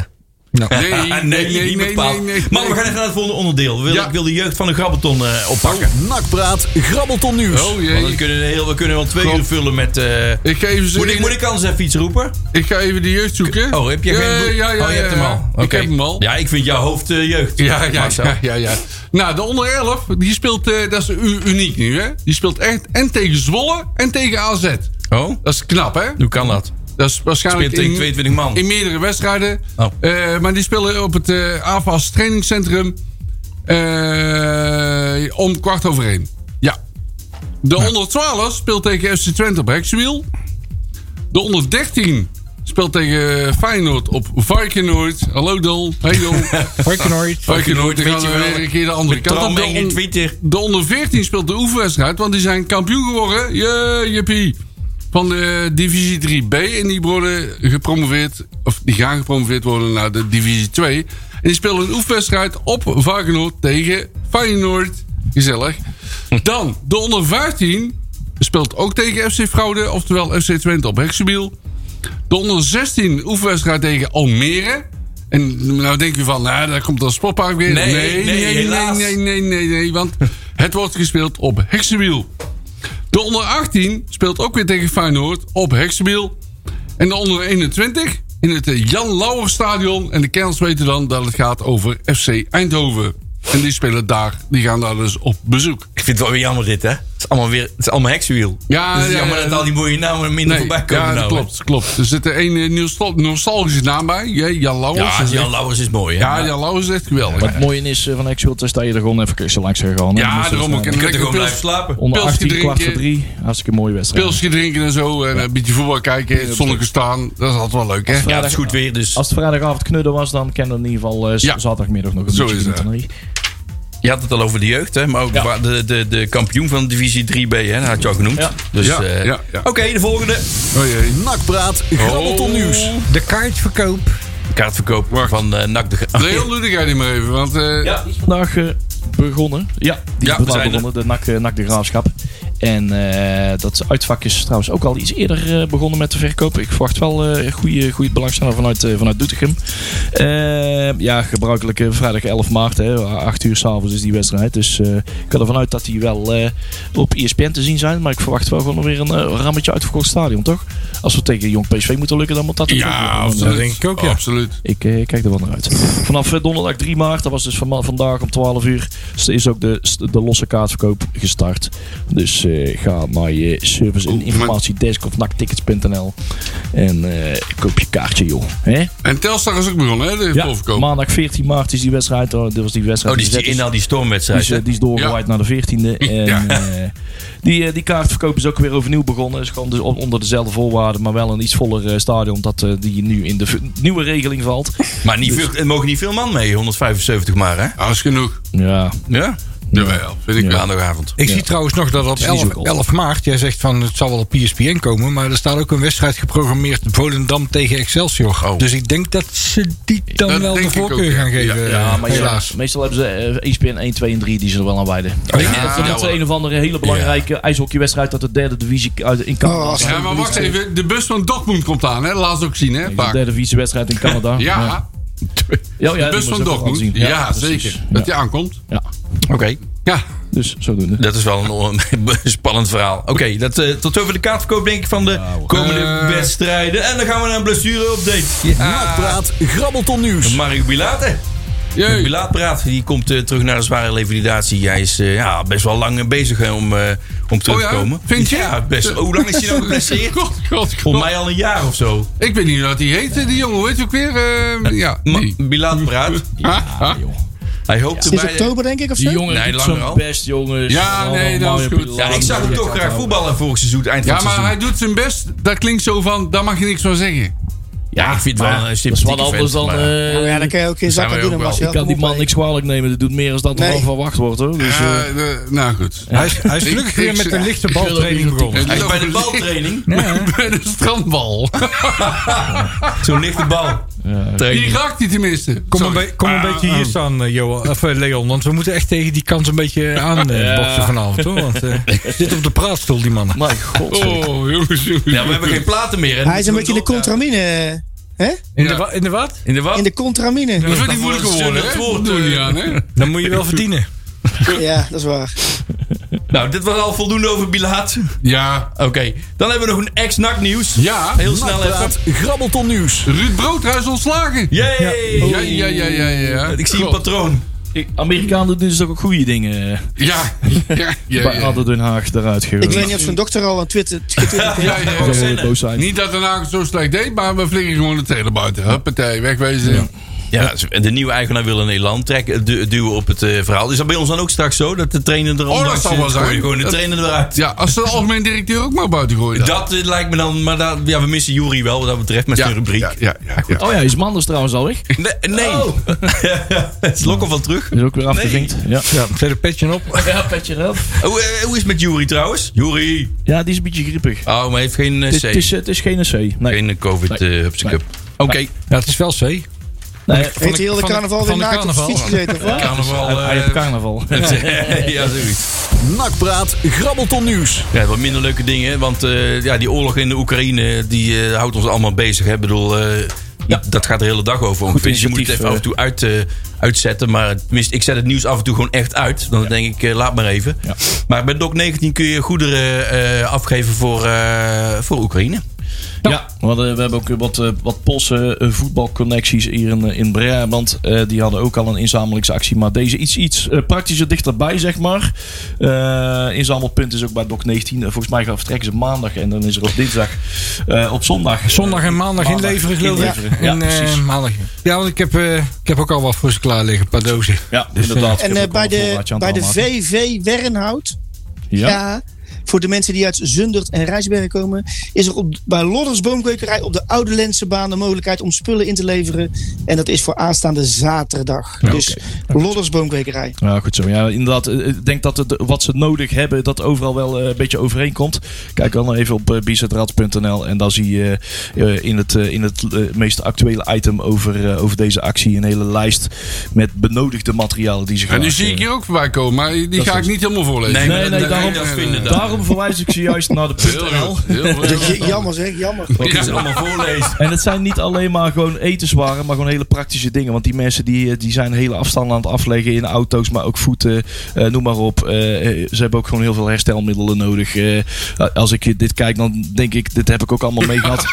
[SPEAKER 4] Nee, nee, nee, nee,
[SPEAKER 3] niet
[SPEAKER 4] nee,
[SPEAKER 3] bepaald.
[SPEAKER 4] nee, nee.
[SPEAKER 3] Maar we gaan even naar het volgende onderdeel. We willen-
[SPEAKER 4] Ja.
[SPEAKER 3] Ik wil de jeugd van de Grabbelton eh, oppakken.
[SPEAKER 2] Nakpraat, grabbelton nieuws.
[SPEAKER 4] Oh
[SPEAKER 3] Want we
[SPEAKER 4] jee.
[SPEAKER 3] kunnen, heel, we kunnen wel twee
[SPEAKER 4] Klopt.
[SPEAKER 3] uur vullen met... eh,
[SPEAKER 4] Ik ga even,
[SPEAKER 3] moet, ik, moet
[SPEAKER 4] ik,
[SPEAKER 3] ik anders even iets roepen?
[SPEAKER 4] ga even de jeugd zoeken.
[SPEAKER 3] Oh, heb je
[SPEAKER 4] ja,
[SPEAKER 3] geen... bloem?
[SPEAKER 4] Ja, ja,
[SPEAKER 3] oh, je
[SPEAKER 4] ja,
[SPEAKER 3] hebt hem
[SPEAKER 4] ja.
[SPEAKER 3] al.
[SPEAKER 4] Ik
[SPEAKER 3] Oké.
[SPEAKER 4] heb hem al.
[SPEAKER 3] Ja, ik vind jouw hoofd eh, jeugd.
[SPEAKER 4] Ja, ja,
[SPEAKER 3] Marcel.
[SPEAKER 4] ja, ja, ja. Nou, de onder 11, die speelt, eh, dat is u- uniek nu, hè? Die speelt echt en tegen Zwolle en tegen AZ.
[SPEAKER 3] Oh,
[SPEAKER 4] Dat is knap, hè?
[SPEAKER 3] hoe kan dat?
[SPEAKER 4] Dat is waarschijnlijk
[SPEAKER 3] Speelt tegen
[SPEAKER 4] in-
[SPEAKER 3] 22 man.
[SPEAKER 4] in meerdere wedstrijden.
[SPEAKER 3] Oh.
[SPEAKER 4] Eh, maar die spelen op het eh AFAS trainingscentrum eh, om kwart over één. Ja. De onder 12 speelt tegen FC Twente op Hexwiel. De onder 13 speelt tegen Feyenoord op Varkenoord. Hallo Dol.
[SPEAKER 3] <laughs>
[SPEAKER 4] Hey Dol.
[SPEAKER 5] Varkenoord.
[SPEAKER 4] Varkenoord, dan gaan
[SPEAKER 3] Weet je
[SPEAKER 4] we
[SPEAKER 3] wel,
[SPEAKER 4] weer een keer de andere kant op.
[SPEAKER 3] Tram
[SPEAKER 4] De
[SPEAKER 3] en in
[SPEAKER 4] on-
[SPEAKER 3] Twitter.
[SPEAKER 4] de onder 14 speelt de oefenwedstrijd, want die zijn kampioen geworden. Jee, jippie. Van de divisie 3B. En die worden gepromoveerd, of die gaan gepromoveerd worden naar de divisie 2. En die spelen een oefenwedstrijd op Varkenoord tegen Feyenoord. Gezellig. Dan, de onder 15 speelt ook tegen FC Fraude, oftewel FC Twente op Hexenbiel. De onder 16 oefenwedstrijd tegen Almere. En nou denk je van, nou, daar komt dat sportpark weer.
[SPEAKER 3] Nee, nee, helaas.
[SPEAKER 4] nee, nee, nee, nee, want het wordt gespeeld op Heksenwiel. De onder 18 speelt ook weer tegen Feyenoord op Heksenwiel. En de onder 21 in het eh, Jan Lauwerstadion. En de kenners weten dan dat het gaat over FC Eindhoven. En die spelen daar, die gaan daar dus op bezoek.
[SPEAKER 3] Ik vind het wel weer jammer dit, hè? Het is allemaal, weer, het is allemaal heksenwiel.
[SPEAKER 4] Ja,
[SPEAKER 3] dus het is
[SPEAKER 4] Ah, ja,
[SPEAKER 3] jammer
[SPEAKER 4] ja.
[SPEAKER 3] dat al die mooie namen minder voorbij komen.
[SPEAKER 4] ja, dat
[SPEAKER 3] nou, hè.
[SPEAKER 4] klopt, klopt. Er zit er één eh, nostal- nostalgische naam bij. Jee, Jan Lauwers.
[SPEAKER 3] Ja, Jan Lauwers is mooi, hè?
[SPEAKER 4] Ja, Jan Lauwers is echt geweldig.
[SPEAKER 7] Wat het mooie is eh, van Exult is dat je er gewoon even kussen langs gaat gaan.
[SPEAKER 4] Ja,
[SPEAKER 7] Dan is het,
[SPEAKER 4] daarom
[SPEAKER 7] eh,
[SPEAKER 4] ook. En
[SPEAKER 3] Je kunt er
[SPEAKER 4] lekker
[SPEAKER 3] gewoon blijven
[SPEAKER 4] pils, eh,
[SPEAKER 3] slapen.
[SPEAKER 7] Onder
[SPEAKER 4] pilsje
[SPEAKER 7] 18, kwart voor
[SPEAKER 4] drinken.
[SPEAKER 7] drie. Hartstikke mooie wedstrijd.
[SPEAKER 4] pilsje drinken en zo. En een beetje voetbal kijken. in Het zonnetje staan. Dat is altijd wel leuk, hè?
[SPEAKER 3] Ja, het is goed weer, dus...
[SPEAKER 7] Als het vrijdagavond knudden was, dan kennen we in ieder geval eh, z-
[SPEAKER 4] Ja.
[SPEAKER 7] zaterdagmiddag nog een
[SPEAKER 4] Zo
[SPEAKER 7] beetje
[SPEAKER 4] is het.
[SPEAKER 7] internet.
[SPEAKER 3] Je had het al over de jeugd, hè? Maar ook wa- de, de, de kampioen van divisie 3B, hè? Dat had je al genoemd.
[SPEAKER 7] Ja.
[SPEAKER 3] Dus,
[SPEAKER 4] Ja,
[SPEAKER 3] eh,
[SPEAKER 4] ja, ja.
[SPEAKER 3] Oké, de volgende.
[SPEAKER 4] Oh jee.
[SPEAKER 2] Nakpraat, grabbelton nieuws.
[SPEAKER 5] De kaartverkoop.
[SPEAKER 3] Kaartverkoop van eh NAC de... Gra-
[SPEAKER 4] Leon doe jij niet meer even. Want eh,
[SPEAKER 3] Ja.
[SPEAKER 7] vandaag eh, begonnen. Ja, die
[SPEAKER 3] Ja, we
[SPEAKER 7] is vandaag
[SPEAKER 3] zijn er.
[SPEAKER 7] begonnen, de NAC, eh, NAC de Graafschap. En eh, dat uitvak is trouwens ook al iets eerder eh, begonnen met te verkopen. Ik verwacht wel eh goede, goede belangstelling vanuit, eh, vanuit Doetinchem. Eh, ja, gebruikelijk eh, vrijdag 11 maart, hè, 8 uur s'avonds is die wedstrijd. Dus eh, ik ga ervan uit dat die wel eh, op ESPN te zien zijn. Maar ik verwacht wel gewoon weer een eh, rammetje uitverkocht stadion, toch? Als we tegen Jong PSV moeten lukken, dan moet dat natuurlijk lukken.
[SPEAKER 4] ja,
[SPEAKER 7] Dan, eh,
[SPEAKER 4] absoluut.
[SPEAKER 5] denk ik ook, ja.
[SPEAKER 4] Absoluut.
[SPEAKER 7] ik eh, kijk er wel naar uit. Vanaf eh, donderdag 3 maart, dat was dus van, vandaag om 12 uur, is- is ook de, de losse kaartverkoop gestart. Dus eh, ga naar je service en
[SPEAKER 4] Oeh,
[SPEAKER 7] informatiedesk of naktickets.nl en eh, koop je kaartje, joh. Hè?
[SPEAKER 4] En Telstar is ook begonnen, hè? De voorverkoop.
[SPEAKER 7] maandag 14 maart is die wedstrijd. Oh, dit was die
[SPEAKER 3] Oh,
[SPEAKER 7] wedstrijd.
[SPEAKER 3] die is die,
[SPEAKER 7] Zet
[SPEAKER 3] in al die
[SPEAKER 7] die
[SPEAKER 3] stormwedstrijd.
[SPEAKER 7] is, eh,
[SPEAKER 3] hè?
[SPEAKER 7] die is doorgewaaid naar de
[SPEAKER 3] <laughs>
[SPEAKER 7] 14e. En,
[SPEAKER 4] Ja.
[SPEAKER 7] eh, die, eh, die kaartverkoop is ook weer overnieuw begonnen. Is gewoon dus on- onder dezelfde voorwaarden, maar wel een iets voller eh, stadion. Omdat eh, die nu in de v- nieuwe regeling
[SPEAKER 3] <laughs>
[SPEAKER 7] valt.
[SPEAKER 3] Maar niet veel, er mogen niet veel man mee, 175 maar, hè?
[SPEAKER 4] Ja, dat is genoeg.
[SPEAKER 7] Ja,
[SPEAKER 3] Ja?
[SPEAKER 4] Jawel, vind ik
[SPEAKER 7] Ja.
[SPEAKER 4] wel.
[SPEAKER 3] Maandagavond.
[SPEAKER 5] Ik zie trouwens nog dat op
[SPEAKER 7] is niet zo
[SPEAKER 5] 11,
[SPEAKER 7] cool.
[SPEAKER 5] 11 maart, jij zegt van het zal wel op PSPN komen, maar er staat ook een wedstrijd geprogrammeerd Volendam tegen Excelsior. Dus ik denk dat ze die dan
[SPEAKER 4] Oh. Dat
[SPEAKER 5] wel
[SPEAKER 4] denk
[SPEAKER 5] de
[SPEAKER 4] ik ook,
[SPEAKER 5] voorkeur
[SPEAKER 4] ja.
[SPEAKER 5] gaan geven. eh,
[SPEAKER 4] Ja,
[SPEAKER 7] Ja, Ah, maar
[SPEAKER 5] helaas.
[SPEAKER 7] ja, meestal hebben ze eh ESPN 1, 2 en 3 die ze er wel aan
[SPEAKER 4] Ah,
[SPEAKER 7] wijden.
[SPEAKER 3] ja,
[SPEAKER 7] ik denk dat ze
[SPEAKER 3] ja,
[SPEAKER 7] met
[SPEAKER 3] hoor.
[SPEAKER 7] een of andere hele belangrijke ijshockeywedstrijd uit de derde divisie uit, in Canada.
[SPEAKER 6] Oh,
[SPEAKER 4] Ja, maar wacht even. De bus van Dortmund komt aan, hè? Laatst ook zien, hè?
[SPEAKER 7] de
[SPEAKER 4] Vaak.
[SPEAKER 7] derde divisiewedstrijd in Canada.
[SPEAKER 4] Ja.
[SPEAKER 7] ja, ja
[SPEAKER 4] De bus van Dortmund.
[SPEAKER 7] zien.
[SPEAKER 4] Ja,
[SPEAKER 7] precies.
[SPEAKER 4] zeker.
[SPEAKER 7] Ja.
[SPEAKER 4] Dat die aankomt.
[SPEAKER 7] Ja.
[SPEAKER 3] Oké.
[SPEAKER 4] Ja.
[SPEAKER 7] Dus zodoende.
[SPEAKER 3] Dat is wel een on- <laughs> spannend verhaal. Oké, dat, eh, tot over de kaartverkoop denk ik van de komende
[SPEAKER 4] Eh.
[SPEAKER 3] wedstrijden. En dan gaan we naar een blessure-update. Ah.
[SPEAKER 2] Nakpraat, grabbelton
[SPEAKER 3] Van
[SPEAKER 2] nieuws.
[SPEAKER 3] Mario Bilate.
[SPEAKER 4] Jee.
[SPEAKER 3] Bilaat praat, die komt eh, terug naar de zware levalidatie. Hij is eh, ja, best wel lang eh, bezig hè, om, eh, om terug
[SPEAKER 4] Oh
[SPEAKER 3] te
[SPEAKER 4] ja?
[SPEAKER 3] komen.
[SPEAKER 4] Vind je?
[SPEAKER 3] Ja, best. Hoe lang is hij
[SPEAKER 4] <laughs>
[SPEAKER 3] nou geblesseerd?
[SPEAKER 4] God, god,
[SPEAKER 3] Volgens
[SPEAKER 4] god.
[SPEAKER 3] mij al een jaar of zo.
[SPEAKER 4] Ik weet niet hoe dat die heet, die jongen. Weet je ook weer? Eh, ja.
[SPEAKER 3] Ma-
[SPEAKER 4] die.
[SPEAKER 3] Bilaat praat.
[SPEAKER 4] Ha, ha.
[SPEAKER 3] Hij hoopte
[SPEAKER 6] Sinds
[SPEAKER 3] bij...
[SPEAKER 6] oktober, denk ik, of
[SPEAKER 7] Die
[SPEAKER 6] zo?
[SPEAKER 7] jongen
[SPEAKER 3] Nee,
[SPEAKER 7] nee, doet
[SPEAKER 3] langer al.
[SPEAKER 7] zijn best, jongens.
[SPEAKER 4] Ja,
[SPEAKER 7] Allemaal
[SPEAKER 4] nee, dat is
[SPEAKER 7] mooie
[SPEAKER 4] goed.
[SPEAKER 7] pillen.
[SPEAKER 3] Ja, ik zag hem eh, toch graag voetballen vorig seizoen, eind van
[SPEAKER 4] Ja,
[SPEAKER 3] het
[SPEAKER 4] maar
[SPEAKER 3] seizoen.
[SPEAKER 4] hij doet zijn best. Dat klinkt zo van, daar mag je niks van zeggen.
[SPEAKER 3] Ja, ik vind het wel eh,
[SPEAKER 7] Maar
[SPEAKER 3] een
[SPEAKER 7] dat is
[SPEAKER 3] sympathieke
[SPEAKER 7] wat anders
[SPEAKER 3] vent,
[SPEAKER 7] dan...
[SPEAKER 3] maar-
[SPEAKER 7] eh,
[SPEAKER 6] Nou ja, dan kan je ook geen
[SPEAKER 3] zijn
[SPEAKER 6] zak aan
[SPEAKER 3] wij ook
[SPEAKER 6] doen.
[SPEAKER 3] wel.
[SPEAKER 6] Marcel.
[SPEAKER 7] ik kan die
[SPEAKER 6] Kom op,
[SPEAKER 7] man
[SPEAKER 6] hè.
[SPEAKER 7] niks kwalijk nemen. Dat doet meer dan dat er
[SPEAKER 6] Nee.
[SPEAKER 7] al verwacht wordt, hoor. Dus, eh,
[SPEAKER 4] Ja, de- nou goed.
[SPEAKER 5] Hij is, hij is gelukkig weer met een lichte baltraining begonnen.
[SPEAKER 3] Hij is bij de
[SPEAKER 4] <laughs>
[SPEAKER 3] baltraining.
[SPEAKER 4] Bij de strandbal.
[SPEAKER 3] <laughs> Zo'n lichte bal.
[SPEAKER 4] Die raakt hij tenminste.
[SPEAKER 5] Kom, een,
[SPEAKER 4] Sorry.
[SPEAKER 5] be- kom een beetje hier staan, eh, <laughs> Johan, of, eh, Leon. Want we moeten echt tegen die kant een <laughs> beetje aanboksen boksen vanavond. Hoor, want <laughs> eh, zit op de praatstoel, die mannen.
[SPEAKER 7] Mijn god.
[SPEAKER 4] Oh, jongens, jongens.
[SPEAKER 3] Ja, we hebben geen platen meer. hè.
[SPEAKER 6] Hij is een
[SPEAKER 7] Oh.
[SPEAKER 6] beetje in de contramine. Hè?
[SPEAKER 5] In, de,
[SPEAKER 4] Ja.
[SPEAKER 5] wa- in de wat?
[SPEAKER 3] In de wat?
[SPEAKER 6] In de contramine.
[SPEAKER 4] Dat zijn die moeilijke
[SPEAKER 3] Zullen
[SPEAKER 4] woorden,
[SPEAKER 3] het
[SPEAKER 4] hè?
[SPEAKER 3] woord,
[SPEAKER 4] Dat doen we
[SPEAKER 3] eh,
[SPEAKER 4] niet aan, hè?
[SPEAKER 5] Dan moet je <laughs> wel verdienen.
[SPEAKER 6] Ja, dat is waar.
[SPEAKER 3] Nou, dit was al voldoende over Bilaat. <laughs>
[SPEAKER 4] Ja.
[SPEAKER 3] Oké, dan hebben we nog een ex-NAC nieuws.
[SPEAKER 4] Ja.
[SPEAKER 3] Heel snel even.
[SPEAKER 2] Nakpraat, grabbelton nieuws.
[SPEAKER 4] Ruud Broodhuis ontslagen.
[SPEAKER 3] Yay!
[SPEAKER 4] Ja, ja, ja, ja, ja.
[SPEAKER 3] Ik zie een
[SPEAKER 4] Klopt.
[SPEAKER 3] patroon.
[SPEAKER 7] Ik- Amerikanen doen dus ook goede dingen.
[SPEAKER 4] Ja, ja, ja.
[SPEAKER 7] Bij
[SPEAKER 4] ja.
[SPEAKER 7] Adder Den Haag eruit
[SPEAKER 6] Ik weet
[SPEAKER 7] gegooid.
[SPEAKER 6] niet of zijn dokter al aan Twitter getwitterd heeft.
[SPEAKER 4] Ja, ja,
[SPEAKER 7] Zou
[SPEAKER 4] ja.
[SPEAKER 7] wel boos zijn.
[SPEAKER 4] Niet dat Den Haag het zo slecht deed, maar we vliegen gewoon de trailer buiten. Huppatee, wegwezen.
[SPEAKER 3] Ja, de nieuwe eigenaar wil een Nederland trekken, du- duwen op het eh, verhaal. Is dat bij ons dan ook straks zo? Oh, Dat de trainer er
[SPEAKER 4] dat
[SPEAKER 3] ondanks-
[SPEAKER 4] zal wel zijn.
[SPEAKER 3] gooi je Gewoon de
[SPEAKER 4] Dat-
[SPEAKER 3] trainer eruit.
[SPEAKER 4] Ja, als ze de algemeen directeur ook maar buiten gooien. dan.
[SPEAKER 3] Dat eh, lijkt me dan, maar dat, ja, we missen Jury wel wat dat betreft met
[SPEAKER 4] ja,
[SPEAKER 3] zijn rubriek.
[SPEAKER 4] Ja, ja, ja, ja.
[SPEAKER 7] Oh ja, Oh. is Manders trouwens al weg.
[SPEAKER 3] Nee, nee. <laughs> het is lokken van terug.
[SPEAKER 7] Is ook weer afgevinkt. Ja.
[SPEAKER 5] Ja, zet een petje op.
[SPEAKER 7] ja, petje erop.
[SPEAKER 3] Hoe, eh, hoe is het met Jury trouwens? Jury.
[SPEAKER 7] Ja, die is een beetje griepig.
[SPEAKER 3] Oh, maar hij heeft geen eh,
[SPEAKER 7] Het,
[SPEAKER 3] C.
[SPEAKER 7] het is, het is geen C. Nee.
[SPEAKER 3] Geen eh, covid
[SPEAKER 7] Nee.
[SPEAKER 3] eh hupsekup.
[SPEAKER 7] Nee.
[SPEAKER 3] Oké.
[SPEAKER 5] Ja, het is wel C.
[SPEAKER 7] nee
[SPEAKER 6] Heeft hij heel de
[SPEAKER 5] van de-
[SPEAKER 6] carnaval
[SPEAKER 5] van
[SPEAKER 6] weer
[SPEAKER 5] de
[SPEAKER 6] naakt op de
[SPEAKER 5] carnaval.
[SPEAKER 6] fiets gezeten? of wat?
[SPEAKER 3] Carnaval.
[SPEAKER 7] hij, hij heeft
[SPEAKER 3] eh,
[SPEAKER 7] carnaval.
[SPEAKER 3] <laughs> ja, zoiets.
[SPEAKER 2] Nakpraat, grabbelton nieuws.
[SPEAKER 3] Ja, wat minder leuke dingen. Want eh, ja, die oorlog in de Oekraïne die, eh, houdt ons allemaal bezig. Hè. Ik bedoel, eh, dat gaat de hele dag over. ongeveer. Dus je moet het
[SPEAKER 7] initiatief,
[SPEAKER 3] even af en toe uit, eh, uitzetten. Maar tenminste, ik zet het nieuws af en toe gewoon echt uit. Dan denk ik, eh, laat maar even.
[SPEAKER 7] Ja.
[SPEAKER 3] Maar bij DOC-19 kun je goederen eh, afgeven voor, eh, voor Oekraïne.
[SPEAKER 7] Ja, want, we hebben ook wat, eh, wat Poolse eh, voetbalconnecties hier in, eh, in Brabant. Eh, die hadden ook al een inzamelingsactie, maar deze iets, iets eh, praktischer dichterbij, zeg maar. Eh, inzamelpunt is ook bij DOC 19. Eh, volgens mij gaan vertrekken ze maandag en dan is er op dinsdag, eh, op zondag.
[SPEAKER 5] Zondag en maandag,
[SPEAKER 7] Maandag
[SPEAKER 5] inleveren, geloof ik.
[SPEAKER 7] inleveren. Ja,
[SPEAKER 5] En, eh,
[SPEAKER 7] precies.
[SPEAKER 5] maandag. ja, want ik heb, eh, ik heb ook al wat voor ze klaar liggen, een paar dozen.
[SPEAKER 7] Ja,
[SPEAKER 3] Dus
[SPEAKER 7] inderdaad.
[SPEAKER 6] En
[SPEAKER 7] Ik heb
[SPEAKER 6] eh,
[SPEAKER 7] ook
[SPEAKER 6] bij
[SPEAKER 7] al een
[SPEAKER 6] de,
[SPEAKER 7] voorraadje aan
[SPEAKER 6] bij
[SPEAKER 7] het
[SPEAKER 6] de
[SPEAKER 7] aanmaken.
[SPEAKER 6] VV Wernhout,
[SPEAKER 7] Ja.
[SPEAKER 6] ja. voor de mensen die uit Zundert en Rijsbergen komen, is er op, bij Lodders Boomkwekerij op de Oude Lensenbaan de mogelijkheid om spullen in te leveren. En dat is voor aanstaande zaterdag. dus Lodders Boomkwekerij.
[SPEAKER 7] Ja, goed zo. Ja, inderdaad. eh, Ik denk dat het, wat ze nodig hebben, dat overal wel eh, een beetje overeenkomt. Kijk dan even op eh, bizetrads.nl en dan zie je eh, in het, eh, in het eh, meest actuele item over, eh, over deze actie een hele lijst met benodigde materialen die ze
[SPEAKER 4] En
[SPEAKER 7] gaan
[SPEAKER 4] die zie ik hier ook voorbij komen, maar die
[SPEAKER 7] is
[SPEAKER 4] ga ik
[SPEAKER 7] het.
[SPEAKER 4] niet helemaal voorlezen.
[SPEAKER 3] Nee,
[SPEAKER 7] Nee,
[SPEAKER 3] maar
[SPEAKER 7] nee,
[SPEAKER 3] dat-
[SPEAKER 7] daarom,
[SPEAKER 3] dat vinden dan.
[SPEAKER 7] daarom verwijs ik ze juist naar de
[SPEAKER 4] Heel
[SPEAKER 7] .nl.
[SPEAKER 4] goed,
[SPEAKER 3] <laughs>
[SPEAKER 4] heel goed.
[SPEAKER 6] J- Jammer zeg, jammer.
[SPEAKER 3] Wat is allemaal
[SPEAKER 7] <laughs>
[SPEAKER 3] voorlezen?
[SPEAKER 7] En het zijn niet alleen maar gewoon etenswaren, maar gewoon hele praktische dingen. Want die mensen die, eh, die zijn hele afstanden aan het afleggen in auto's, maar ook voeten, eh, noem maar op. Eh, eh, ze hebben ook gewoon heel veel herstelmiddelen nodig. Eh, als ik eh, dit kijk, dan denk ik, dit heb ik ook allemaal mee
[SPEAKER 3] <laughs>
[SPEAKER 7] gehad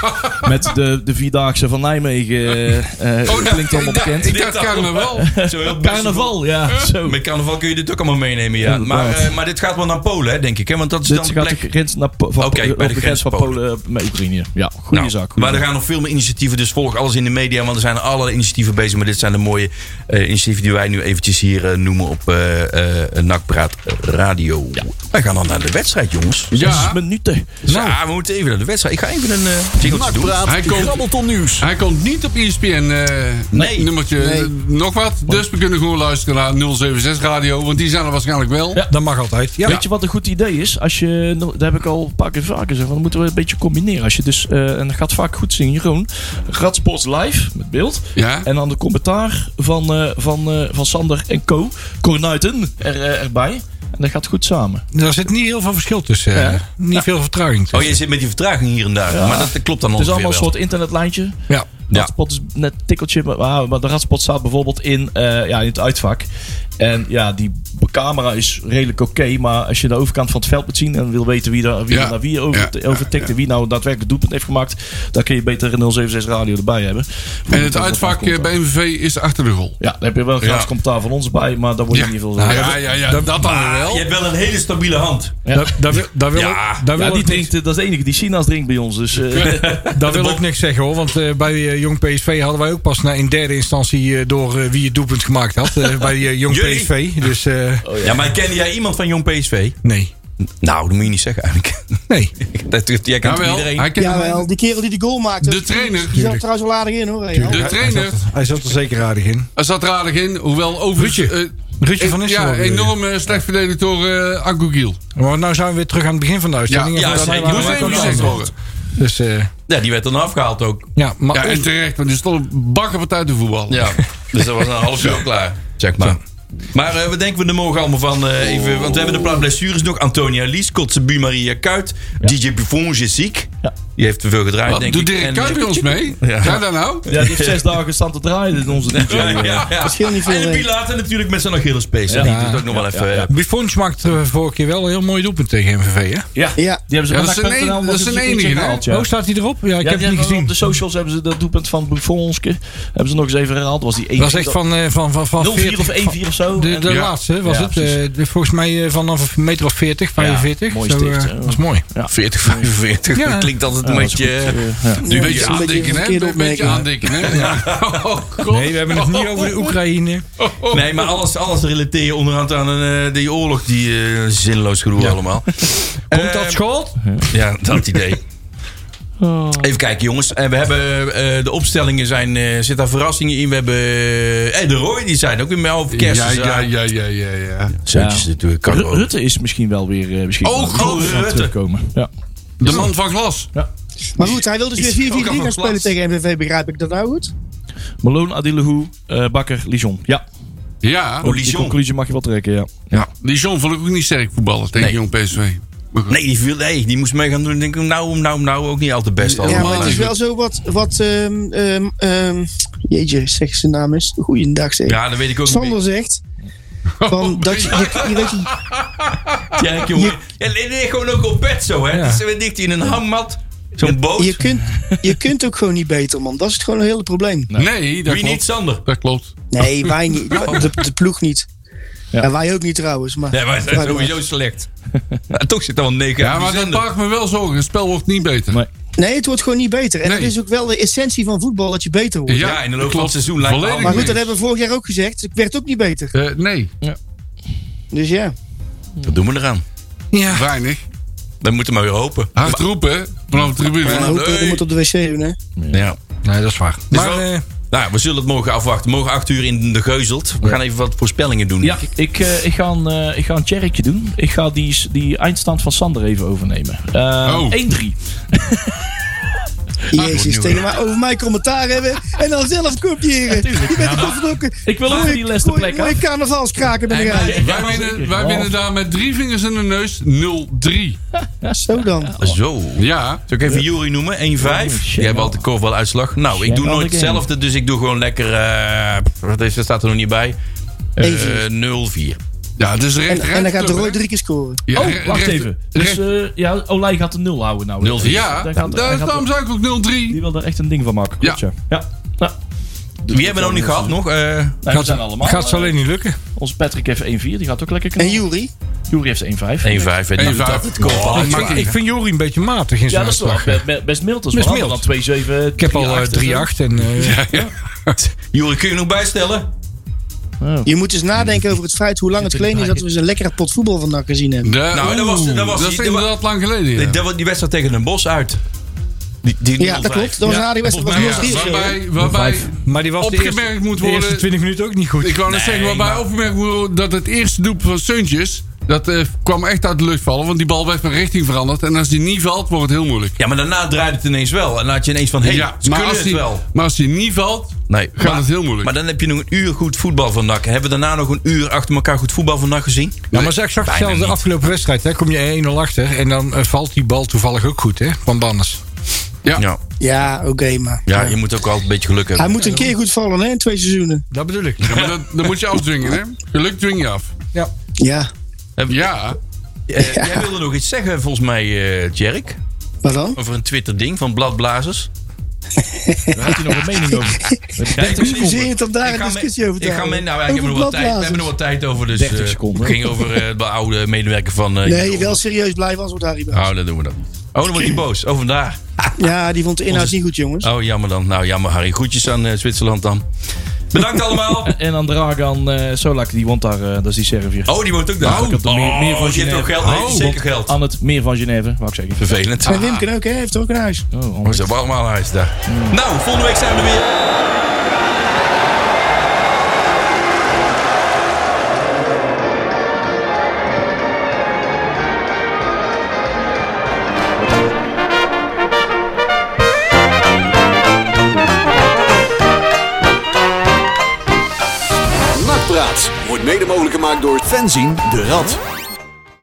[SPEAKER 7] met de, de Vierdaagse van Nijmegen. Eh, eh,
[SPEAKER 3] Oh
[SPEAKER 4] dat-
[SPEAKER 7] klinkt allemaal
[SPEAKER 4] ik dacht-
[SPEAKER 7] bekend.
[SPEAKER 4] Ik dacht carnaval.
[SPEAKER 3] Zo heel
[SPEAKER 7] Carnaval, ja. Zo.
[SPEAKER 3] Met carnaval kun je dit ook allemaal meenemen, ja. Maar,
[SPEAKER 7] Inderdaad.
[SPEAKER 3] eh, maar dit gaat wel naar Polen, hè, denk ik. Hè? Want dat is
[SPEAKER 7] Dit
[SPEAKER 3] dan de
[SPEAKER 7] gaat de
[SPEAKER 3] plek...
[SPEAKER 7] grens, naar, Po- van,
[SPEAKER 3] Oké, bij
[SPEAKER 7] op
[SPEAKER 3] de
[SPEAKER 7] de
[SPEAKER 3] grens
[SPEAKER 7] grens van
[SPEAKER 3] Polen.
[SPEAKER 7] Polen eh, met Oekraïne. Ja, goede
[SPEAKER 3] Nou,
[SPEAKER 7] zaak. goede
[SPEAKER 3] maar er
[SPEAKER 7] zaak.
[SPEAKER 3] gaan nog veel meer initiatieven, dus volg alles in de media. Want er zijn allerlei initiatieven bezig. Maar dit zijn de mooie eh, initiatieven die wij nu eventjes hier eh, noemen op eh eh Nakpraat Radio. Wij gaan dan naar de wedstrijd, jongens.
[SPEAKER 4] Ja,
[SPEAKER 7] 60 minuten.
[SPEAKER 3] Nou. Ja, we moeten even naar de wedstrijd. Ik ga even een eh jingletje doen.
[SPEAKER 2] Nakpraat,
[SPEAKER 4] Hij komt.
[SPEAKER 2] grabbelton nieuws.
[SPEAKER 4] hij komt niet op ESPN eh,
[SPEAKER 3] Nee.
[SPEAKER 4] nummertje eh, nog wat. Dus we kunnen gewoon luisteren naar 076 Radio, want die zijn er waarschijnlijk wel.
[SPEAKER 5] Dat mag altijd. Ja,
[SPEAKER 7] Weet je wat een goed idee is? Als je, dat heb ik al een paar keer vaker gezegd, want dan moeten we een beetje combineren. Als je dus, eh, en dat gaat vaak goed zien, Jeroen. Radsport live, met beeld.
[SPEAKER 4] Ja.
[SPEAKER 7] En dan de commentaar van, eh, van, eh, van Sander en Co. Cornuiten er, eh, erbij. En dat gaat goed samen.
[SPEAKER 5] daar zit niet heel veel verschil tussen. eh,
[SPEAKER 7] Ja.
[SPEAKER 5] Niet veel vertraging
[SPEAKER 3] Oh,
[SPEAKER 5] tussen.
[SPEAKER 3] je zit met die vertraging hier en daar. Maar dat, dat klopt dan
[SPEAKER 7] Het is
[SPEAKER 3] ongeveer
[SPEAKER 7] allemaal een
[SPEAKER 3] wel.
[SPEAKER 7] soort internetlijntje.
[SPEAKER 5] ja.
[SPEAKER 3] Ja.
[SPEAKER 7] Radspot is net een tikkeltje, maar- maar, maar de Radspot staat bijvoorbeeld in, eh, ja, in het uitvak. En ja, die camera is redelijk oké, maar als je de overkant van het veld moet zien en wil weten wie daar wie
[SPEAKER 4] Ja.
[SPEAKER 7] er naar wie over,
[SPEAKER 4] Ja.
[SPEAKER 7] overtikt en wie nou daadwerkelijk het doelpunt heeft gemaakt, dan kun je beter een 076 radio erbij hebben.
[SPEAKER 4] En het uitvak eh, bij MVV is achter de rol.
[SPEAKER 7] Ja, daar heb je wel een gratis
[SPEAKER 4] Ja.
[SPEAKER 7] commentaar van ons bij, maar daar wordt
[SPEAKER 4] Ja,
[SPEAKER 7] niet veel
[SPEAKER 4] ja, ja, ja, dat dan
[SPEAKER 3] Ah,
[SPEAKER 4] wel.
[SPEAKER 3] je hebt wel een hele stabiele hand.
[SPEAKER 7] Ja.
[SPEAKER 5] Daar, daar wil, daar wil,
[SPEAKER 3] Ja.
[SPEAKER 5] ik, daar wil
[SPEAKER 7] Ja, die
[SPEAKER 5] ik niks,
[SPEAKER 7] drinkt, eh, dat is de enige die Sina's drinkt bij ons. Dus, eh,
[SPEAKER 5] daar wil ik niks zeggen hoor. Want eh, bij eh, Jong PSV hadden wij ook pas na, in derde instantie eh, door eh, wie het doelpunt gemaakt had. eh, bij eh, Jong
[SPEAKER 3] Jullie?
[SPEAKER 5] PSV. Dus eh,
[SPEAKER 3] ja. maar ken jij iemand van Jong PSV?
[SPEAKER 5] nee.
[SPEAKER 3] Nou, dat moet je niet zeggen eigenlijk. <laughs>
[SPEAKER 5] Nee.
[SPEAKER 3] Dat, dat- jij kent
[SPEAKER 4] Jawel,
[SPEAKER 3] iedereen.
[SPEAKER 4] hij kent hem.
[SPEAKER 6] Jawel, die kerel die die goal maakte.
[SPEAKER 4] De trainer.
[SPEAKER 6] Die zat trouwens wel aardig in hoor. Real.
[SPEAKER 4] De trainer
[SPEAKER 5] Hij zat er zeker aardig in.
[SPEAKER 4] er zat er aardig in, hoewel over...
[SPEAKER 5] Ruudje.
[SPEAKER 4] eh,
[SPEAKER 5] Ruudje van Nistelrooy
[SPEAKER 4] Ja,
[SPEAKER 5] bedoel je?
[SPEAKER 4] enorm eh, slecht verdedigd door eh Anko Giel.
[SPEAKER 5] Maar nou zijn we weer terug aan het begin van de uitzending.
[SPEAKER 3] Ja,
[SPEAKER 5] En
[SPEAKER 3] ja,
[SPEAKER 5] van-
[SPEAKER 3] zeker.
[SPEAKER 5] van-
[SPEAKER 4] Moest
[SPEAKER 5] van-
[SPEAKER 4] even
[SPEAKER 5] van-
[SPEAKER 4] gezegd worden.
[SPEAKER 5] Dus eh,
[SPEAKER 3] Ja, die werd dan afgehaald ook.
[SPEAKER 5] ja, maar
[SPEAKER 4] Ja, en terecht, want die stond een bakker wat uit de voetbal.
[SPEAKER 3] Ja. dus dat was een half uur klaar, zeg maar. Maar eh, wat denken we er morgen allemaal van? eh, even, want we hebben de plaat blessures nog. Antonia Lies, Kotzebu Maria Kuit. DJ Buffon is ziek.
[SPEAKER 7] Ja.
[SPEAKER 3] Die heeft te veel gedraaid,
[SPEAKER 4] Wat,
[SPEAKER 3] denk
[SPEAKER 4] doet
[SPEAKER 3] ik.
[SPEAKER 4] Dirk
[SPEAKER 3] En-
[SPEAKER 4] Kuyt bij ons mee?
[SPEAKER 3] Ja.
[SPEAKER 4] Ja, daar nou?
[SPEAKER 7] Ja, die heeft zes dagen staan te draaien in onze eh. DJ. <laughs>
[SPEAKER 3] Ja, ja, ja.
[SPEAKER 6] scheelt niet veel,
[SPEAKER 3] En de
[SPEAKER 6] eh.
[SPEAKER 3] Pilate natuurlijk met zijn Achilles Space.
[SPEAKER 7] Ja.
[SPEAKER 3] Die doet ook nog wel even... eh,
[SPEAKER 5] Buffons maakte eh, vorige keer wel een heel mooi doelpunt tegen MVV. Hè?
[SPEAKER 7] Ja, die
[SPEAKER 6] Ja.
[SPEAKER 7] hebben ze
[SPEAKER 4] Ja,
[SPEAKER 7] op
[SPEAKER 4] dat is
[SPEAKER 7] NAC.nl
[SPEAKER 4] een een-
[SPEAKER 7] nog
[SPEAKER 4] dat is
[SPEAKER 7] eens
[SPEAKER 4] een
[SPEAKER 7] keertje
[SPEAKER 4] enige, hè?
[SPEAKER 7] gehaald, ja.
[SPEAKER 5] Oh, staat hij erop? Ja, ik
[SPEAKER 7] Ja,
[SPEAKER 5] heb
[SPEAKER 7] die
[SPEAKER 5] het niet
[SPEAKER 7] hebben
[SPEAKER 5] gezien.
[SPEAKER 7] Op de socials hebben ze dat doelpunt van Buffonske. Hebben ze nog eens even herhaald. Was die 1
[SPEAKER 5] Dat was echt van, eh, van, van, van
[SPEAKER 7] 04 of
[SPEAKER 5] 40 van-
[SPEAKER 7] 14 of zo.
[SPEAKER 5] De,
[SPEAKER 7] En-
[SPEAKER 5] de
[SPEAKER 7] ja.
[SPEAKER 5] laatste was
[SPEAKER 7] Ja,
[SPEAKER 5] het.
[SPEAKER 7] precies.
[SPEAKER 5] eh, de- volgens mij eh, vanaf een meter of 40, 45.
[SPEAKER 7] mooi
[SPEAKER 5] Zo,
[SPEAKER 7] sticht,
[SPEAKER 5] eh,
[SPEAKER 7] hè.
[SPEAKER 5] dat is mooi.
[SPEAKER 3] 40, 45.
[SPEAKER 5] Ja.
[SPEAKER 3] Dat klinkt altijd een
[SPEAKER 7] Ja, dat is
[SPEAKER 3] beetje...
[SPEAKER 7] goed,
[SPEAKER 3] eh,
[SPEAKER 7] eh, ja.
[SPEAKER 4] Een beetje
[SPEAKER 6] dat is een beetje
[SPEAKER 4] aandikken, hè?
[SPEAKER 6] verkeerde
[SPEAKER 4] Een beetje
[SPEAKER 6] opmerking.
[SPEAKER 4] aandikken, hè? <laughs> Oh, God.
[SPEAKER 5] Nee, we hebben het niet over de Oekraïne.
[SPEAKER 3] Nee, maar alles, alles relateer je onderhand aan een, eh, die oorlog. Die eh, zinloos gedoe allemaal.
[SPEAKER 5] Komt
[SPEAKER 3] Eh,
[SPEAKER 5] dat schuld?
[SPEAKER 3] Ja, dat
[SPEAKER 4] <laughs>
[SPEAKER 3] idee.
[SPEAKER 4] Oh.
[SPEAKER 3] Even kijken, jongens. Eh, we hebben, eh, de opstellingen zijn, eh zitten daar verrassingen in. We hebben eh, de Roy, die zijn ook weer met over kerst. Dus, eh,
[SPEAKER 4] Ja, ja, ja, ja, ja, ja.
[SPEAKER 3] Zoetjes
[SPEAKER 7] Ja.
[SPEAKER 3] natuurlijk. kan
[SPEAKER 7] Ru-
[SPEAKER 3] ook.
[SPEAKER 7] Rutte is misschien wel weer eh, misschien
[SPEAKER 3] Oh,
[SPEAKER 7] wel
[SPEAKER 3] grote
[SPEAKER 7] aan het
[SPEAKER 3] Rutte.
[SPEAKER 7] terugkomen. Ja.
[SPEAKER 4] De man van glas.
[SPEAKER 6] Maar goed, hij wil dus weer 4-4-3
[SPEAKER 4] ook al van
[SPEAKER 6] gaan spelen
[SPEAKER 4] plaats.
[SPEAKER 6] tegen MVV. Begrijp ik dat nou goed?
[SPEAKER 7] Malone, Adilahou, eh Bakker, Lijon. Ja,
[SPEAKER 4] Ja,
[SPEAKER 7] die
[SPEAKER 3] Lijon.
[SPEAKER 7] conclusie mag je wel trekken, ja.
[SPEAKER 4] die John vond ik ook niet sterk voetballen tegen
[SPEAKER 3] Nee.
[SPEAKER 4] Jong PSV. Maar goed.
[SPEAKER 3] Nee, die, viel, nee, die moest mee gaan doen. Denk ik, nou, nou, nou, ook niet al te best.
[SPEAKER 6] Ja,
[SPEAKER 3] allemaal.
[SPEAKER 6] maar het is wel zo wat... wat ehm, ehm, ehm, jeetje, zeg zijn naam is. Goeiedag zeg.
[SPEAKER 3] Ja, dat weet ik ook
[SPEAKER 6] Sander
[SPEAKER 3] niet.
[SPEAKER 6] zegt... Van, dat je, je, je weet je,
[SPEAKER 3] Ja, jongen. Ja, die ligt gewoon ook op bed zo, hè.
[SPEAKER 5] Ja.
[SPEAKER 3] Dus, eh, ligt hij in een hangmat. Zo'n boot.
[SPEAKER 6] Je kunt, je kunt ook gewoon niet beter, man. Dat is het gewoon een hele probleem.
[SPEAKER 4] Nee, dat
[SPEAKER 3] Wie niet,
[SPEAKER 4] klopt.
[SPEAKER 3] Sander?
[SPEAKER 4] Dat klopt.
[SPEAKER 6] Nee, wij niet. De, de ploeg niet.
[SPEAKER 7] Ja.
[SPEAKER 6] En wij ook niet trouwens. Maar,
[SPEAKER 3] Nee, wij zijn
[SPEAKER 6] maar-
[SPEAKER 3] sowieso select. <laughs> Maar toch zit er wel negen
[SPEAKER 4] Ja, maar dat maakt me wel zorgen. Het spel wordt niet beter.
[SPEAKER 7] Nee.
[SPEAKER 6] nee, het wordt gewoon niet beter. En
[SPEAKER 4] Nee.
[SPEAKER 6] dat is ook wel de essentie van voetbal, dat je beter wordt.
[SPEAKER 3] Ja, in de loop van het seizoen lijkt het
[SPEAKER 4] Volledig
[SPEAKER 6] Maar goed,
[SPEAKER 4] mee.
[SPEAKER 6] dat hebben we vorig jaar ook gezegd. Ik werd ook niet beter.
[SPEAKER 4] Eh, nee,
[SPEAKER 6] Dus ja.
[SPEAKER 3] Dat doen we eraan.
[SPEAKER 5] Ja.
[SPEAKER 4] weinig.
[SPEAKER 3] We moeten maar weer hopen.
[SPEAKER 4] Hard roepen vanaf de
[SPEAKER 6] En
[SPEAKER 4] tribune.
[SPEAKER 3] nou,
[SPEAKER 6] hopen dat
[SPEAKER 3] nee.
[SPEAKER 6] je moet op de wc doen, hè.
[SPEAKER 3] Ja.
[SPEAKER 5] Nee, dat is waar. Maar
[SPEAKER 3] wel-
[SPEAKER 5] eh,
[SPEAKER 3] Nou, we zullen het morgen afwachten. Morgen 8 uur in de Geuzelt. We gaan even wat voorspellingen doen.
[SPEAKER 7] Ja, ik, eh, ik, ga een, eh, ik ga een cherretje doen. Ik ga die, die eindstand van Sander even overnemen. Eh,
[SPEAKER 4] Oh.
[SPEAKER 7] 1-3.
[SPEAKER 6] Jezus,
[SPEAKER 3] nu
[SPEAKER 6] tegen mij over mijn commentaar hebben. En dan zelf kopiëren. Je bent een godverdomme...
[SPEAKER 7] Ik wil ook
[SPEAKER 6] mooie-
[SPEAKER 7] die laatste plek
[SPEAKER 6] mooie-
[SPEAKER 7] af.
[SPEAKER 6] mooie carnavalskraken ben jij.
[SPEAKER 4] Wij winnen, wij winnen daar met drie vingers in de neus 0-3.
[SPEAKER 6] Zo dan.
[SPEAKER 3] Zo. Zal
[SPEAKER 4] Ja,
[SPEAKER 3] ik even Jury noemen? 1-5.
[SPEAKER 7] shit,
[SPEAKER 3] Jij hebt
[SPEAKER 7] man.
[SPEAKER 3] altijd korfbal uitslag. Nou, ik
[SPEAKER 7] Shit,
[SPEAKER 3] doe
[SPEAKER 7] man,
[SPEAKER 3] nooit
[SPEAKER 7] de game.
[SPEAKER 3] hetzelfde. Dus ik doe gewoon lekker... eh, wat is, dat staat er nog niet bij. Eh, 0-4.
[SPEAKER 4] ja het is recht
[SPEAKER 6] En, en dan gaat Roy drie keer scoren.
[SPEAKER 4] Ja,
[SPEAKER 7] Oh,
[SPEAKER 4] recht-
[SPEAKER 7] wacht
[SPEAKER 4] recht-
[SPEAKER 7] even. Dus
[SPEAKER 4] recht-
[SPEAKER 7] eh, ja, Olij gaat de 0 houden nou.
[SPEAKER 3] 0-4.
[SPEAKER 4] ja,
[SPEAKER 7] Hij gaat- hij
[SPEAKER 4] daar-
[SPEAKER 7] gaat-
[SPEAKER 4] daarom zei ik ook 0-3.
[SPEAKER 7] Die wil daar echt een ding van maken. Klopt, ja.
[SPEAKER 4] Ja.
[SPEAKER 7] ja. Nou,
[SPEAKER 3] Wie hebben we nog niet gehad? Nog? Eh,
[SPEAKER 7] nee, we
[SPEAKER 5] gaat,
[SPEAKER 7] zijn allemaal.
[SPEAKER 5] gaat ze
[SPEAKER 7] eh,
[SPEAKER 5] alleen niet lukken.
[SPEAKER 7] Onze Patrick heeft 1-4. Die gaat ook lekker
[SPEAKER 6] En
[SPEAKER 7] knallen.
[SPEAKER 6] Jury?
[SPEAKER 7] Jury heeft 1-5.
[SPEAKER 3] 1-5. En die doet dat het korfbal.
[SPEAKER 5] ik, vind, ik vind Jori een beetje matig in zijn
[SPEAKER 7] Ja, dat is wel
[SPEAKER 5] uitslag.
[SPEAKER 7] be- be- best mild. Dat is
[SPEAKER 5] Best
[SPEAKER 7] wel
[SPEAKER 5] mild.
[SPEAKER 7] anders dan 2-7.
[SPEAKER 5] Ik heb al eh, 3-8 en eh,
[SPEAKER 3] Jury, kun je nog bijstellen?
[SPEAKER 6] Je moet dus nadenken over het feit hoe lang het geleden is dat we eens een lekkere pot voetbal vandaag gezien hebben.
[SPEAKER 3] Nou, dat was- dat was-
[SPEAKER 4] dat is
[SPEAKER 3] dat
[SPEAKER 4] inderdaad lang geleden. ja.
[SPEAKER 3] Nee, dat was- Die wedstrijd tegen Den Bos uit. Die, die
[SPEAKER 6] Ja, dat
[SPEAKER 3] 0-5.
[SPEAKER 6] klopt. Dat was een aardige wedstrijd.
[SPEAKER 4] Ja,
[SPEAKER 6] Dat was 0-3 of zo, hè?
[SPEAKER 4] waarbij, waarbij,
[SPEAKER 5] Maar die was de
[SPEAKER 4] Opgemerkt
[SPEAKER 5] eerste-
[SPEAKER 4] moet
[SPEAKER 5] De eerste
[SPEAKER 4] worden-
[SPEAKER 5] 20 minuten ook niet goed.
[SPEAKER 4] ik wou net
[SPEAKER 3] Nee,
[SPEAKER 4] zeggen, waarbij
[SPEAKER 3] maar-
[SPEAKER 4] opgemerkt moet worden dat het eerste doep van Suntjes, dat eh, kwam echt uit de lucht vallen, want die bal werd van richting veranderd. En als die niet valt, wordt het heel moeilijk.
[SPEAKER 3] Ja, maar daarna draaide het ineens wel. En dan had je ineens van, hé, hey, ze
[SPEAKER 4] maar,
[SPEAKER 3] kunnen
[SPEAKER 4] als
[SPEAKER 3] het
[SPEAKER 4] die,
[SPEAKER 3] wel.
[SPEAKER 4] maar als die niet valt,
[SPEAKER 3] Nee,
[SPEAKER 4] gaat het heel moeilijk.
[SPEAKER 3] Maar dan heb je nog een uur goed voetbal van NAC. Hebben we daarna nog een uur achter elkaar goed voetbal van NAC gezien?
[SPEAKER 5] Ja, maar ik zag
[SPEAKER 3] Bijna
[SPEAKER 5] zelfs de
[SPEAKER 3] niet.
[SPEAKER 5] afgelopen wedstrijd. Hè, kom je 1-0 achter en dan eh, valt die bal toevallig ook goed hè, van Bannes.
[SPEAKER 4] ja.
[SPEAKER 3] Ja,
[SPEAKER 6] Ja, oké, maar.
[SPEAKER 3] ja je moet ook wel een beetje geluk
[SPEAKER 6] Hij
[SPEAKER 3] hebben.
[SPEAKER 6] moet een keer goed vallen, hè? in Twee seizoenen.
[SPEAKER 5] Dat bedoel ik.
[SPEAKER 4] Ja, maar dat, dat moet je afdwingen, hè? Geluk dwing je af.
[SPEAKER 6] Ja.
[SPEAKER 4] Ja.
[SPEAKER 3] Eh, jij wilde nog iets zeggen, volgens mij, eh Tjerk.
[SPEAKER 6] Wat dan?
[SPEAKER 3] Over een Twitter-ding van Bladblazers.
[SPEAKER 7] Daar had hij
[SPEAKER 5] <laughs>
[SPEAKER 7] nog een mening over. Met 30
[SPEAKER 6] Hoe
[SPEAKER 7] seconden.
[SPEAKER 6] zit het om daar
[SPEAKER 3] Ik
[SPEAKER 6] een
[SPEAKER 3] ga
[SPEAKER 6] discussie
[SPEAKER 3] me-
[SPEAKER 6] over te
[SPEAKER 3] ik ga me-
[SPEAKER 6] houden?
[SPEAKER 3] nou, we hebben
[SPEAKER 6] Over
[SPEAKER 3] nog wat tijd- we hebben nog
[SPEAKER 6] bladblazers.
[SPEAKER 3] wat tijd over. Dus,
[SPEAKER 7] 30
[SPEAKER 3] eh,
[SPEAKER 7] seconden.
[SPEAKER 3] Het ging over eh, de oude medewerker van... eh,
[SPEAKER 6] Nee,
[SPEAKER 3] Jodo.
[SPEAKER 6] wel serieus blijven als we daar hier
[SPEAKER 3] Oh, dat doen we dan niet. Oh, dan wordt hij boos. Oh, vandaag.
[SPEAKER 6] Ja, die vond de inhoud niet goed, jongens.
[SPEAKER 3] Oh, jammer dan. Nou, jammer Harry. Groetjes aan eh, Zwitserland dan. Bedankt allemaal.
[SPEAKER 7] En aan Dragan eh, Solak, die woont daar, eh, dat is die Serviër.
[SPEAKER 3] Oh, die woont ook daar.
[SPEAKER 7] ik had er
[SPEAKER 3] Oh,
[SPEAKER 7] meer- meer van
[SPEAKER 3] je hebt
[SPEAKER 7] Genève.
[SPEAKER 3] ook geld. Nee,
[SPEAKER 7] Oh,
[SPEAKER 3] zeker geld.
[SPEAKER 7] Aan het meer van Genève, wou ik zeggen.
[SPEAKER 3] Vervelend.
[SPEAKER 6] En Wimken ook, hè? Heeft ook een huis.
[SPEAKER 7] Oh,
[SPEAKER 3] Oh,
[SPEAKER 7] ongeveer.
[SPEAKER 3] ze hebben allemaal een huis daar. Nou, volgende week zijn we er weer.
[SPEAKER 1] Nakpraat wordt mede mogelijk gemaakt door Fenzin de Rad.